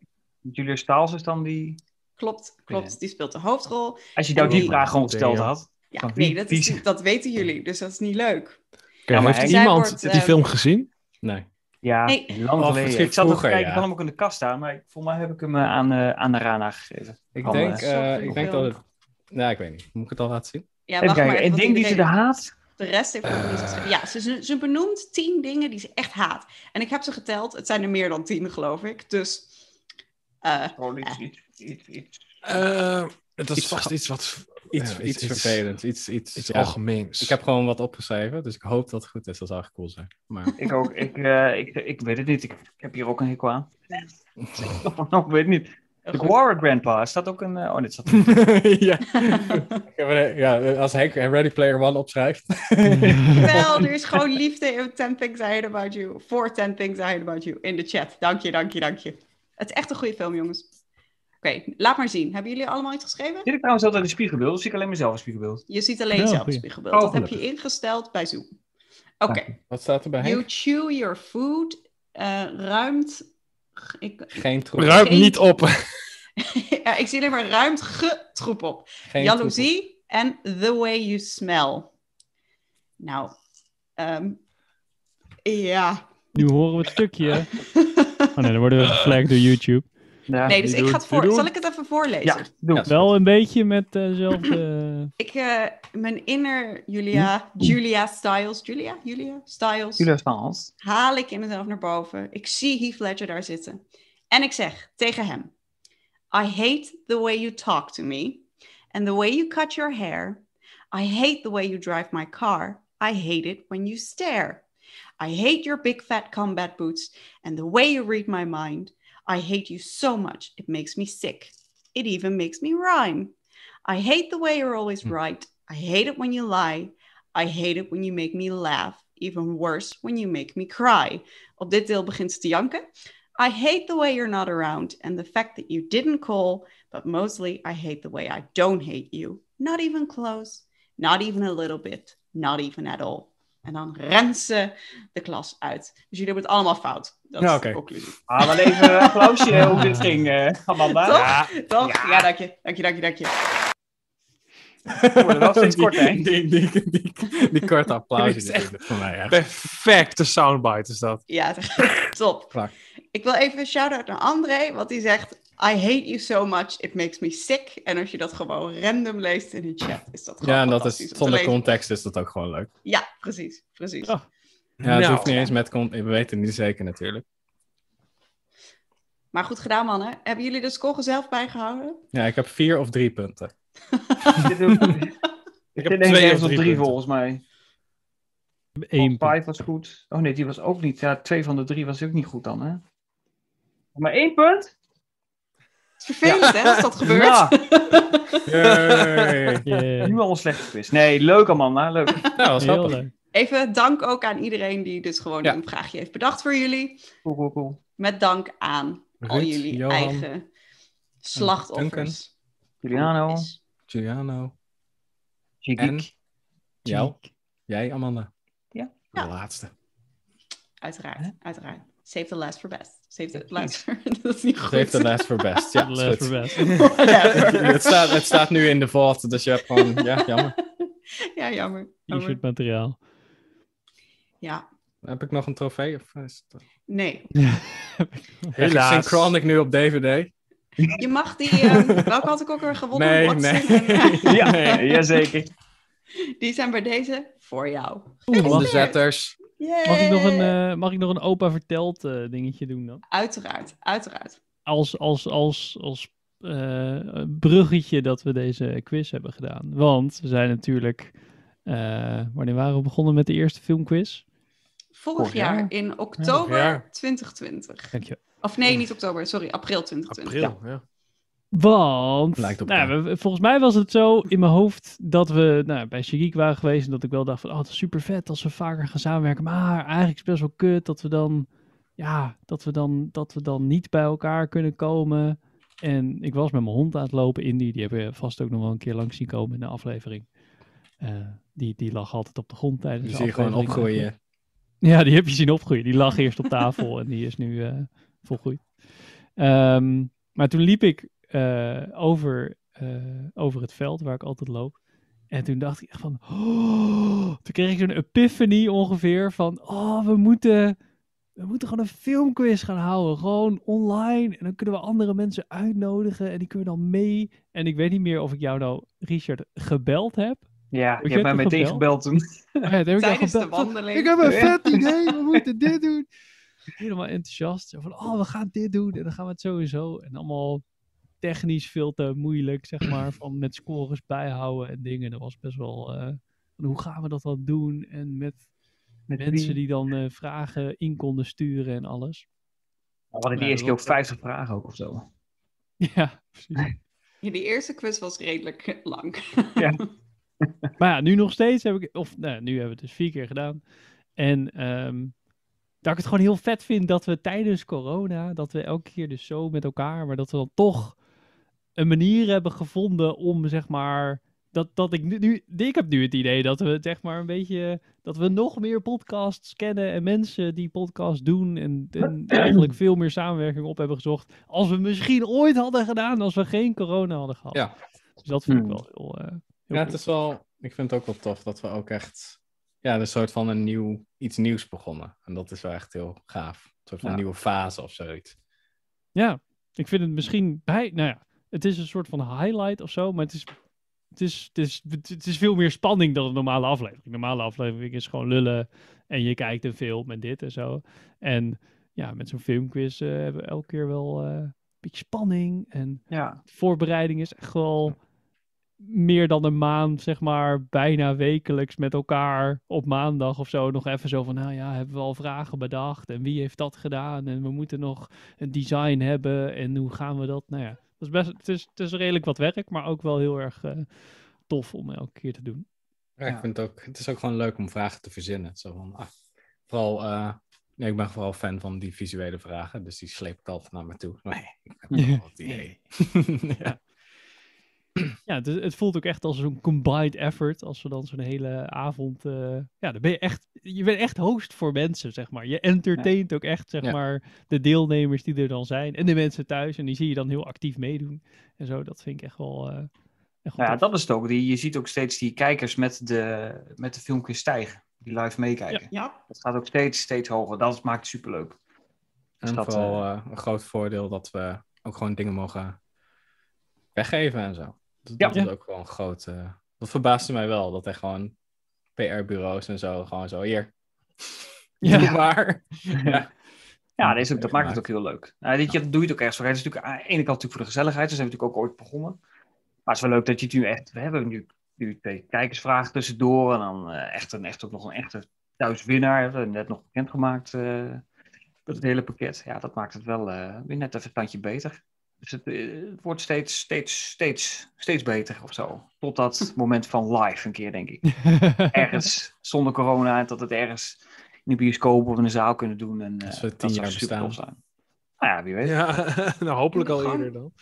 D: Julius Staals is dan die...
A: Klopt, klopt. Die speelt de hoofdrol.
D: Als je nou
A: En
D: die
A: die-
D: vraag gewoon gesteld
F: Ja.
D: had.
A: Ja,
D: Van wie-
A: nee, dat, is,
D: wie-
A: niet- dat weten jullie, dus dat is niet leuk.
F: Oké,
D: Ja, maar
F: heeft
D: hij-
F: iemand
A: zij wordt, eh,
F: die film gezien?
B: Nee.
D: Ja,
A: Nee.
D: lang
B: Of
D: geleden.
B: misschien
D: Ik zat even
B: vroeger,
D: kijken,
B: ja.
D: ik had hem ook in de kast staan, maar ik, volgens mij heb ik hem eh, aan, eh, aan de Rana gegeven.
B: Ik
D: Kan,
B: denk,
D: eh,
B: eh,
A: zoveel
B: ik denk dat
A: film.
B: het... Nou, ik weet niet. Moet ik het al laten zien?
A: Ja,
D: Even
A: wacht maar.
D: kijken,
A: want
D: een ding die ze de
A: iedereen-
D: haat.
A: De rest heeft nog niet gezegd.
E: Eh.
A: Ja, ze, ze- ze benoemt tien dingen die ze echt haat. En ik heb ze geteld. Het zijn er meer dan tien, geloof ik. Dus eh,
D: Gewoon iets, iets, iets, iets.
F: Eh, dat is
B: Iets-
F: vast iets wat...
B: Iets,
F: ja,
B: iets vervelends. Iets, iets,
F: Iets
B: ja.
F: algemeens.
B: Ik heb gewoon wat opgeschreven, dus ik hoop dat het goed is. Dat zou echt cool zijn. Maar
D: Ik ook, ik, eh, ik, ik weet het niet. Ik, ik heb hier ook een hekel aan. ik weet het niet.
A: heel
D: De
A: goed.
D: Warwick Grandpa, is dat ook een... eh, oh, dit zat
B: ja. Ik heb een- ja, als Henk Ready Player One opschrijft.
A: wel, er is gewoon liefde in 10 Things I Hate About You. Voor 10 Things I Hate About You in de chat. Dank je, dank je, dank je. Het is echt een goede film, jongens. Oké, laat maar zien. Hebben jullie allemaal iets geschreven?
D: Zit ik trouwens altijd in een spiegelbeeld? Of zie ik alleen mezelf in een spiegelbeeld?
A: Je ziet alleen
E: Ja,
A: zelf het
E: goeie.
A: spiegelbeeld. Dat
D: Oh,
A: heb je ingesteld bij Zoom. Oké,
B: Wat staat er bij Henk?
A: you chew your food. eh, ruimt... Ik,
B: Geen troep.
F: Ruim
A: Geen-
F: niet op.
A: ja, ik zie alleen maar ruimt getroep op.
B: Geen troep.
A: Jaloezie en The Way You Smell. Nou, ehm, ja.
E: nu horen we het stukje. Oh nee, dan worden we geflagd door YouTube.
D: Ja,
A: Nee, dus
D: die
A: ik
D: doe
A: ga het voor.
D: Die
A: Zal
D: doe
A: ik het even voorlezen?
D: Ja, doe.
B: Ja.
E: Wel een beetje met eh, dezelfde...
A: Ik, eh, mijn inner Julia, Julia Styles, Julia, Julia Styles,
D: Julia Staals.
A: haal ik in mezelf naar boven. Ik zie Heath Ledger daar zitten. En ik zeg tegen hem, I hate the way you talk to me. And the way you cut your hair. I hate the way you drive my car. I hate it when you stare. I hate your big fat combat boots and the way you read my mind. I hate you so much, it makes me sick. It even makes me rhyme. I hate the way you're always
B: Hmm.
A: right. I hate it when you lie. I hate it when you make me laugh. Even worse, when you make me cry. Op dit deel begint ze te janken. I hate the way you're not around and the fact that you didn't call, but mostly I hate the way I don't hate you. Not even close, not even a little bit, not even at all. En dan rent ze de klas uit. Dus jullie hebben het allemaal fout. Dat
B: Ja,
A: is de
B: oké.
A: conclusie.
D: Ah, wel even een applausje eh, hoe dit ging, eh, Amanda.
A: Toch?
D: Ja,
A: Toch? Ja. dank je. Dank je, dank je, dank je.
D: we worden wel steeds
B: Die-
D: korter, hè?
B: Die, die, die, die, korte applaus
F: Dit
B: is
F: is
B: echt voor mij. Echt.
F: Perfecte soundbite is dat.
A: Ja, zeg- top.
B: Vlak.
A: Ik wil even een shout-out naar André, want die zegt... I hate you so much, it makes me sick. En als je dat gewoon random leest in de chat, is dat gewoon
B: Ja, en dat
A: fantastisch
B: is,
A: om te
B: zonder
A: lezen.
B: context is dat ook gewoon leuk.
A: Ja, precies, precies.
E: Ja.
B: Ja, het
F: Nou.
B: hoeft niet eens met context. We weten het niet zeker natuurlijk.
A: Maar goed gedaan, mannen. Hebben jullie de score zelf bijgehouden?
B: Ja, ik heb vier of drie punten.
D: Dit doe-
F: Ik
D: Dit
F: heb
D: denk ik
F: twee of
D: ergens op
F: drie,
D: drie,
F: punten.
D: volgens mij.
E: Eén punt.
D: Five was goed. Oh nee, die was ook niet. Ja, twee van de drie was ook niet goed dan, hè? Maar één punt?
A: Het is vervelend, hè, als dat gebeurt.
D: Ja,
B: Yay.
E: Yeah.
D: nu al een slechte quiz. Nee, leuk Amanda, leuk.
B: nou, dat was
E: Heel
B: grappig.
E: leuk.
A: Even dank ook aan iedereen die dus gewoon
B: Ja.
A: een vraagje heeft bedacht voor jullie.
D: Cool, cool, cool.
A: Met dank aan al
B: Ruud,
A: jullie
B: Johan,
A: eigen slachtoffers.
D: Juliano,
A: Is-
B: Giuliano, En?
D: Jigik.
B: jou, jij Amanda.
D: Ja.
B: De
A: Ja.
B: laatste.
A: Uiteraard, uiteraard. Save the last for best. Save the last for... dat is niet goed.
B: Save the last for best. Ja,
E: The
B: is
E: last
B: goed.
E: for best.
A: Whatever.
B: het, staat, het staat nu in de vault, dus je hebt gewoon... Ja, jammer.
A: ja, jammer. jammer.
E: E-shirt materiaal.
A: Ja,
B: Heb ik nog een trofee? Of is het...
A: nee.
B: Helaas. Synchronic nu op DVD.
A: Je mag die... ehm, welke had ik ook weer gewonnen?
B: Nee,
A: Watson
B: nee.
A: en-
D: Ja, jazeker.
A: die zijn bij deze voor jou.
B: dus- Onderzetters.
A: Yay.
E: Mag ik nog een, eh, mag ik nog een opa verteld eh, dingetje doen dan?
A: Uiteraard, uiteraard.
E: Als, als, als, als eh, bruggetje dat we deze quiz hebben gedaan. Want we zijn natuurlijk... eh, wanneer waren we begonnen met de eerste filmquiz?
A: Vorig
D: Vorig
A: jaar,
D: jaar.
A: in oktober
F: jaar.
A: 2020.
E: Dank je.
A: Of nee, niet oktober, sorry, april 2020.
F: April, ja.
E: Want,
B: Lijkt op
E: nou,
B: elkaar.
E: we- volgens mij was het zo in mijn hoofd dat we nou, bij Shagik waren geweest. En dat ik wel dacht van, oh, het is super vet als we vaker gaan samenwerken. Maar eigenlijk is het best wel kut dat we dan, ja, dat we dan, dat we dan niet bij elkaar kunnen komen. En ik was met mijn hond aan het lopen, Indy. Die hebben we vast ook nog wel een keer langs zien komen in de aflevering. Eh, die, die lag altijd op de grond tijdens
B: Die
E: de
B: zie je gewoon
E: aflevering.
B: opgroeien.
E: Ja, die heb je zien opgroeien. Die lag eerst op tafel en die is nu eh, volgroeid. Ehm, maar toen liep ik eh, over, eh, over het veld waar ik altijd loop. En toen dacht ik echt van... "Oh." toen kreeg ik zo'n epiphany ongeveer van... Oh, we moeten, we moeten gewoon een filmquiz gaan houden. Gewoon online. En dan kunnen we andere mensen uitnodigen. En die kunnen dan mee. En ik weet niet meer of ik jou nou, Richard, gebeld heb.
D: Ja,
E: Ik
D: je hebt
E: heb
D: mij
E: hem
D: meteen gebeld
E: gebeld.
D: toen.
E: Oh ja, dat heb ik jou
A: Tijdens de
E: gebeld.
A: wandeling.
E: Ik heb een
D: Ja.
E: vet idee, we moeten dit doen. Helemaal enthousiast. Zo Van, oh, we gaan dit doen en dan gaan we het sowieso. En allemaal technisch veel te moeilijk, zeg maar. Van met scores bijhouden en dingen. Dat was best wel, eh, van hoe gaan we dat dan doen? En met
D: Met
E: mensen
D: wie?
E: die dan eh, vragen in konden sturen en alles.
D: We hadden die
E: Ja,
D: eerste
E: dat
D: keer ook 50 vragen ook of zo.
E: Ja, precies.
A: Ja, die eerste quiz was redelijk lang.
E: Maar ja, nu nog steeds heb ik, of nou, nu hebben we het dus vier keer gedaan. En ehm, dat ik het gewoon heel vet vind dat we tijdens corona, dat we elke keer dus zo met elkaar, maar dat we dan toch een manier hebben gevonden om zeg maar. Dat, dat ik nu, nu, ik heb nu het idee dat we zeg maar een beetje, dat we nog meer podcasts kennen en mensen die podcasts doen en, en eigenlijk veel meer samenwerking op hebben gezocht. Als we misschien ooit hadden gedaan, als we geen corona hadden gehad.
B: Ja.
E: Dus dat vind ik
D: Hmm.
E: wel heel, eh, heel
B: Ja, het
E: cool.
B: is wel... Ik vind het ook wel tof dat we ook echt... Ja, een soort van een nieuw, iets nieuws begonnen. En dat is wel echt heel gaaf. Een soort van
E: Ja.
B: nieuwe fase of zoiets.
E: Ja, ik vind het misschien bij. Nou ja, het is een soort van highlight of zo, maar het is. Het is, het, is, het is veel meer spanning dan een normale aflevering. Een normale aflevering is gewoon lullen en je kijkt een film en dit en zo. En ja, met zo'n filmquiz eh, hebben we elke keer wel eh, een beetje spanning. En
D: Ja,
E: de voorbereiding is echt wel meer dan een maand, zeg maar, bijna wekelijks met elkaar op maandag of zo. Nog even zo van, nou ja, hebben we al vragen bedacht en wie heeft dat gedaan? En we moeten nog een design hebben en hoe gaan we dat? Nou ja, dat is best, het, is, het is redelijk wat werk, maar ook wel heel erg eh, tof om elke keer te doen.
B: Ja, ik
D: Ja.
B: vind het ook... Het is ook gewoon leuk om vragen te verzinnen. Zo van... ah, vooral... eh, nee, ik ben vooral fan van die visuele vragen. Dus die sleep ik altijd naar me toe. Nee, ik heb
E: Ja.
B: wel wat idee. ja.
E: Ja, het, is- het voelt ook echt als zo'n combined effort. Als we dan zo'n hele avond. eh, ja, dan ben je echt. Je bent echt host voor mensen, zeg maar. Je entertaint ook echt, zeg
B: Ja.
E: maar. De deelnemers die er dan zijn. En de mensen thuis. En die zie je dan heel actief meedoen. En zo, dat vind ik echt wel. eh, echt wel
D: nou ja,
E: tof.
D: dat is het ook. Die, je ziet ook steeds die kijkers met de, met de filmpjes stijgen. Die live meekijken.
A: Ja,
D: Dat gaat ook steeds, steeds hoger. Dat maakt het superleuk.
B: En
D: dat,
B: vooral eh, een groot voordeel dat we ook gewoon dingen mogen weggeven en zo. Dat,
D: Ja.
B: dat is ook gewoon een groot. eh, dat verbaasde mij wel, dat er gewoon PR-bureaus en zo gewoon zo hier.
E: Ja.
B: Doe Maar.
D: Ja, dat, is ook, dat maakt het
B: Gemaakt.
D: ook heel leuk. Nou, dit, je, dat doe je het ook echt zo. Het is natuurlijk aan de ene kant natuurlijk voor de gezelligheid. Dus zijn we natuurlijk ook ooit begonnen. Maar het is wel leuk dat je het nu echt... We hebben nu, nu twee kijkersvragen tussendoor. En dan eh, echt, een, echt ook nog een echte thuiswinnaar. Hebben we net nog bekendgemaakt. eh dat het hele pakket. Ja, dat maakt het wel eh, weer net even een tandje beter. Dus het, eh, het wordt steeds, steeds, steeds, steeds beter of zo. Tot dat moment van live een keer, denk ik ergens zonder corona en dat het ergens in de bioscoop of in een zaal kunnen doen. En, eh,
B: Als we tien
D: dat zou
B: jaar
D: super
B: bestaan.
D: tof zijn. Nou ja, wie weet.
F: Ja, nou hopelijk al
A: Gewoon-
F: eerder dan.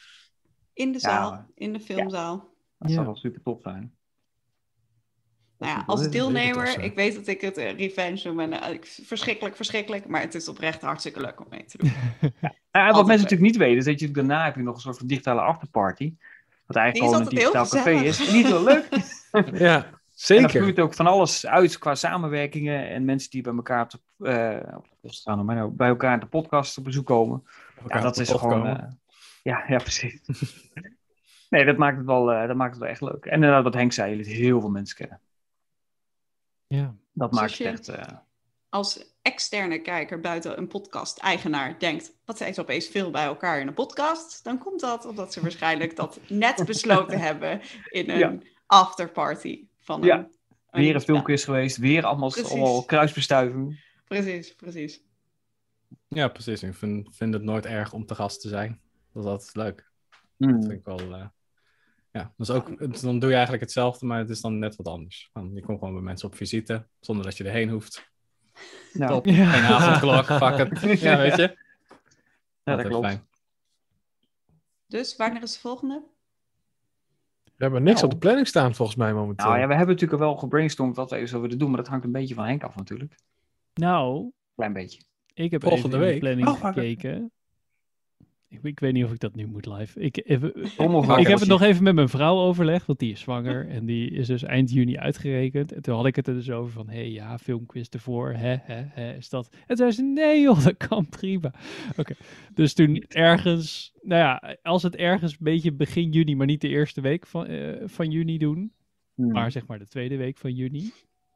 A: in de
D: Ja.
A: zaal, in de filmzaal.
D: Dat
E: Ja.
D: zou wel super tof zijn.
A: Nou ja,
D: Dat is
A: als
D: een
A: deelnemer,
D: rekentossen.
A: ik weet dat ik het eh, revenge noem en eh, ik- verschrikkelijk, verschrikkelijk, maar het is oprecht hartstikke leuk om mee te doen.
D: Nou Ja, en wat
A: Altijd
D: mensen natuurlijk niet weten, is dat je daarna heb je nog een soort van digitale afterparty. Wat
A: Die
D: eigenlijk
A: is
D: gewoon een
A: altijd heel
D: digitaal café
A: gezellig.
D: is. Niet heel leuk.
F: Ja,
D: En dan
F: zeker.
D: groeit ook van alles uit qua samenwerkingen en mensen die bij elkaar op de, eh, op de post staan, maar nou, bij elkaar de podcast op bezoek komen. Ja, dat is gewoon. eh, ja, ja, precies. nee, dat maakt, het wel, eh, dat maakt het wel echt leuk. En inderdaad, wat Henk zei, je leert heel veel mensen kennen.
E: Ja.
D: Dat
A: Dus
D: maakt
A: als
D: het
A: je-
D: echt. eh,
A: Als externe kijker buiten een podcast-eigenaar denkt, wat zijn ze opeens veel bij elkaar in een podcast? Dan komt dat omdat ze waarschijnlijk dat net besloten hebben in een
D: Ja.
A: afterparty van een,
D: Ja.
A: een-
D: weer een filmquiz geweest, weer allemaal,
A: Precies.
D: allemaal kruisbestuiving.
A: ja, precies, precies.
B: Ja, precies. Ik vind, vind het nooit erg om te gast te zijn. Dat is altijd leuk.
D: Hmm.
B: Dat vind ik wel... eh, ja, dat is ook, het- dan doe je eigenlijk hetzelfde, maar het is dan net wat anders. Want je komt gewoon bij mensen op visite, zonder dat je erheen hoeft.
D: Nou,
B: Top.
E: Ja.
B: Geen avondklok, fuck it. Ja, weet je?
D: ja, dat
B: Altijd
D: klopt.
B: fijn.
A: Dus wanneer is de volgende?
F: We hebben niks
D: Nou.
F: op de planning staan volgens mij momenteel.
D: Nou ja, we hebben natuurlijk al wel gebrainstormd wat we even zouden willen doen, maar dat hangt een beetje van Henk af natuurlijk.
E: Nou,
D: Klein beetje.
E: ik heb
F: Volgende
E: even in
F: week.
E: de planning
F: Oh, maar-
E: gekeken. Ik, ik weet niet of ik dat nu moet live. Ik, even,
D: Rommelvarkens.
E: Ik heb het nog even met mijn vrouw overlegd, want die is zwanger en die is dus eind juni uitgerekend. En toen had ik het er dus over van, hé hey, ja, filmquiz ervoor, hè, hè, hè, is dat? En toen zei ze, nee joh, dat kan prima. Oké, dus toen ergens, nou ja, als het ergens een beetje begin juni, maar niet de eerste week van, eh, van juni doen,
D: Hmm.
E: maar zeg maar de tweede week van juni.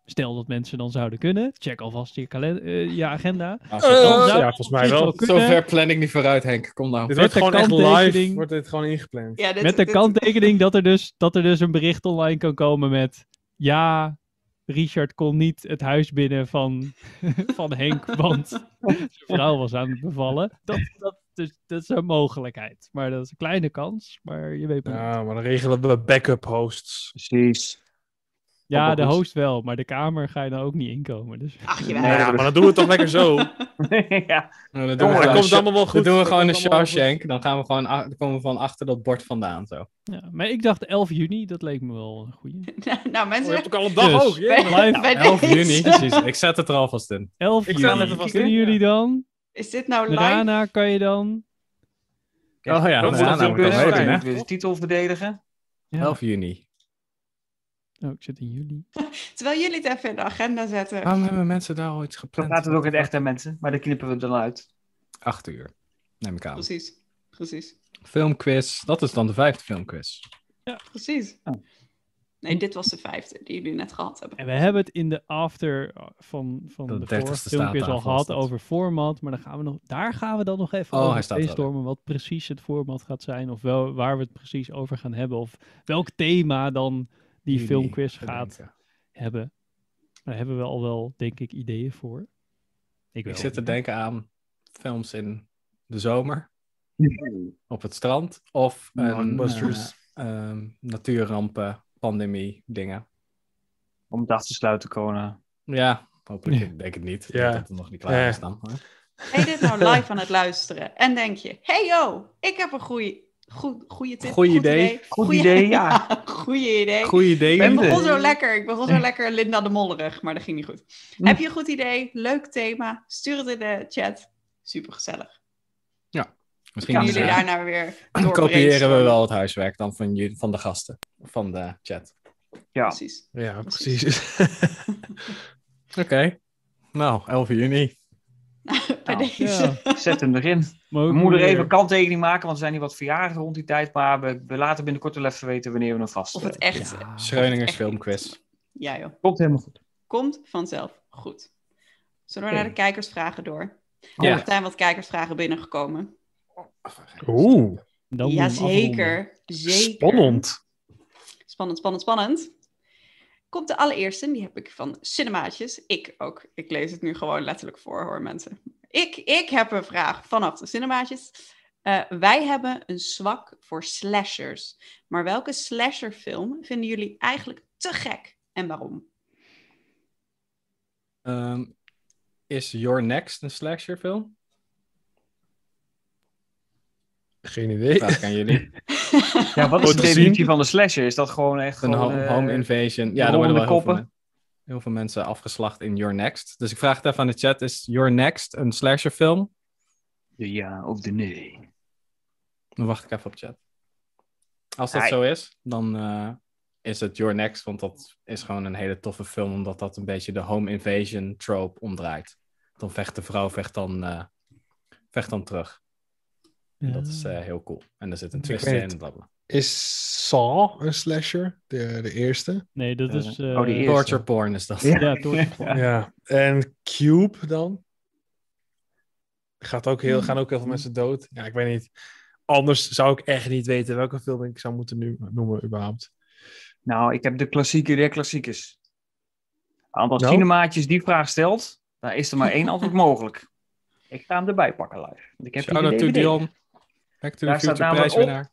E: Stel dat mensen dan zouden kunnen, check alvast je, kalen- eh, je agenda.
B: Als het dan-
E: zou
F: ja,
E: het
F: volgens mij
E: op zich
F: wel.
E: kunnen.
B: Zo ver plan ik niet vooruit, Henk. Kom nou.
F: Dit wordt
E: de
F: gewoon echt live,
E: kanttekening-
F: wordt dit gewoon ingepland.
A: Ja, dit-
E: Met de
A: dit-
E: kanttekening dat er, dus, dat er dus een bericht online kan komen met... Ja, Richard kon niet het huis binnen van, van Henk, want zijn vrouw was aan het bevallen. Dat, dat, dus, dat is een mogelijkheid. Maar dat is een kleine kans, maar je weet maar niet.
F: Ja, maar dan regelen we backup hosts.
D: Precies.
E: Ja,
D: wel
E: de
D: goed.
E: host wel, maar de kamer ga je dan ook niet inkomen. Dus
A: Ach,
F: Ja,
A: jawel.
D: Nee,
F: maar dan doen we het toch lekker zo.
D: ja.
B: Nou, dan doen we
F: Jongen, Oh, dat
B: gewoon-
F: komt allemaal wel goed.
B: dan doen we gewoon een
F: Dat komt allemaal wel goed.
B: Shawshank. Dan, gaan we gewoon, ach- dan komen we van achter dat bord vandaan. Zo.
E: ja. Maar ik dacht 11 juni, dat leek me wel een goeie.
A: nou,
F: Oh, je
A: mensen,
F: hebt ook al een dag
E: Dus.
F: ook.
A: bij,
F: ja.
E: live
A: bij
B: 11
A: deze-
B: juni, precies. Ik zet het er alvast
F: Oh
B: in.
E: 11
F: Ik sta net
E: juni,
F: alvast
E: kunnen
F: in, ja.
E: jullie dan?
A: is dit nou live?
E: Daarna kan je dan...
B: Oh ja,
F: dat
B: dat
F: moet
B: is
F: natuurlijk
B: namelijk
F: best
B: wel weten,
F: zijn.
B: hè?
D: Moeten we de titel verdedigen?
E: Ja.
B: 11 juni.
E: Oh, ik zit in juli.
A: Terwijl jullie het even in de agenda zetten.
B: Waarom hebben mensen daar al iets
D: Dan
B: gepland?
D: gaat het ook in het echt aan mensen, maar dan knippen we het dan uit.
B: 8 uur, neem ik aan.
A: Precies, precies,
B: Filmquiz, dat is dan de vijfde filmquiz.
A: precies.
B: Oh.
A: Nee, dit was de vijfde die jullie net gehad hebben.
E: En we hebben het in de after uh, van, van
B: De
E: de,
B: 30ste
E: vorige
B: staat
E: filmpjes
B: daar
E: al gehad
B: vast.
E: over format. Maar dan gaan we nog, daar gaan we dan nog even
B: Oh, hij
E: over
B: staat er.
E: brainstormen wat precies het format gaat zijn. Of wel, waar we het precies over gaan hebben. Of welk thema dan die
B: Juni, eh,
E: filmquiz
B: bedenken.
E: gaat hebben. Daar hebben we al wel, denk ik, ideeën voor. Ik,
B: Ik
E: wel.
B: zit te denken aan films in de zomer, op het strand, of een,
F: Blockbusters.
B: eh, ehm, natuurrampen, pandemie, dingen.
D: Om het af te sluiten, corona.
B: Ja, hopelijk denk ik niet. Ik denk
F: Ja.
B: dat we nog niet klaar
F: Ja.
B: is dan. maar-
A: Ben je dit nou live aan het luisteren? En denk je, hey yo, ik heb een goeie, goed, goeie tip.
B: Goeie
A: goed
B: idee.
D: Goed
A: Goeie-
D: idee, ja.
A: goeie idee.
B: Goeie idee.
A: Ik
D: Ben de-
A: begon zo lekker. Ik begon zo lekker Linda de Mollerig, maar dat ging niet goed.
B: Mm.
A: Heb je een goed idee? Leuk thema? Stuur het in de chat. Super gezellig.
B: Misschien
A: Kunnen
B: eh,
A: jullie daarna weer door
B: kopiëren we
A: brainstormen.
B: wel het huiswerk dan van, jullie- van de gasten, van de chat.
D: Ja.
A: Precies.
F: Ja,
A: Precies.
F: precies.
B: Oké, nou, 11 juni.
A: Bij
D: Nou,
A: deze.
D: Zet hem erin.
E: Maar
D: We
E: ook
D: moeten
E: weer-
D: even een kanttekening maken, want er zijn hier wat verjaardagen rond die tijd. Maar we, we laten binnenkort wel even weten wanneer we hem vast.
A: Of het echt.
B: Schreuningers
A: Ah, echt
B: filmquiz.
A: Ja joh.
D: Komt helemaal goed.
A: Komt vanzelf goed. Zullen we naar de kijkersvragen door?
B: Ja.
A: Er zijn wat kijkersvragen binnengekomen.
F: Oeh,
E: Dan moet je hem afronden.
A: Jazeker. Zeker.
F: spannend.
A: Spannend, spannend, spannend. Komt de allereerste, die heb ik van Cinemaatjes. Ik ook. Ik lees het nu gewoon letterlijk voor, hoor mensen. Ik, ik heb een vraag vanaf de Cinemaatjes. Eh, wij hebben een zwak voor slashers. Maar welke slasherfilm vinden jullie eigenlijk te gek en waarom?
B: Ehm, is Your Next een slasherfilm?
F: Geen idee.
B: Vraag ik aan jullie.
D: Ja, wat is
F: Goed
D: de
F: gezien.
D: definitie van de slasher? Is dat gewoon echt
B: Een
D: gewoon,
B: ho-
D: eh,
B: home invasion.
D: de
B: Ja, daar worden wel heel
D: rollende
B: veel
D: koppen.
B: mensen- Heel veel mensen afgeslacht in Your Next. Dus ik vraag het even aan de chat. Is Your Next een slasherfilm?
D: De ja of de nee.
B: Dan wacht ik even op chat. Als dat
D: Hai.
B: zo is, dan eh, is het Your Next. Want dat is gewoon een hele toffe film. Omdat dat een beetje de home invasion trope omdraait. Dan vecht de vrouw, vecht dan, eh, vecht dan terug. En dat is eh, heel cool. En er zit een
F: Ik
B: twist
F: weet
B: in.
F: het.
B: en blablabla.
F: Is Saw een slasher? De, de eerste?
E: Nee, dat is... eh,
D: oh, die eerste.
B: Torture porn is dat.
D: Ja.
E: Ja, Torture.
F: Ja. En Cube dan? Gaat ook
D: Hmm.
F: heel, gaan ook heel veel mensen dood? Ja, ik weet niet. Anders zou ik echt niet weten welke film ik zou moeten nu noemen überhaupt.
D: Oh, Nou, ik heb de klassieke der klassiekers. Want als
F: Nou?
D: cinemaatjes die vraag stelt, dan is er maar één antwoord mogelijk. Ik ga hem erbij pakken live. Want Ik heb hier de
B: Shout-out to
D: DVD.
B: Dion. Back to
D: Daar
B: the Future
D: staat namelijk op-
B: prijswinnaar.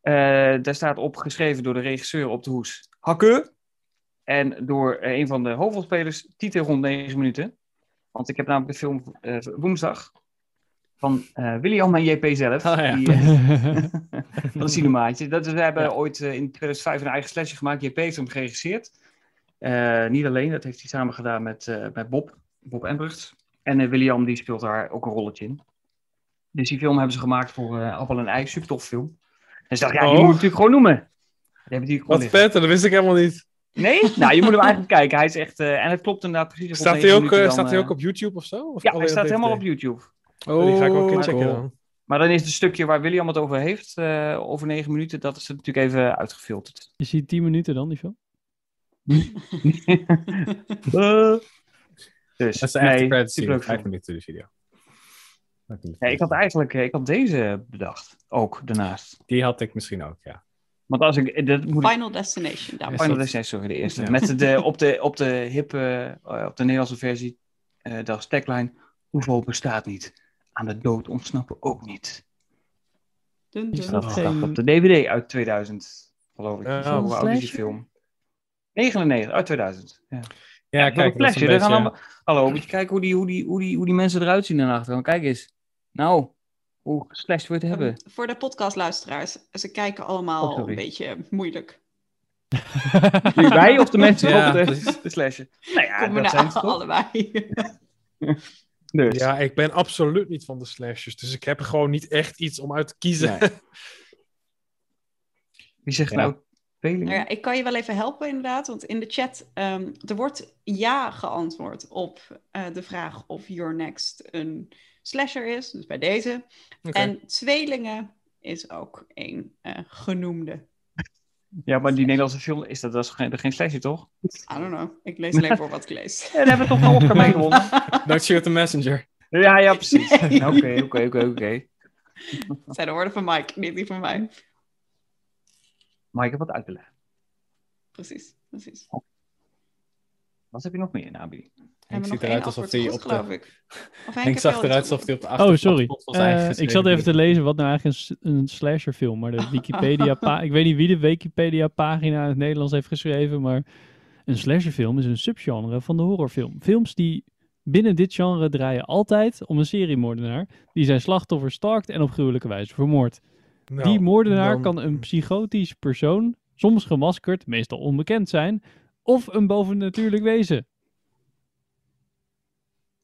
D: Eh, daar staat op geschreven door de regisseur op de hoes, Hakke. En door eh, een van de hoofdrolspelers, titel rond 9 minuten. Want ik heb namelijk de film eh, woensdag van eh William en JP zelf.
B: Oh, ja.
D: die, eh, van een cinemaatje. Dat, we hebben ooit eh, in 2005 een eigen slasher gemaakt. JP heeft hem geregisseerd. Eh, niet alleen, dat heeft hij samen gedaan met, eh, met Bob. Bob Embrucht. En eh, William die speelt daar ook een rolletje in. Dus die film hebben ze gemaakt voor eh, Appel en Ei. Super tof film. En ze dachten, ja, die
F: Oh.
D: moet ik natuurlijk gewoon noemen. Die hebben die gewoon
F: Wat
D: liggen.
F: vet, dat wist ik helemaal niet.
D: Nee? Nou, je moet hem eigenlijk kijken. Hij is echt... eh, en het klopt inderdaad precies. op
F: Staat
D: negen
F: hij ook,
D: minuten
F: eh,
D: dan,
F: staat hij
D: eh,
F: ook op YouTube of zo? Of
D: Ja,
F: alleen
D: hij staat
F: DVD?
D: helemaal op YouTube.
B: Oh,
F: Die ga ik ook een keer
B: cool.
F: checken dan.
D: Maar dan is het stukje waar William het over heeft, eh, over negen minuten, dat is er natuurlijk even uitgefilterd.
E: Is die 10 minuten dan, die film?
D: Dus,
B: Dat is de echte
D: nee,
B: credits scene.
D: superleuk
B: Vijf
D: film.
B: minuten de video. Vijf minuten.
D: Ja, ik had eigenlijk eh, ik had deze bedacht, ook daarnaast.
B: Die had ik misschien ook, ja.
D: Want als ik, eh, dat moet ik,
A: Final Destination, dames en
D: Final
B: dat-
D: Destination, sorry, de eerste.
B: Ja.
D: Met de, op de, op de hippe, eh, op de Nederlandse versie, eh dat is tagline, hoeveel bestaat niet, aan de dood ontsnappen ook niet.
A: heren. Dun,
E: Is
A: dun.
D: Dat
E: Oh.
D: staat op de DVD uit 2000, geloof ik.
F: Ja,
D: Zo
F: een
D: oud is die
E: slasher?
D: film? 99, uit 2000, ja.
B: Ja,
D: Kijk,
B: kijk,
D: een
B: dat is
D: flesje.
B: een
D: daar gaan
B: beetje... eh,
D: allemaal... Hallo, moet je kijken hoe die, hoe, die, hoe, die, hoe die mensen eruit zien daarachter. Want Kijk eens. Nou, hoe geslashed we het hebben.
A: Ehm, Voor de podcastluisteraars, ze kijken allemaal
D: Oh, sorry.
A: een beetje moeilijk.
D: Nu wij of de mensen
B: Ja,
D: op de,
B: precies.
D: de slashen. Nou ja, dat zijn
A: Combinatie
D: ze toch?
A: allebei.
D: Dus.
F: Ja, ik ben absoluut niet van de slashers. Dus ik heb gewoon niet echt iets om uit te kiezen.
B: Nee.
D: Wie zegt
B: Ja.
D: nou Veling?
A: Nou ja, ik kan je wel even helpen inderdaad, want in de chat ehm, er wordt ja geantwoord op eh, de vraag of Your Next een slasher is, dus bij deze.
F: Oké.
A: En tweelingen is ook een eh, genoemde.
D: Ja, maar die Nederlandse film, is dat, dat is geen, geen slasher, toch?
A: I don't know, ik lees alleen voor wat ik lees.
D: Ja, daar hebben we toch wel Oscar mee gewonnen.
B: Don't shoot the messenger.
D: Ja, ja, precies.
A: Nee.
D: Oké, oké, oké, oké.
A: Het zijn de woorden van Mike, niet die van mij.
D: Maar ik heb wat uit te leggen.
A: Precies, precies.
D: Wat heb je nog meer, Nabi?
A: We hebben
B: ziet
A: nog
B: eruit
A: één
B: alsof
A: antwoord
B: hij
A: goed,
B: op de-
A: geloof ik. Of Henk,
B: Henk
A: heb jij
B: zag
A: al
B: eruit
A: iets
B: alsof hij op de
E: Oh,
B: achtergrond
E: sorry.
B: van zijn eigen
E: Eh, ik
B: geschreven
E: zat even te
B: brief.
E: lezen wat nou eigenlijk een, s- een slasherfilm, maar de Wikipedia ik weet niet wie de Wikipedia pagina in het Nederlands heeft geschreven, maar een slasherfilm is een subgenre van de horrorfilm. Films die binnen dit genre draaien altijd om een seriemoordenaar die zijn slachtoffer stalkt en op gruwelijke wijze vermoordt.
F: Nou,
E: die moordenaar
F: dan-
E: kan een psychotisch persoon, soms gemaskerd, meestal onbekend zijn, of een bovennatuurlijk wezen.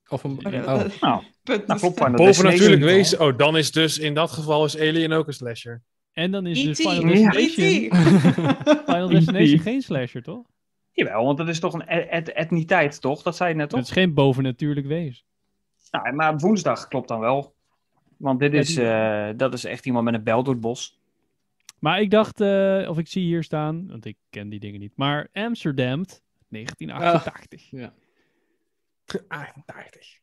B: Of een...
A: over?
B: oh.
D: Nou,
A: Punt.
D: Nou, klopt, maar dat is
F: Bovennatuurlijk
D: Nederland.
F: wezen. Oh, dan is dus in dat geval is Alien ook een slasher.
E: En dan is dus
A: E.T..
E: Final
A: E
D: Ja.
E: Destination, Final Destination
F: E
D: E.T..
E: geen slasher, toch?
D: Jawel, want dat is toch een et- et- etniteit, toch? Dat zei je net, toch?
E: Dat is geen bovennatuurlijk wezen.
D: Nou, maar woensdag klopt dan wel. Want dit is,
E: die-
D: eh, dat is echt iemand met een bel door het bos.
E: Maar ik dacht, eh, of ik zie hier staan, want ik ken die dingen niet, maar Amsterdam
D: Ah.
E: 1988.
B: Ja.
F: Ah, 88.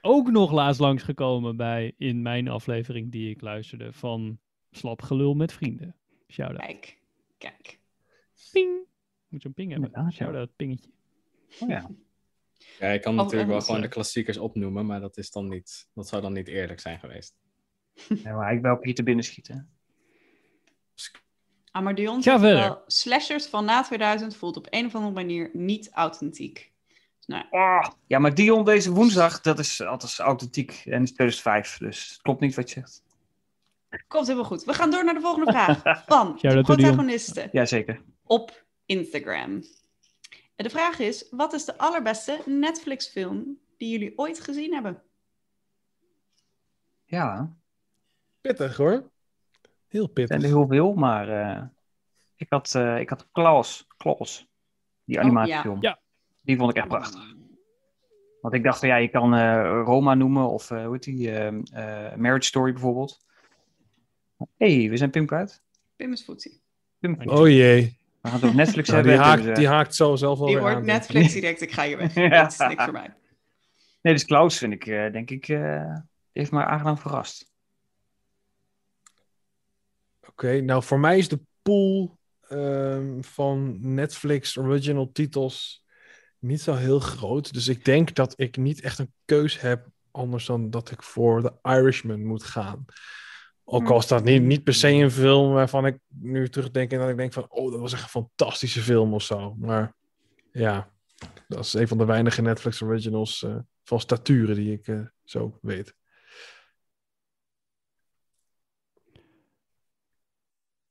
E: Ook nog laatst langsgekomen bij, in mijn aflevering die ik luisterde, van Slap Gelul met Vrienden. Shout-out.
A: Kijk, kijk.
E: Ping! Moet zo'n ping hebben.
D: Inderdaad, ja.
E: Shout-out, pingetje.
B: Ja, ik kan
A: Oh,
B: natuurlijk wel
A: dat is
B: gewoon de
A: leuk.
B: klassiekers opnoemen, maar dat, is dan niet, dat zou dan niet eerlijk zijn geweest.
D: Ja, maar ik wil hier te binnen schieten.
A: Ah, maar Dion
E: Ga
A: zegt
E: verder.
A: wel, slashers van na 2000 voelt op een of andere manier niet authentiek. Dus nou,
D: Ah, ja, maar Dion deze woensdag, dat is altijd authentiek. En het is 2005, dus het klopt niet wat je zegt.
A: komt helemaal goed. We gaan door naar de volgende vraag van
E: Shout
A: de
E: out to Dion.
A: protagonisten
D: Jazeker.
A: op Instagram. De vraag is, wat is de allerbeste Netflix film die jullie ooit gezien hebben?
D: Ja,
F: Pittig hoor. Heel
D: er zijn
F: pittig.
D: er heel veel, maar eh, ik, had, eh, ik had Klaus, Klaus, die
A: Oh,
D: animatiefilm.
E: ja. Ja.
D: Die vond ik echt prachtig. Want ik dacht, ja, je kan eh, Roma noemen of eh hoe heet die, ehm, eh, Marriage Story bijvoorbeeld. Hé, hey, we zijn Pim kwijt.
A: Pim is voetsie.
D: Pim, we
F: Oh jee.
D: gaan het over Netflix
F: Nou,
D: hebben.
F: die,
D: en Pim
F: haakt,
D: is,
F: die
D: eh,
F: haakt zo zelf wel
A: Die
F: weer
A: hoort
F: aan.
A: Netflix direct, ik ga je weg.
D: Ja.
A: Dat is niks voor mij.
D: Nee, dus Klaus vind ik, eh, denk ik, eh, die heeft me aangenaam verrast.
F: Oké, nou voor mij is de pool ehm, van Netflix original titels niet zo heel groot. Dus ik denk dat ik niet echt een keus heb anders dan dat ik voor The Irishman moet gaan. Ook al is dat niet, niet per se een film waarvan ik nu terugdenk en dat ik denk van, oh, dat was echt een fantastische film of zo. Maar ja, dat is een van de weinige Netflix originals eh, van staturen die ik eh, zo weet.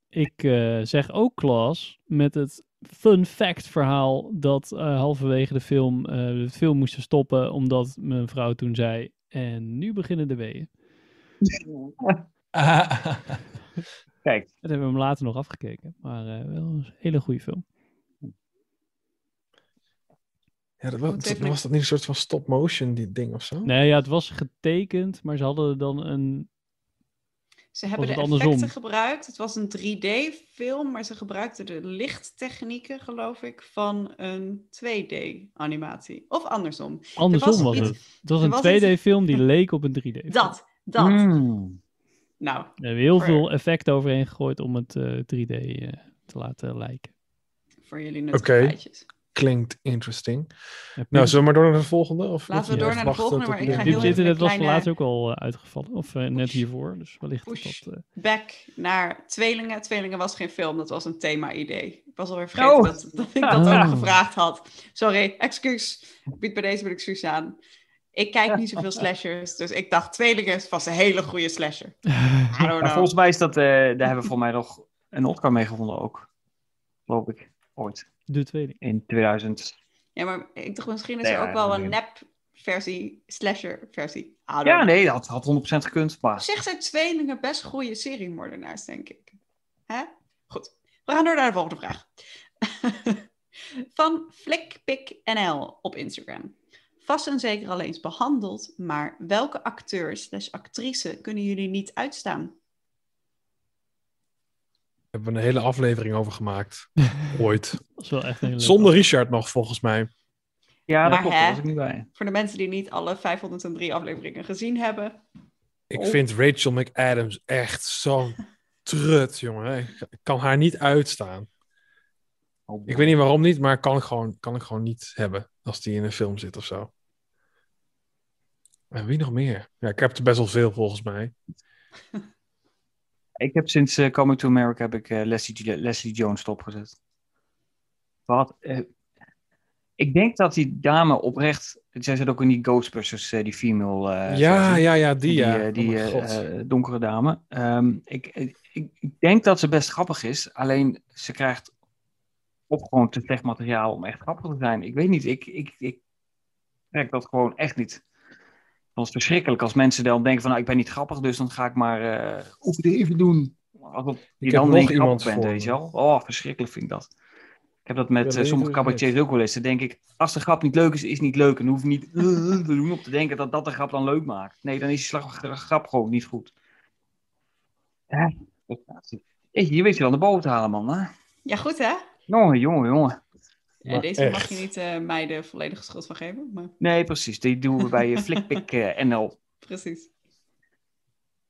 E: Ik eh, zeg ook Klaas met het fun fact verhaal dat eh, halverwege de film eh, we de film moesten stoppen omdat mijn vrouw toen zei en nu beginnen de weeën.
D: Kijk,
E: Dat hebben we hem later nog afgekeken, maar eh, wel een hele goede film.
F: Ja, dat was,
A: Goed, even-
F: was dat niet een soort van stop-motion ding of zo?
E: Nee, ja, het was getekend, maar ze hadden dan een
A: Ze hebben de
E: Was het
A: effecten
E: andersom?
A: gebruikt. Het was een 3D-film, maar ze gebruikten de lichttechnieken, geloof ik, van een 2D-animatie. Of andersom.
E: andersom was
A: iets-
E: het. Het was
A: er
E: een
A: was iets-
E: 2D-film die leek op een 3D.
A: Dat, dat.
D: Mm.
A: Nou,
E: Er hebben heel
A: Ver-
E: veel effect overheen gegooid om het eh, 3D eh, te laten lijken.
A: voor jullie nuttige
F: Oké.
A: feitjes.
F: Klinkt interesting.
E: Ja, Pim-
F: Nou, zullen we maar door naar de volgende?
A: Laten
F: Of
A: we
F: moet je
A: door
F: echt
A: naar de
F: wachten
A: volgende,
F: tot
A: maar ik ga
F: de-
E: Diep
A: heel even-
E: internet
A: een
E: was
A: kleine-
E: laatst ook al eh, uitgevallen. Of eh, net
A: Push.
E: hiervoor. Dus wellicht dat
A: Push.
E: dat... eh,
A: Back naar Tweelingen. Tweelingen was geen film, dat was een thema-idee. Ik was alweer vergeten
D: Oh.
A: dat, dat ik dat
E: Ah.
A: ook gevraagd had. Sorry, excuus. Ik bied bij deze mijn excuus aan. Ik kijk niet zoveel slashers, dus ik dacht Tweelingen was een hele goede slasher. I don't
D: Maar
A: know.
D: volgens mij is dat, eh, daar hebben we voor mij nog een Oscar mee gevonden ook. Geloof ik, ooit.
E: de tweede.
D: In 2000.
A: Ja, maar ik dacht misschien is
D: Nee,
A: er
D: ja,
A: ook wel een
D: nee.
A: nep-versie, slasher-versie. I don't
D: Ja,
A: know.
D: nee, dat had 100% gekund.
A: Ah, Op
D: Maar
A: zich zijn tweelingen best goede seriemoordenaars, denk ik. Hè? Goed, we gaan door naar de volgende vraag. Van FlickPickNL op Instagram. Vast en zeker al eens behandeld, maar welke acteur slash actrice kunnen jullie niet uitstaan?
F: Daar hebben we een hele aflevering over gemaakt. Ooit.
E: Dat is wel echt een hele leuke
F: Zonder Richard nog, volgens mij.
D: ja,
A: Maar
D: dat klopt,
A: hè?
D: daar was ik niet bij.
A: Voor de mensen die niet alle 503 afleveringen gezien hebben.
F: Ik
D: Oh.
F: vind Rachel McAdams echt zo'n trut, jongen. Ik kan haar niet uitstaan.
D: Oh,
F: Ik weet niet waarom niet, maar kan ik gewoon, kan ik gewoon niet hebben. Als die in een film zit of zo. En wie nog meer? Ja, ik heb er best wel veel, volgens mij.
D: Ik heb sinds eh, Coming to America heb ik, eh, Leslie, Gil- Leslie Jones stopgezet. Wat? eh, ik denk dat die dame oprecht... Zij zit ook in die Ghostbusters, eh, die female... eh,
F: ja,
D: versie.
F: ja, ja, die,
D: Die,
F: ja.
D: eh,
F: Oh
D: die
F: mijn
D: eh,
F: god.
D: eh, donkere dame. Ehm, ik, ik, ik denk dat ze best grappig is. Alleen ze krijgt op gewoon te slecht materiaal om echt grappig te zijn. Ik weet niet. Ik, ik, ik trek dat gewoon echt niet. Dat is verschrikkelijk als mensen dan denken van... Nou, ik ben niet grappig, dus dan ga ik maar eh overdreven doen. Alsof je
F: heb
D: dan
F: nog
D: niet grappig
F: iemand
D: bent,
F: voor
D: weet je
F: me.
D: wel. Oh, verschrikkelijk vind ik dat. Ik heb dat met
F: Ja,
D: eh,
F: weet je
D: sommige
F: hoe het
D: cabaretiers ook wel eens. Dan denk ik, als de grap niet leuk is, is niet leuk. En hoef je niet eh, te doen op te denken dat dat de grap dan leuk maakt. Nee, dan is die slag, grap gewoon niet goed. Hè? Jeetje, Je weet je wel de boot halen, man. Hè?
A: Ja, goed hè?
D: Jongen, jongen, jongen.
A: Ja,
F: Maar
A: deze mag
F: echt.
A: je niet eh, mij de volledige schuld van geven, maar
D: Nee, precies. Die doen we bij eh, Flickpick eh, NL.
A: precies.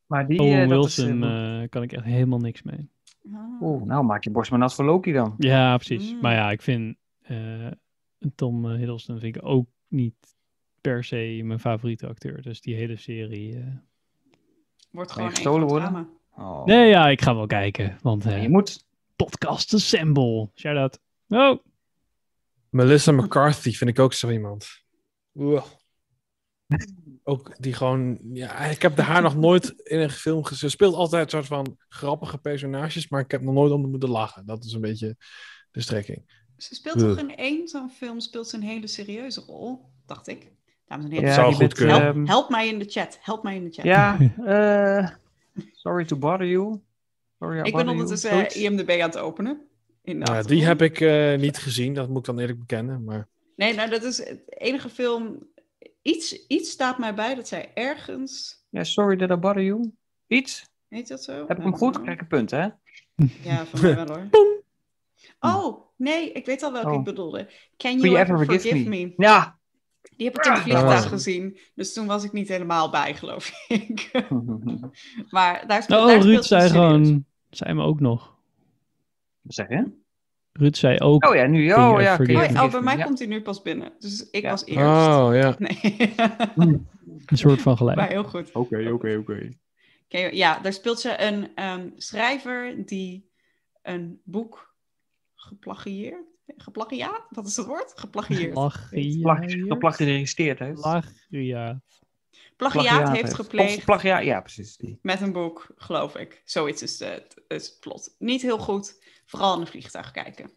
D: Maar die...
E: Owen
D: eh, dat is, eh,
E: Wilson eh, kan ik echt helemaal niks mee.
A: Ah.
D: Oeh, nou maak je borst maar nat voor Loki dan.
E: Ja, precies.
A: Mm.
E: Maar ja, ik vind eh, Tom eh, Hiddleston vind ik ook niet per se mijn favoriete acteur. Dus die hele serie... eh,
A: Wordt
D: Kan
A: gewoon
D: je
A: een
D: gestolen
A: groot
D: worden?
A: drama.
D: Oh.
E: Nee, ja, ik ga wel kijken. Want eh
D: Je moet...
E: podcast assemble. Shout-out. Oh,
F: Melissa McCarthy vind ik ook zo iemand. Oeh. Ook die gewoon, ja, ik heb haar nog nooit in een film gezien. Ze speelt altijd een soort van grappige personages, maar ik heb nog nooit om haar moeten lachen. Dat is een beetje de strekking.
A: Ze speelt toch in één zo'n film speelt ze een hele serieuze rol, dacht ik. Dames en heren,
D: Ja,
F: zou
D: die
F: goed
D: met,
F: kunnen.
A: help,
D: ehm,
A: help mij in de chat. Help mij in de chat.
D: Ja, eh, sorry to bother you. Sorry I
A: ik ben
D: bother
A: ondertussen
D: you.
A: eh,
D: Zoiets.
A: IMDb aan het openen. In de
F: Ja,
A: achtergrond.
F: Nou, die heb ik eh, niet gezien, dat moet ik dan eerlijk bekennen. Maar
A: Nee, nou dat is het enige film. Iets, iets staat mij bij dat zij ergens.
D: Ja, sorry that I bother you. Iets?
A: Heet dat zo?
D: Heb ik
A: Nou,
D: hem goed?
A: nou.
D: Krijg ik een punt, hè?
A: Ja, van mij wel hoor. Oh, nee, ik weet al welke
D: Oh.
A: ik bedoelde. Can
D: Will
A: you ever forgive, me?
D: Ja.
A: Die heb ik in het vliegtuig
F: Ah.
A: gezien. Dus toen was ik niet helemaal bij, geloof ik. maar daar, spe-
E: Oh,
A: daar
E: Ruud
A: speelt ze
E: zei
A: serieus.
E: gewoon... Zei hem ook nog.
D: Wat zeg je?
E: Ruud zei ook...
D: Oh ja, nu.
E: Can you
D: Oh ja,
E: forgive
D: can you
A: Oh, ja, oh,
E: me?
D: forgive
A: bij
D: me?
A: mij
D: Ja.
A: komt hij nu pas binnen. Dus ik
D: Ja.
A: was eerst.
F: oh ja.
A: Nee,
E: Hmm. Een soort van gelijk.
A: maar heel goed.
D: Oh.
F: Oké, oké, oké.
A: Ken je- ja, daar speelt ze een ehm, schrijver die een boek geplagieerd... Geplagiaat? Wat is dat woord? Geplagieerd.
E: Plagiaat.
D: Plagg- Geplagg geregistreerd heeft.
E: Plagiaat.
A: Plagiaat, heeft gepleegd
D: Of Plagiaat, ja, precies. Die.
A: met een boek, geloof ik. Zoiets is de- het is het plot. Niet heel goed. Vooral in een vliegtuig kijken.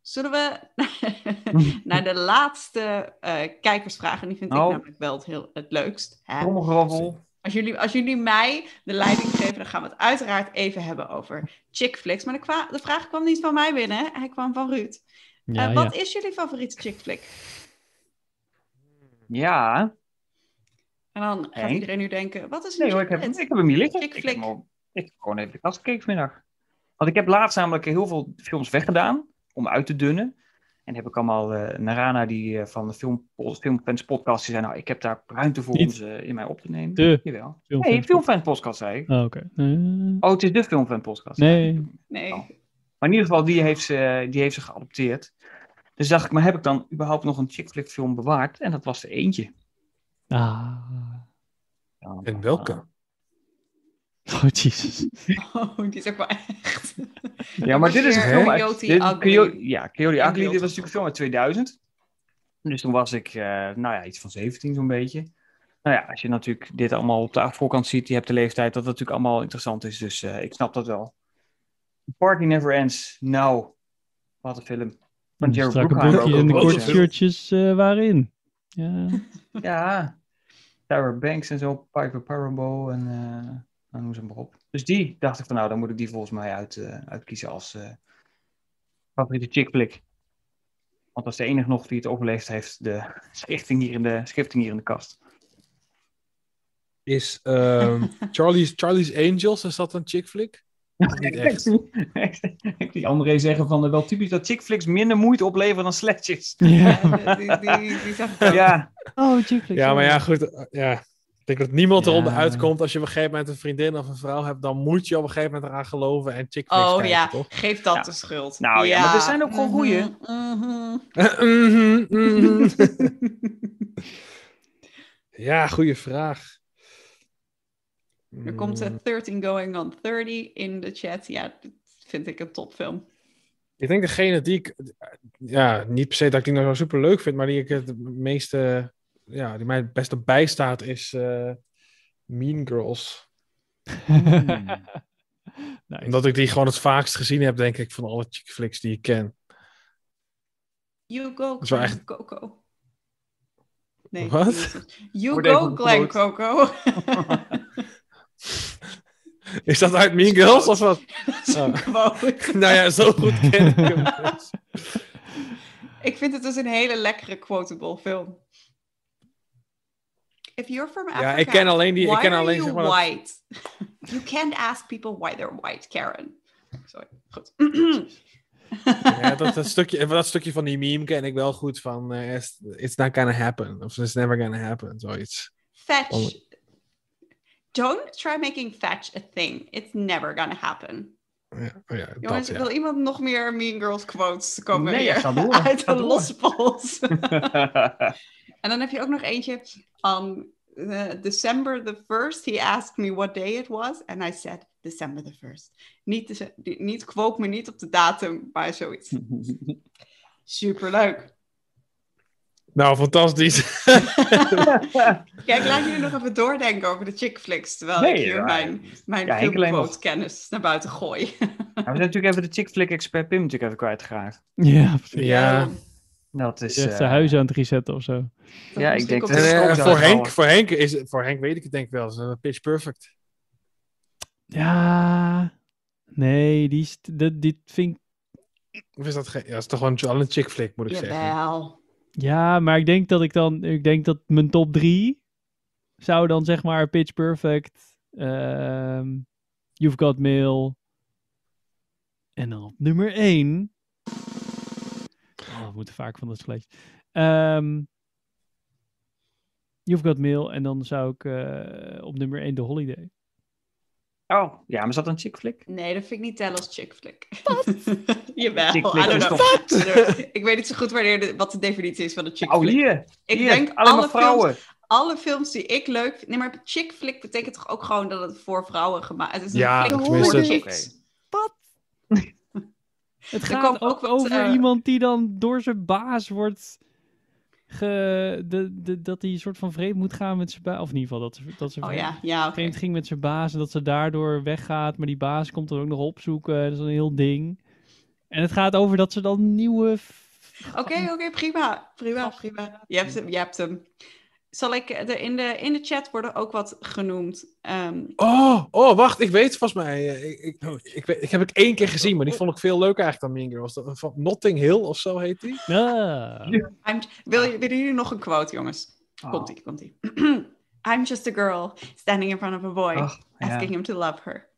A: Zullen we naar de laatste eh, kijkersvraag? En die vind
D: Oh.
A: ik namelijk wel het, heel, het leukst. Hè?
D: Tromgeroffel.
A: Als jullie, als jullie mij de leiding geven, dan gaan we het uiteraard even hebben over chickflicks. Maar de, kwa- de vraag kwam niet van mij binnen, hij kwam van Ruud. Eh,
E: Ja, ja.
A: wat is jullie favoriete chickflick?
D: Ja.
A: En dan gaat
D: Henk?
A: iedereen nu denken, wat is een
D: Nee hoor, ik heb,
A: chickflick?
D: ik heb hem hier liggen.
A: Flik,
D: Ik
A: flik.
D: heb, hem al- ik heb gewoon even de kast gekeken vanmiddag. Want ik heb laatst namelijk heel veel films weggedaan. Om uit te dunnen. En heb ik allemaal eh Narana die eh, van de film, Filmfans podcast. Die zei nou, ik heb daar ruimte voor
E: Niet.
D: om ze in mij op te nemen.
E: De
D: Jawel.
E: filmfans
D: Nee, Filmfans podcast zei ik.
E: Oh, oké. Eh,
D: Oh, het is de Filmfan podcast.
E: Nee.
A: Nee,
D: Oh. Maar in ieder geval, die heeft ze, die heeft ze geadopteerd. Dus dacht ik, maar heb ik dan überhaupt nog een chick flick film bewaard? En dat was er eentje.
E: Ah.
D: Ja.
F: En welke?
E: Oh, jezus.
A: oh, die is ook wel echt.
D: Ja, maar dit is een
A: Hè?
D: film uit...
A: Coyote
D: dit-
A: Ugly.
D: Coyote- ja, Coyote
A: En
D: Ugly, dit was
A: Beelzebub.
D: natuurlijk een film uit 2000. Dus toen was ik, eh, nou ja, iets van 17 zo'n beetje. Nou ja, als je natuurlijk dit allemaal op de voorkant ziet, je hebt de leeftijd, dat dat natuurlijk allemaal interessant is. Dus eh, ik snap dat wel. Party Never Ends, nou, wat een film. Van Jerry
E: strakke
D: Bruckheimer
E: broekje
D: ook
E: en de
D: een
E: korte
D: grote
E: shirtjes eh, waarin. Ja.
D: Ja. Tyra Banks en zo, Piper Parabo en eh, nou, noem ze maar op. Dus die dacht ik van nou, dan moet ik die volgens mij uit, eh, uitkiezen als eh, favoriete chickflick. Want dat is de enige nog die het overleefd heeft, de schifting hier in de, schifting hier in de kast.
F: Is ehm, Charlie's, Charlie's Angels, is dat een chick flick? Of Niet echt.
D: Ik die André zeggen van eh, wel typisch dat chickflicks minder moeite opleveren dan sletjes.
A: Ja, die, die, die zag ik ook.
D: Ja,
E: Oh, chickflick.
F: Ja, maar ja, goed. eh, Ja. Ik denk dat niemand erop
E: Ja.
F: uitkomt als je op een gegeven moment een vriendin of een vrouw hebt, dan moet je op een gegeven moment eraan geloven en chick flicks
A: Oh
F: kijken,
A: ja,
F: toch?
A: geef dat
D: Ja.
A: de schuld.
D: Nou ja, maar er zijn ook gewoon
A: mhm,
D: goeie.
A: mhm.
F: Mhm, mhm. ja, goede vraag. Mm,
A: Er komt
F: Hmm.
A: eh, 13 Going on 30 in de chat. Ja, dat vind ik een topfilm.
F: Ik denk degene die ik, ja, niet per se dat ik die nou zo super leuk vind, maar die ik het meeste, ja, die mij het beste bijstaat is eh, Mean Girls.
E: Hmm. nice.
F: Omdat ik die gewoon het vaakst gezien heb, denk ik, van alle chick flicks die ik ken.
A: You go,
F: is wel
A: Glen
F: echt-
A: Coco. Nee,
F: Wat?
A: niet zo. You
D: Wordt even
A: go,
D: opgeloot.
A: Glen Coco.
F: Is dat uit Mean Girls of wat?
A: Dat is een
F: Oh.
A: quote.
F: nou ja, zo goed ken ik hem dus.
A: Ik vind het dus een hele lekkere quotable film. If you're from Africa,
F: Ja, ik ken alleen die,
A: why
F: ik ken
A: are
F: alleen
A: you
F: zeg maar dat-
A: white? you can't ask people why they're white, Karen. Sorry, goed.
F: Ja, dat, dat, stukje, dat stukje van die meme ken ik wel goed van eh, it's, it's not gonna happen. Of it's never gonna happen, zoiets.
A: Fetch.
F: Oh.
A: Don't try making fetch a thing. It's never gonna happen.
F: Ja, oh ja, dat,
A: Jongens,
F: ja.
A: wil iemand nog meer Mean Girls quotes komen
D: Nee, ja,
A: hier
D: ga door,
A: uit
D: ga
A: de
D: door.
A: losse pols? en dan heb je ook nog eentje. On eh, December the 1st, he asked me what day it was. And I said, December the 1st. Niet, dece- die- niet quote me niet op de datum, maar zoiets. Superleuk.
F: Nou, fantastisch.
A: Kijk, laat jullie nog even doordenken over de chick flicks. Terwijl
D: Nee,
A: ik hier
D: ja.
A: mijn, mijn
D: Ja, Henk alleen
A: filmquote kennis naar buiten gooi.
D: Nou, we zijn natuurlijk even de chick flick expert Pim natuurlijk even kwijtgeraakt.
E: Ja, precies.
F: Ja.
D: Dat is...
E: Die heeft
D: eh,
E: zijn huis aan het resetten of zo.
D: ja, ik denk
A: Dat
D: dat
F: En,
A: is
F: eh,
D: ook zo
F: voor, Henk,
D: trouwens.
F: voor, Henk is, het- voor Henk weet ik het denk ik wel. Het is een pitch perfect.
E: Ja. Nee, die, is- dat, dit vind ik...
F: Of is dat geen... Ja, dat is toch gewoon al een chick flick, moet ik zeggen.
A: Jawel.
E: Ja, maar ik denk dat ik dan... Ik denk dat mijn top drie zou dan zeg maar Pitch Perfect, ehm, You've Got Mail en dan op nummer één... Oh, we moeten vaak van dat slecht. Ehm You've Got Mail en dan zou ik eh, op nummer één The Holiday.
D: Oh, ja, maar is dat een chick flick?
A: Nee, dat vind ik niet tellen als chick flick. Jawel,
D: Chick
A: I
D: flick
A: don't
D: is
A: know.
D: toch...
A: I don't know. Ik weet niet zo goed wanneer de- wat de definitie is van een chick
D: Oh,
A: flick.
D: hier.
A: Ik
D: hier,
A: denk
D: allemaal
A: alle films,
D: vrouwen.
A: alle films die ik leuk vind. Nee, maar chick flick betekent toch ook gewoon dat het voor vrouwen gemaakt is. Het is
F: Ja,
A: een flick
F: tenminste-
A: voor chicks.
E: Het
A: Er
E: gaat
A: kwam
E: ook
A: ook wat,
E: over
A: eh,
E: iemand die dan door zijn baas wordt. Ge, de, de, dat hij een soort van vreemd moet gaan met zijn baas. Of in ieder geval dat, ze- dat ze
A: Oh
E: vreemd,
A: ja, ja. oké.
E: vreemd ging met zijn baas. En dat ze daardoor weggaat. Maar die baas komt dan ook nog opzoeken. Dat is een heel ding. En het gaat over dat ze dan nieuwe. f-
A: Oké, oké, prima. Prima, prima. Je hebt hem, je hebt hem. Zal ik eh, de, in, de, in de chat worden ook wat genoemd? Ehm,
F: Oh, oh, wacht. Ik weet volgens mij... eh, Ik, ik, ik, weet- ik heb ik één keer gezien, maar die vond ik veel leuker eigenlijk dan Mean Girls. Dat- Van Notting Hill of zo heet die.
E: Ah.
A: I'm, wil, je- willen jullie nog een quote, jongens?
D: Oh.
A: Komt ie, komt ie. I'm just a girl standing in front of a boy,
D: Ach, Oh, ja.
A: asking him to love her.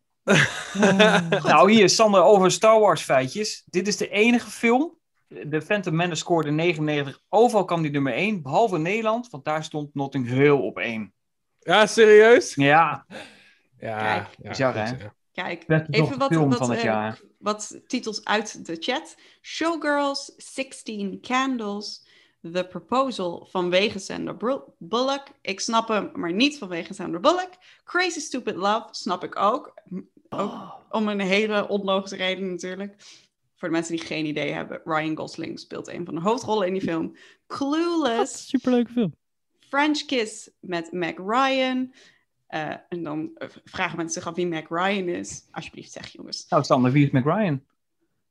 D: Nou, hier, Sander, over Star Wars feitjes. Dit is de enige film. De Phantom Menace scoorde 99. Overal kwam die nummer 1, behalve in Nederland, want daar stond Notting Hill op 1.
F: Ja, serieus?
D: Ja,
F: Ja.
A: Kijk.
F: ja,
D: Bizar,
F: goed,
D: hè?
F: ja.
A: Kijk,
I: Beste
A: even wat,
D: film
A: wat,
D: van het
A: eh,
D: jaar.
A: wat titels uit de chat. Showgirls, 16 Candles, The Proposal vanwege Sandra Bul- Bullock. Ik snap hem, maar niet vanwege Sandra Bullock. Crazy Stupid Love, snap ik ook. M-
D: Oh.
A: ook om een hele onlogische reden natuurlijk. Voor de mensen die geen idee hebben, Ryan Gosling speelt een van de hoofdrollen in die film. Clueless,
E: Superleuke film.
A: French Kiss met Mac Ryan. Eh, en dan eh, vragen mensen zich af wie Mac Ryan is. Alsjeblieft, zeg jongens.
D: nou Sander, wie is McRyan?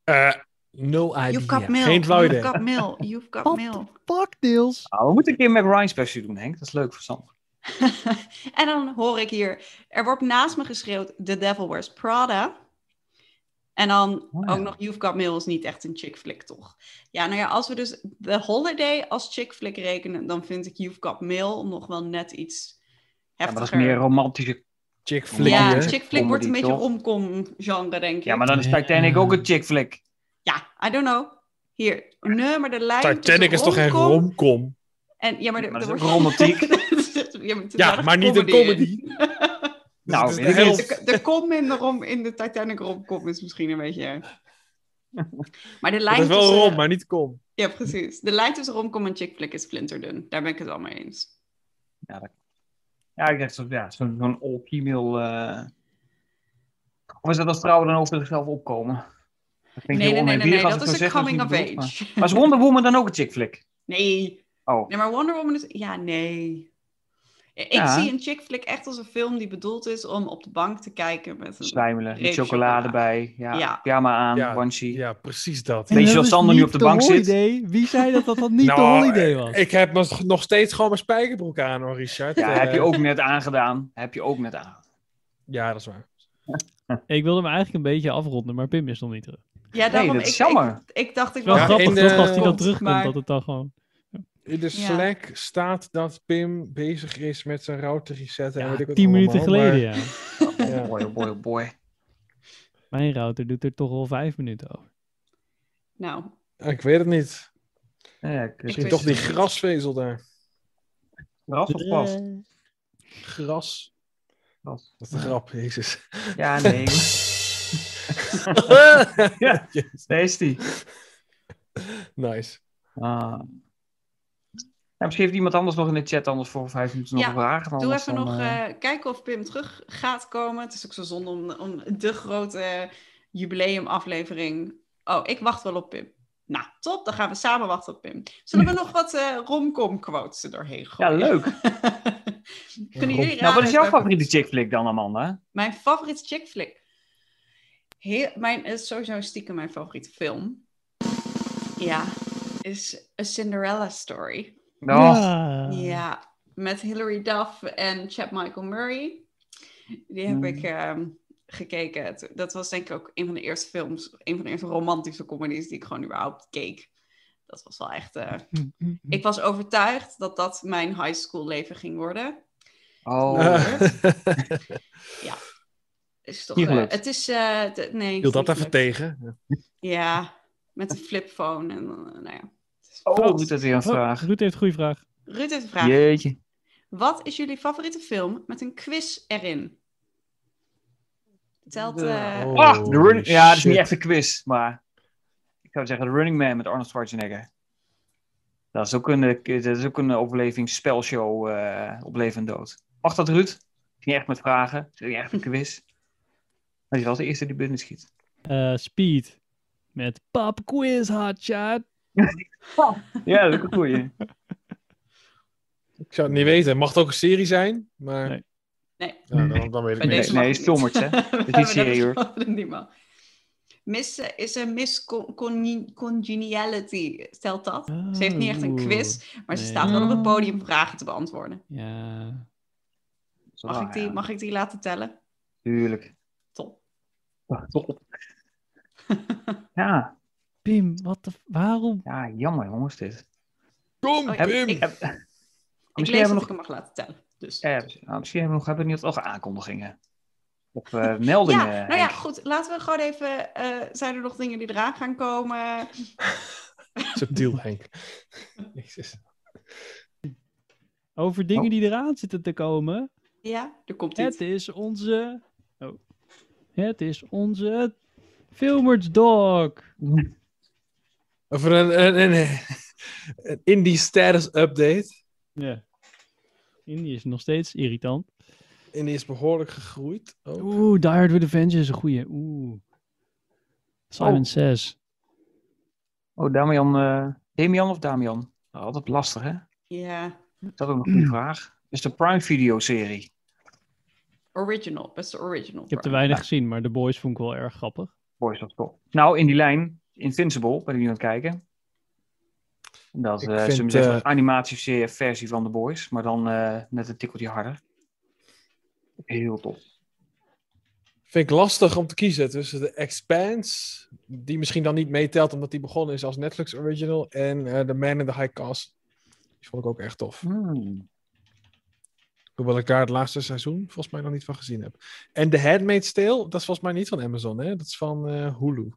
F: Eh, no
A: You've got
F: idea.
A: mail.
F: Geen flauw idee.
A: You've got mail. You've got
E: Wat
A: mail.
E: Fuck, Niels.
D: Nou, we moeten een keer een McRyan special doen, Henk. Dat is leuk voor Sander.
A: en dan hoor ik hier, er wordt naast me geschreeuwd, The Devil Wears Prada. En dan
D: Oh, ja.
A: ook nog, You've Got Mail is niet echt een chick flick, toch? Ja, nou ja, als we dus The Holiday als chick flick rekenen, dan vind ik You've Got Mail nog wel net iets
D: Ja, maar dat is
A: heftiger.
D: meer romantische...
F: Chick flick.
D: romantische
A: ja,
F: hè?
A: chick flick wordt een
D: comedy,
A: beetje
D: toch?
A: romcom-genre, denk ik.
D: Ja, maar dan is Titanic ook een chick flick.
A: Ja, I don't know. Hier, nee, maar de lijn
F: Titanic
A: tussen
F: is toch geen
A: romcom
F: romcom?
A: En, ja, maar, de,
D: Maar dat
A: er
D: is
A: wordt-
D: ook romantiek.
A: ja, maar, het is
F: Ja,
A: wel
F: maar niet een
A: in.
D: Nou,
F: Dus het
D: weet
F: is
D: ik
F: de
D: niet.
F: helft.
A: de, de kom in de, rom, in de Titanic romcom is misschien een beetje... erg. Maar de
F: Dat
A: lijn
F: is wel
A: tussen,
F: rom, maar niet kom.
A: Ja, precies. De lijn tussen romcom en chick flick is splinterdun. Daar ben ik het al mee eens.
D: Ja, dat... ja ik dacht zo- ja, zo'n zo'n all-female... eh, Of is dat als vrouwen dan over zichzelf opkomen? Dat vind
A: Nee,
D: ik
A: nee,
D: heel
A: nee, nee,
D: oneerbiedig
A: nee,
D: als
A: dat
D: ik
A: is
D: zo
A: een
F: nou
D: zeg, dat
A: coming of
D: niet bedoeld, maar-
A: age.
D: Maar is Wonder Woman dan ook een chick flick?
A: Nee.
D: Oh.
A: nee, maar Wonder Woman is... Ja, nee. Ja, Ik
D: Ja.
A: zie een chick flick echt als een film die bedoeld is om op de bank te kijken met een...
D: Slijmelen, met
A: Reep
D: chocolade
A: chocola.
D: bij, ja,
A: Ja.
D: pyjama aan,
F: Ja,
D: onesie.
F: Ja, precies dat.
D: Weet je
E: En dat
D: als
E: is
D: Sander nu
E: niet
D: op de
E: The
D: bank zit?
E: Holiday. Wie zei dat dat dan niet de
F: Nou,
E: holiday was?
F: Ik heb nog- nog steeds gewoon mijn spijkerbroek aan hoor, Richard.
D: Ja,
F: Eh,
D: heb je ook net aangedaan. Heb je ook net aangedaan.
F: Ja, dat is waar.
E: Ik wilde hem eigenlijk een beetje afronden, maar Pim is nog niet terug.
A: Ja, daarom...
D: dat
A: ik,
D: is
A: ik-
D: jammer.
A: Ik, dacht ik
E: Het is wel
F: Ja,
E: grappig
F: in de-
E: toch als hij dan
A: komt,
E: terugkomt,
A: maar-
E: dat het dan gewoon...
F: In de
A: Ja.
F: Slack staat dat Pim bezig is met zijn router resetten. en
E: Ja,
F: weet ik wat
E: tien minuten
F: allemaal, maar-
E: geleden, ja.
F: Ja.
D: Boy, oh boy, oh boy.
E: Mijn router doet er toch al vijf minuten over.
A: Nou,
F: Ik weet het niet.
D: Ja, ik
A: Ik weet
F: Toch
A: het
F: die
A: niet.
F: grasvezel daar.
D: Ras of pas?
F: Gras.
D: Gras.
F: Dat is een grap, jezus.
D: Ja, nee. ja, daar is die.
F: nice.
D: Ah. Ja, misschien heeft iemand anders nog in de chat anders voor vijf minuten nog
A: Ja,
D: een vraag. en
A: Doe
D: anders
A: even
D: dan,
A: nog
D: eh,
A: eh, kijken of Pim terug gaat komen. Het is ook zo zonde om, om de grote jubileumaflevering. Oh, ik wacht wel op Pim. Nou, top. Dan gaan we samen wachten op Pim. Zullen we nog wat eh romcom quotes er doorheen
D: Ja,
A: gooien?
D: leuk.
A: Kunnen jullie raden
D: Nou, wat is jouw
A: welke-
D: favoriete chick flick dan, Amanda?
A: Mijn favoriete chick flick? heel, mijn, het is sowieso stiekem mijn favoriete film. Ja, is A Cinderella Story. Ja, met Hilary Duff en Chad Michael Murray. Die heb
I: Mm.
A: ik ehm, gekeken. T- Dat was denk ik ook een van de eerste films, een van de eerste romantische comedies die ik gewoon überhaupt keek. Dat was wel echt. eh,
E: Mm.
A: Ik was overtuigd dat dat mijn high school leven ging worden.
D: Oh.
A: Ja. Is toch,
D: Niet
A: eh,
D: gelukt.
A: het is. eh, de- nee,
F: Hield
A: het
F: dat
A: is
F: even
A: niet gelukt.
F: tegen.
A: Ja, met een flipphone. En, eh, nou ja.
D: Oh, doet dat weer een
E: Oh,
D: vraag.
E: Ruud heeft een goede vraag.
A: Ruud heeft een vraag.
D: Jeetje.
A: Wat is jullie favoriete film met een quiz erin? Telt. eh,
F: Oh,
D: Ah, de running... Ja, dat is niet
F: shit.
D: echt een quiz, maar... Ik zou zeggen The Running Man met Arnold Schwarzenegger. Dat is ook een, eh, dat is ook een overlevingsspelshow eh op leven en dood. Mag dat, Ruud? Is niet echt met vragen. Is niet echt een quiz. Maar je was de eerste die binnen schiet.
E: Eh, Speed. Met Pop Quiz Hot Shot.
D: Ja, dat is ook een goeie.
F: Ik zou het niet weten. Mag het ook een serie zijn, maar...
E: Nee.
A: Nee.
F: Nou, dan, dan weet ik
A: bij
F: niet.
A: deze
D: nee,
A: mag
D: is filmers, hè?
A: We hebben
D: niet serieus, hoor.
A: dat- niet mag. Miss, eh, is een miss con- con- congeniality, stelt dat? Ze heeft niet echt een
E: Oh.
A: quiz, maar ze
E: Nee.
A: staat wel op het podium vragen te beantwoorden.
E: Ja.
D: Dat is wel
A: Mag
D: waar,
A: ik die,
D: ja.
A: mag ik die laten tellen?
D: Tuurlijk. Oh,
A: Top.
D: Top. ja,
E: Pim, wat de... Waarom?
D: ja, jammer jongens dit.
F: Kom,
A: Oh, ik-
F: Pim!
A: ik-
D: Heb-
A: Ik
D: Misschien
A: lees dat
D: hebben we
A: ik
D: nog,
A: hem mag laten tellen. Dus.
D: eh, nou, misschien hebben we nog, hebben we niet nog aankondigingen. Of eh, meldingen.
A: Ja, nou ja,
D: Henk.
A: goed. Laten we gewoon even... eh, zijn er nog dingen die eraan gaan komen?
F: Subtiel, Henk. Jezus.
E: Over dingen die eraan zitten te komen.
A: Ja, er komt iets.
E: Het is onze. Oh. Het is onze. Filmers Dog.
F: nou Over een, een, een, een indie status update.
E: Ja. Indie is nog steeds irritant.
F: Indie is behoorlijk gegroeid. ook.
E: Oeh, Die Hard with a Vengeance is een goeie. Oeh. Simon
D: Oh.
E: Says.
D: Oh, Damian. eh, Damian of Damian? Nou, altijd lastig, hè?
A: Ja,
D: Dat is ook
F: Mm.
D: een goede vraag. Is de Prime Video serie.
A: original. Beste original.
E: Ik heb te
A: Prime.
E: weinig gezien, maar The Boys vond ik wel erg grappig.
D: Boys, dat is top. Nou, in die lijn, Invincible, ben ik nu aan het kijken. Dat
F: Ik
D: eh,
F: vind,
D: is een zeggen,
F: eh,
D: animatieversie van The Boys, maar dan eh, net een tikkeltje harder. Heel tof.
F: Vind ik lastig om te kiezen tussen The Expanse, die misschien dan niet meetelt omdat die begonnen is als Netflix original, en eh, The Man in the High Castle. Die vond ik ook echt tof.
D: Hmm.
F: Hoewel ik daar het laatste seizoen volgens mij nog niet van gezien heb. En The Handmaid's Tale, dat is volgens mij niet van Amazon, hè? Dat is van eh, Hulu.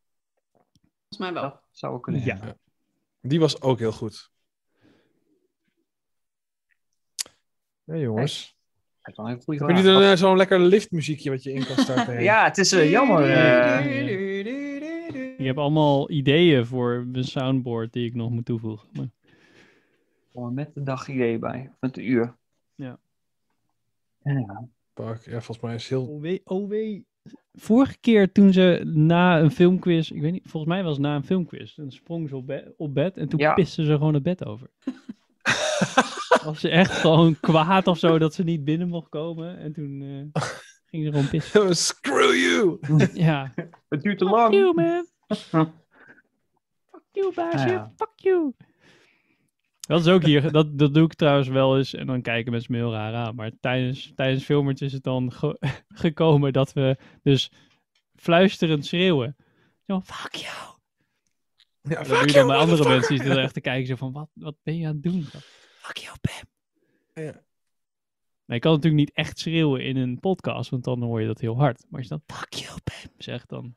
A: Volgens mij wel.
D: Dat zou wel kunnen.
E: Ja.
F: Die was ook heel goed. Ja, jongens.
D: Dat is wel een hele goede
F: Hebben
D: vraag.
F: jullie er eh, zo'n lekker liftmuziekje wat je in kan starten? Henk?
D: Ja, het is eh, jammer. eh.
E: Ik heb allemaal ideeën voor een soundboard die ik nog moet toevoegen. Maar...
D: Gewoon met de dag idee bij. Of met de uur.
E: Ja.
D: Ja.
F: Fuck, Ja, volgens mij is heel...
E: OW, Vorige keer toen ze na een filmquiz, ik weet niet, volgens mij was het na een filmquiz, dan sprong ze op, be- op bed en toen
D: Ja.
E: pisten ze gewoon het bed over. was ze echt gewoon kwaad of zo dat ze niet binnen mocht komen en toen eh, ging ze gewoon pissen.
F: Screw you!
E: Ja.
D: Het duurt te
E: Fuck you
D: lang.
E: man. Fuck you baasje,
D: Ah, ja.
E: fuck you. Dat is ook hier, dat, dat doe ik trouwens wel eens en dan kijken mensen me heel raar aan. Maar tijdens, tijdens filmers is het dan ge- gekomen dat we dus fluisterend schreeuwen. Zo, fuck you.
F: Ja,
E: En Dat doe je dan bij andere mensen eh, die er echt te kijken zo van, wat, wat ben je aan het doen? Van, fuck you, Pam.
F: Ja.
E: Maar je kan natuurlijk niet echt schreeuwen in een podcast, want dan hoor je dat heel hard. Maar als je dan fuck you, Pam zegt, dan...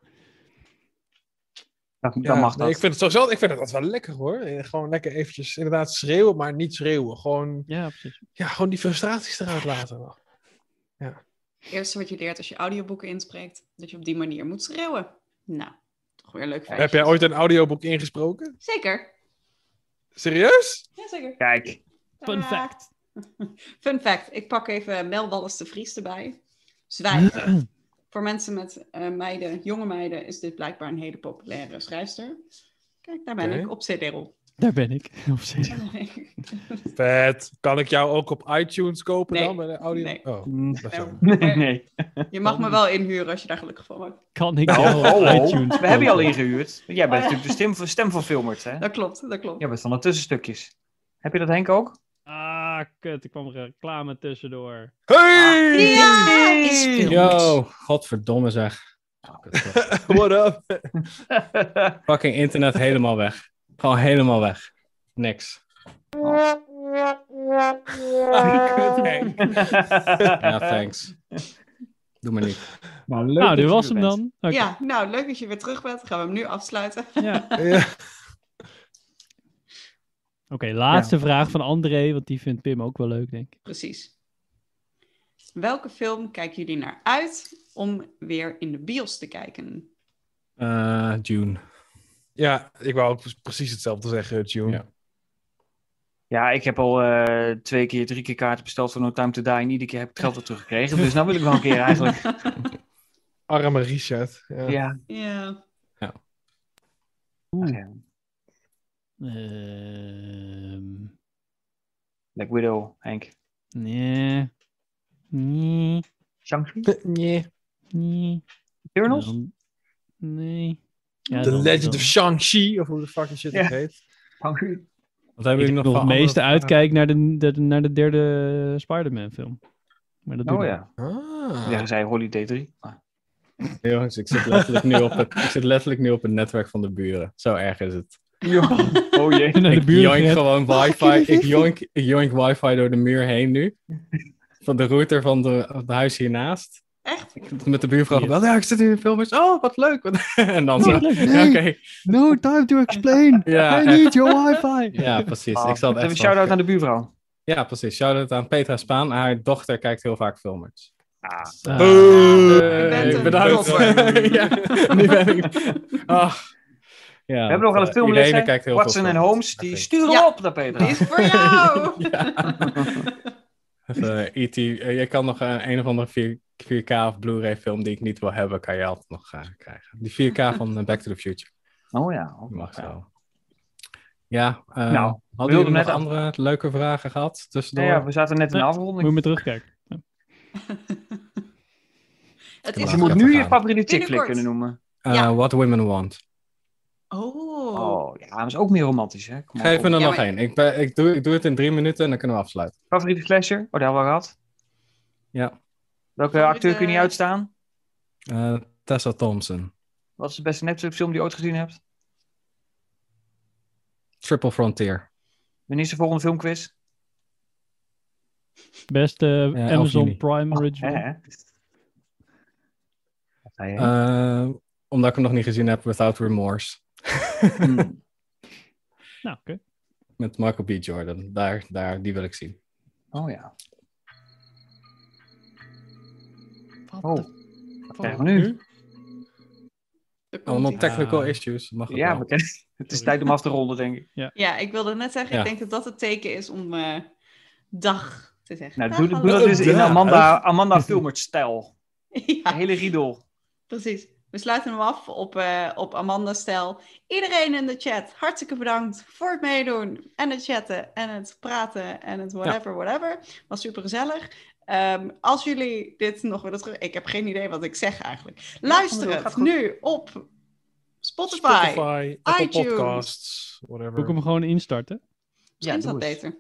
D: Nou, Dan, dan
F: Ja,
D: mag
F: nee,
D: dat.
F: ik vind het sowieso, ik vind het altijd wel lekker hoor. Eh, Gewoon lekker eventjes inderdaad schreeuwen, maar niet schreeuwen. Gewoon,
E: Ja, precies.
F: ja, gewoon die frustraties eruit laten.
A: Het eerste wat je leert als je audioboeken inspreekt, dat je op die manier moet schreeuwen. Nou, toch weer een leuk feitje.
F: Heb jij ooit een audioboek ingesproken?
A: Zeker.
F: Serieus?
A: Ja, zeker.
D: Kijk.
E: Fun
A: Tadaa.
E: fact.
A: Fun fact. Ik pak even Mel Wallis de Vries erbij. Zwijgen. Voor mensen met eh, meiden, jonge meiden, is dit blijkbaar een hele populaire schrijfster. Kijk, daar ben
F: Oké.
A: ik op CD-rol.
E: Daar ben ik. Op
A: Nou,
E: zich.
F: Vet. Kan ik jou ook op iTunes kopen
A: Nee.
F: dan? Bij de audio?
A: Nee.
F: Oh,
D: Mm.
F: dat is jammer.
A: Nee,
D: nee.
A: Je mag me wel inhuren als je daar gelukkig van wordt.
E: Kan ik
D: Nou,
E: jou
D: oh,
E: op
D: oh.
E: iTunes
D: We hebben je al
E: kopen?
D: ingehuurd. Jij bent
A: Oh, ja.
D: natuurlijk de stem, stem van Filmert, hè?
A: Dat klopt, dat klopt.
D: Jij bent van de tussenstukjes. Heb je dat, Henk, ook?
E: Ah, kut. Ik kwam reclame tussendoor.
D: Ah.
F: Hey!
A: Ja, is
B: Yo, godverdomme zeg.
A: Ah.
F: What up?
B: Fucking internet helemaal weg. Gewoon helemaal weg. Niks. Ja, thanks. Doe maar niet.
I: Nou, leuk
E: Nou,
I: dat
E: dit
I: je
E: was
I: er
E: hem
I: bent.
E: dan. Oké.
A: Ja, nou leuk dat je weer terug bent. Gaan we hem nu afsluiten.
E: Ja.
F: Ja.
E: Oké, laatste vraag van André, want die vindt Pim ook wel leuk, denk ik.
A: Precies. Welke film kijken jullie naar uit om weer in de bios te kijken?
B: Eh, June.
F: Ja, ik wou ook precies hetzelfde zeggen, Tune.
B: Ja.
D: Ja, ik heb al eh, twee keer, drie keer kaarten besteld voor No Time To Die. En iedere keer heb ik het geld weer teruggekregen. Dus nou wil ik wel een keer eigenlijk.
F: Arme Richard. Ja.
D: Ja.
A: Ja.
D: Oeh.
E: Ehm,
D: Black Widow, Henk.
E: nee. Nee.
D: Shang-Chi?
F: Nee.
E: Nee.
D: Eternals?
E: Dan- Nee. Ja,
F: The
E: dan-
F: Legend
E: dan-
F: of Shang-Chi, of hoe de fucking shit
D: Ja.
F: het heet.
D: Shang-Chi.
B: Wat hebben
E: Ik
B: jullie
E: nog
B: nog
E: het
B: van
E: meeste
B: andere vragen?
E: uitkijk naar de, de- naar de derde Spider-Man film. Maar dat doe
D: Oh
E: ik
D: ja.
F: Ah.
D: Zeggen zij Holiday 3. Ah.
B: Nee, jongens, ik zit, letterlijk nu op het, ik zit letterlijk nu op het netwerk van de buren. Zo erg is het.
D: Oh jee.
E: niet. Naar de
B: Ik
E: buurt
B: joink
E: gered.
B: gewoon
E: Mag ik
B: wifi.
E: jullie
B: Ik
E: wifi?
B: joink, ik joink wifi door de muur heen nu. Van de router van de, het huis hiernaast.
A: Echt?
B: Ik heb met de buurvrouw gebeld. Ja, ik zit in de filmpjes. Oh, wat leuk. Wat- en dan zo.
E: leuk.
B: Ja, Oké.
E: No time to explain.
B: Ja,
E: I
B: echt.
E: need your wifi.
B: ja, precies.
D: Ah,
B: Ik zal het
D: Even
B: echt
D: een
B: van-
D: shout-out aan de buurvrouw.
B: Ja, precies. Shout-out aan Petra Spaan. Haar dochter kijkt heel vaak filmers.
D: Ah.
E: Ah,
A: bent een
B: bedankt.
A: topper.
B: ja, nu ben ik... Ach. Ja,
D: We hebben nog wel een film
B: eh, Irene kijkt heel
D: Watson
B: veel
D: en
B: films.
D: Holmes, die
B: Oké.
D: sturen
A: Ja.
D: op naar
A: Die
D: Petra.
A: is voor jou!
B: Even, eh, E.T. eh, je kan nog een, een of andere 4, 4K of Blu-ray film die ik niet wil hebben, kan je altijd nog eh, krijgen. Die 4K van eh, Back to the Future.
D: Oh ja.
B: Die mag
D: Ja.
B: zo. Ja, eh,
D: Nou, we
B: hadden jullie
D: wilden
B: nog
D: net af-
B: andere leuke vragen gehad tussendoor?
D: Nou ja, we zaten net in de
E: Nee. Moet je
D: afronding.
E: me terugkijken.
A: Het is...
B: Ja.
D: Dus Je moet nu je favoriete chick
A: Binnenkort.
D: flick kunnen noemen.
B: Eh,
A: ja.
B: What Women Want.
A: Oh.
D: Oh ja, maar is ook meer romantisch hè. Kom op,
B: Geef me
D: kom
B: er
D: op.
A: Ja,
B: nog
A: maar-
B: één. Ik, ben- ik, doe, ik doe het in drie minuten en dan kunnen we afsluiten.
D: Favoriete slasher? Oh, daar hebben we gehad.
B: Ja.
D: Welke
A: Favoriete-
D: acteur kun je niet uitstaan?
B: Eh, Tessa Thompson.
D: Wat is de beste Netflix film die je ooit gezien hebt?
B: Triple Frontier.
D: Wanneer is de volgende filmquiz?
E: Beste
B: elf juni.
E: eh, Amazon Prime
D: Hè,
E: Original.
D: hè? Wat zei je?
B: Eh, omdat ik hem nog niet gezien heb, Without Remorse.
D: Hmm.
E: Nou, oké.
B: Met Michael B. Jordan. Daar, daar, die wil ik zien.
D: Oh ja.
E: Wat
D: Oh.
E: de-
D: Wat krijgen we nu?
A: daar komt
B: Allemaal
A: ie.
B: technical
E: Ja.
B: issues. Mag het
D: Ja,
B: wel.
D: we kennen- het is tijd om af te ronden denk ik.
A: Ja, ik wilde net zeggen,
B: Ja.
A: ik denk dat dat het teken is om eh, dag te zeggen.
D: Nou,
A: Dag,
D: doe, doe
A: hallo.
D: dat dus in
F: Ja.
D: Amanda, Amanda Filmert stijl. De
A: Ja,
D: hele riedel.
A: precies. We sluiten hem af op, eh, op Amanda Stel. Iedereen in de chat, hartstikke bedankt voor het meedoen. En het chatten en het praten en het whatever, whatever. Was super gezellig. als jullie dit nog willen terug... Ik heb geen idee wat ik zeg eigenlijk. Luister
F: dat
A: het
F: gaat goed.
A: nu op Spotify.
F: Spotify, Apple
A: iTunes.
F: Podcasts,
E: Moet ik
F: whatever.
E: hem gewoon instarten?
A: Misschien is
D: doe
A: dat
D: eens.
A: beter.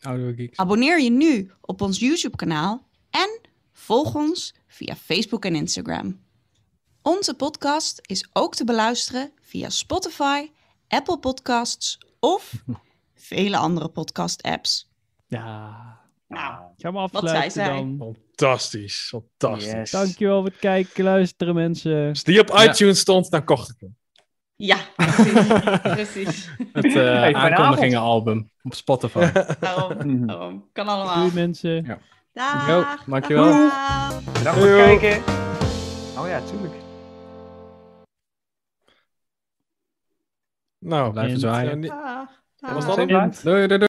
B: Audio Geeks.
J: Abonneer je nu op ons YouTube-kanaal en volg ons via Facebook en Instagram. Onze podcast is ook te beluisteren via Spotify, Apple Podcasts of vele andere podcast-apps.
E: Ja.
A: Nou,
E: Ik ga me
A: zei
E: afsluiten
A: zij?
E: dan.
F: Fantastisch, fantastisch.
D: Nou, Yes.
E: Dankjewel voor het kijken, luisteren mensen.
F: Als die op
B: Ja.
F: iTunes stond, dan kocht ik hem.
A: Ja, precies. precies.
B: Het eh
D: fijne
B: aankondigingenalbum op Spotify.
A: Daarom,
D: Mhm.
A: daarom. Kan allemaal.
E: Doei mensen.
A: Dag.
B: Jo, dankjewel.
A: Dag.
D: Bedankt voor het
F: Yo.
D: kijken. Oh ja, tuurlijk.
F: Nou,
B: Blijven
E: En-
B: zwaaien.
F: en-
A: Dag.
F: was
A: Dag.
F: Nou, dat hem?
E: En-
B: Doei, doei, doei.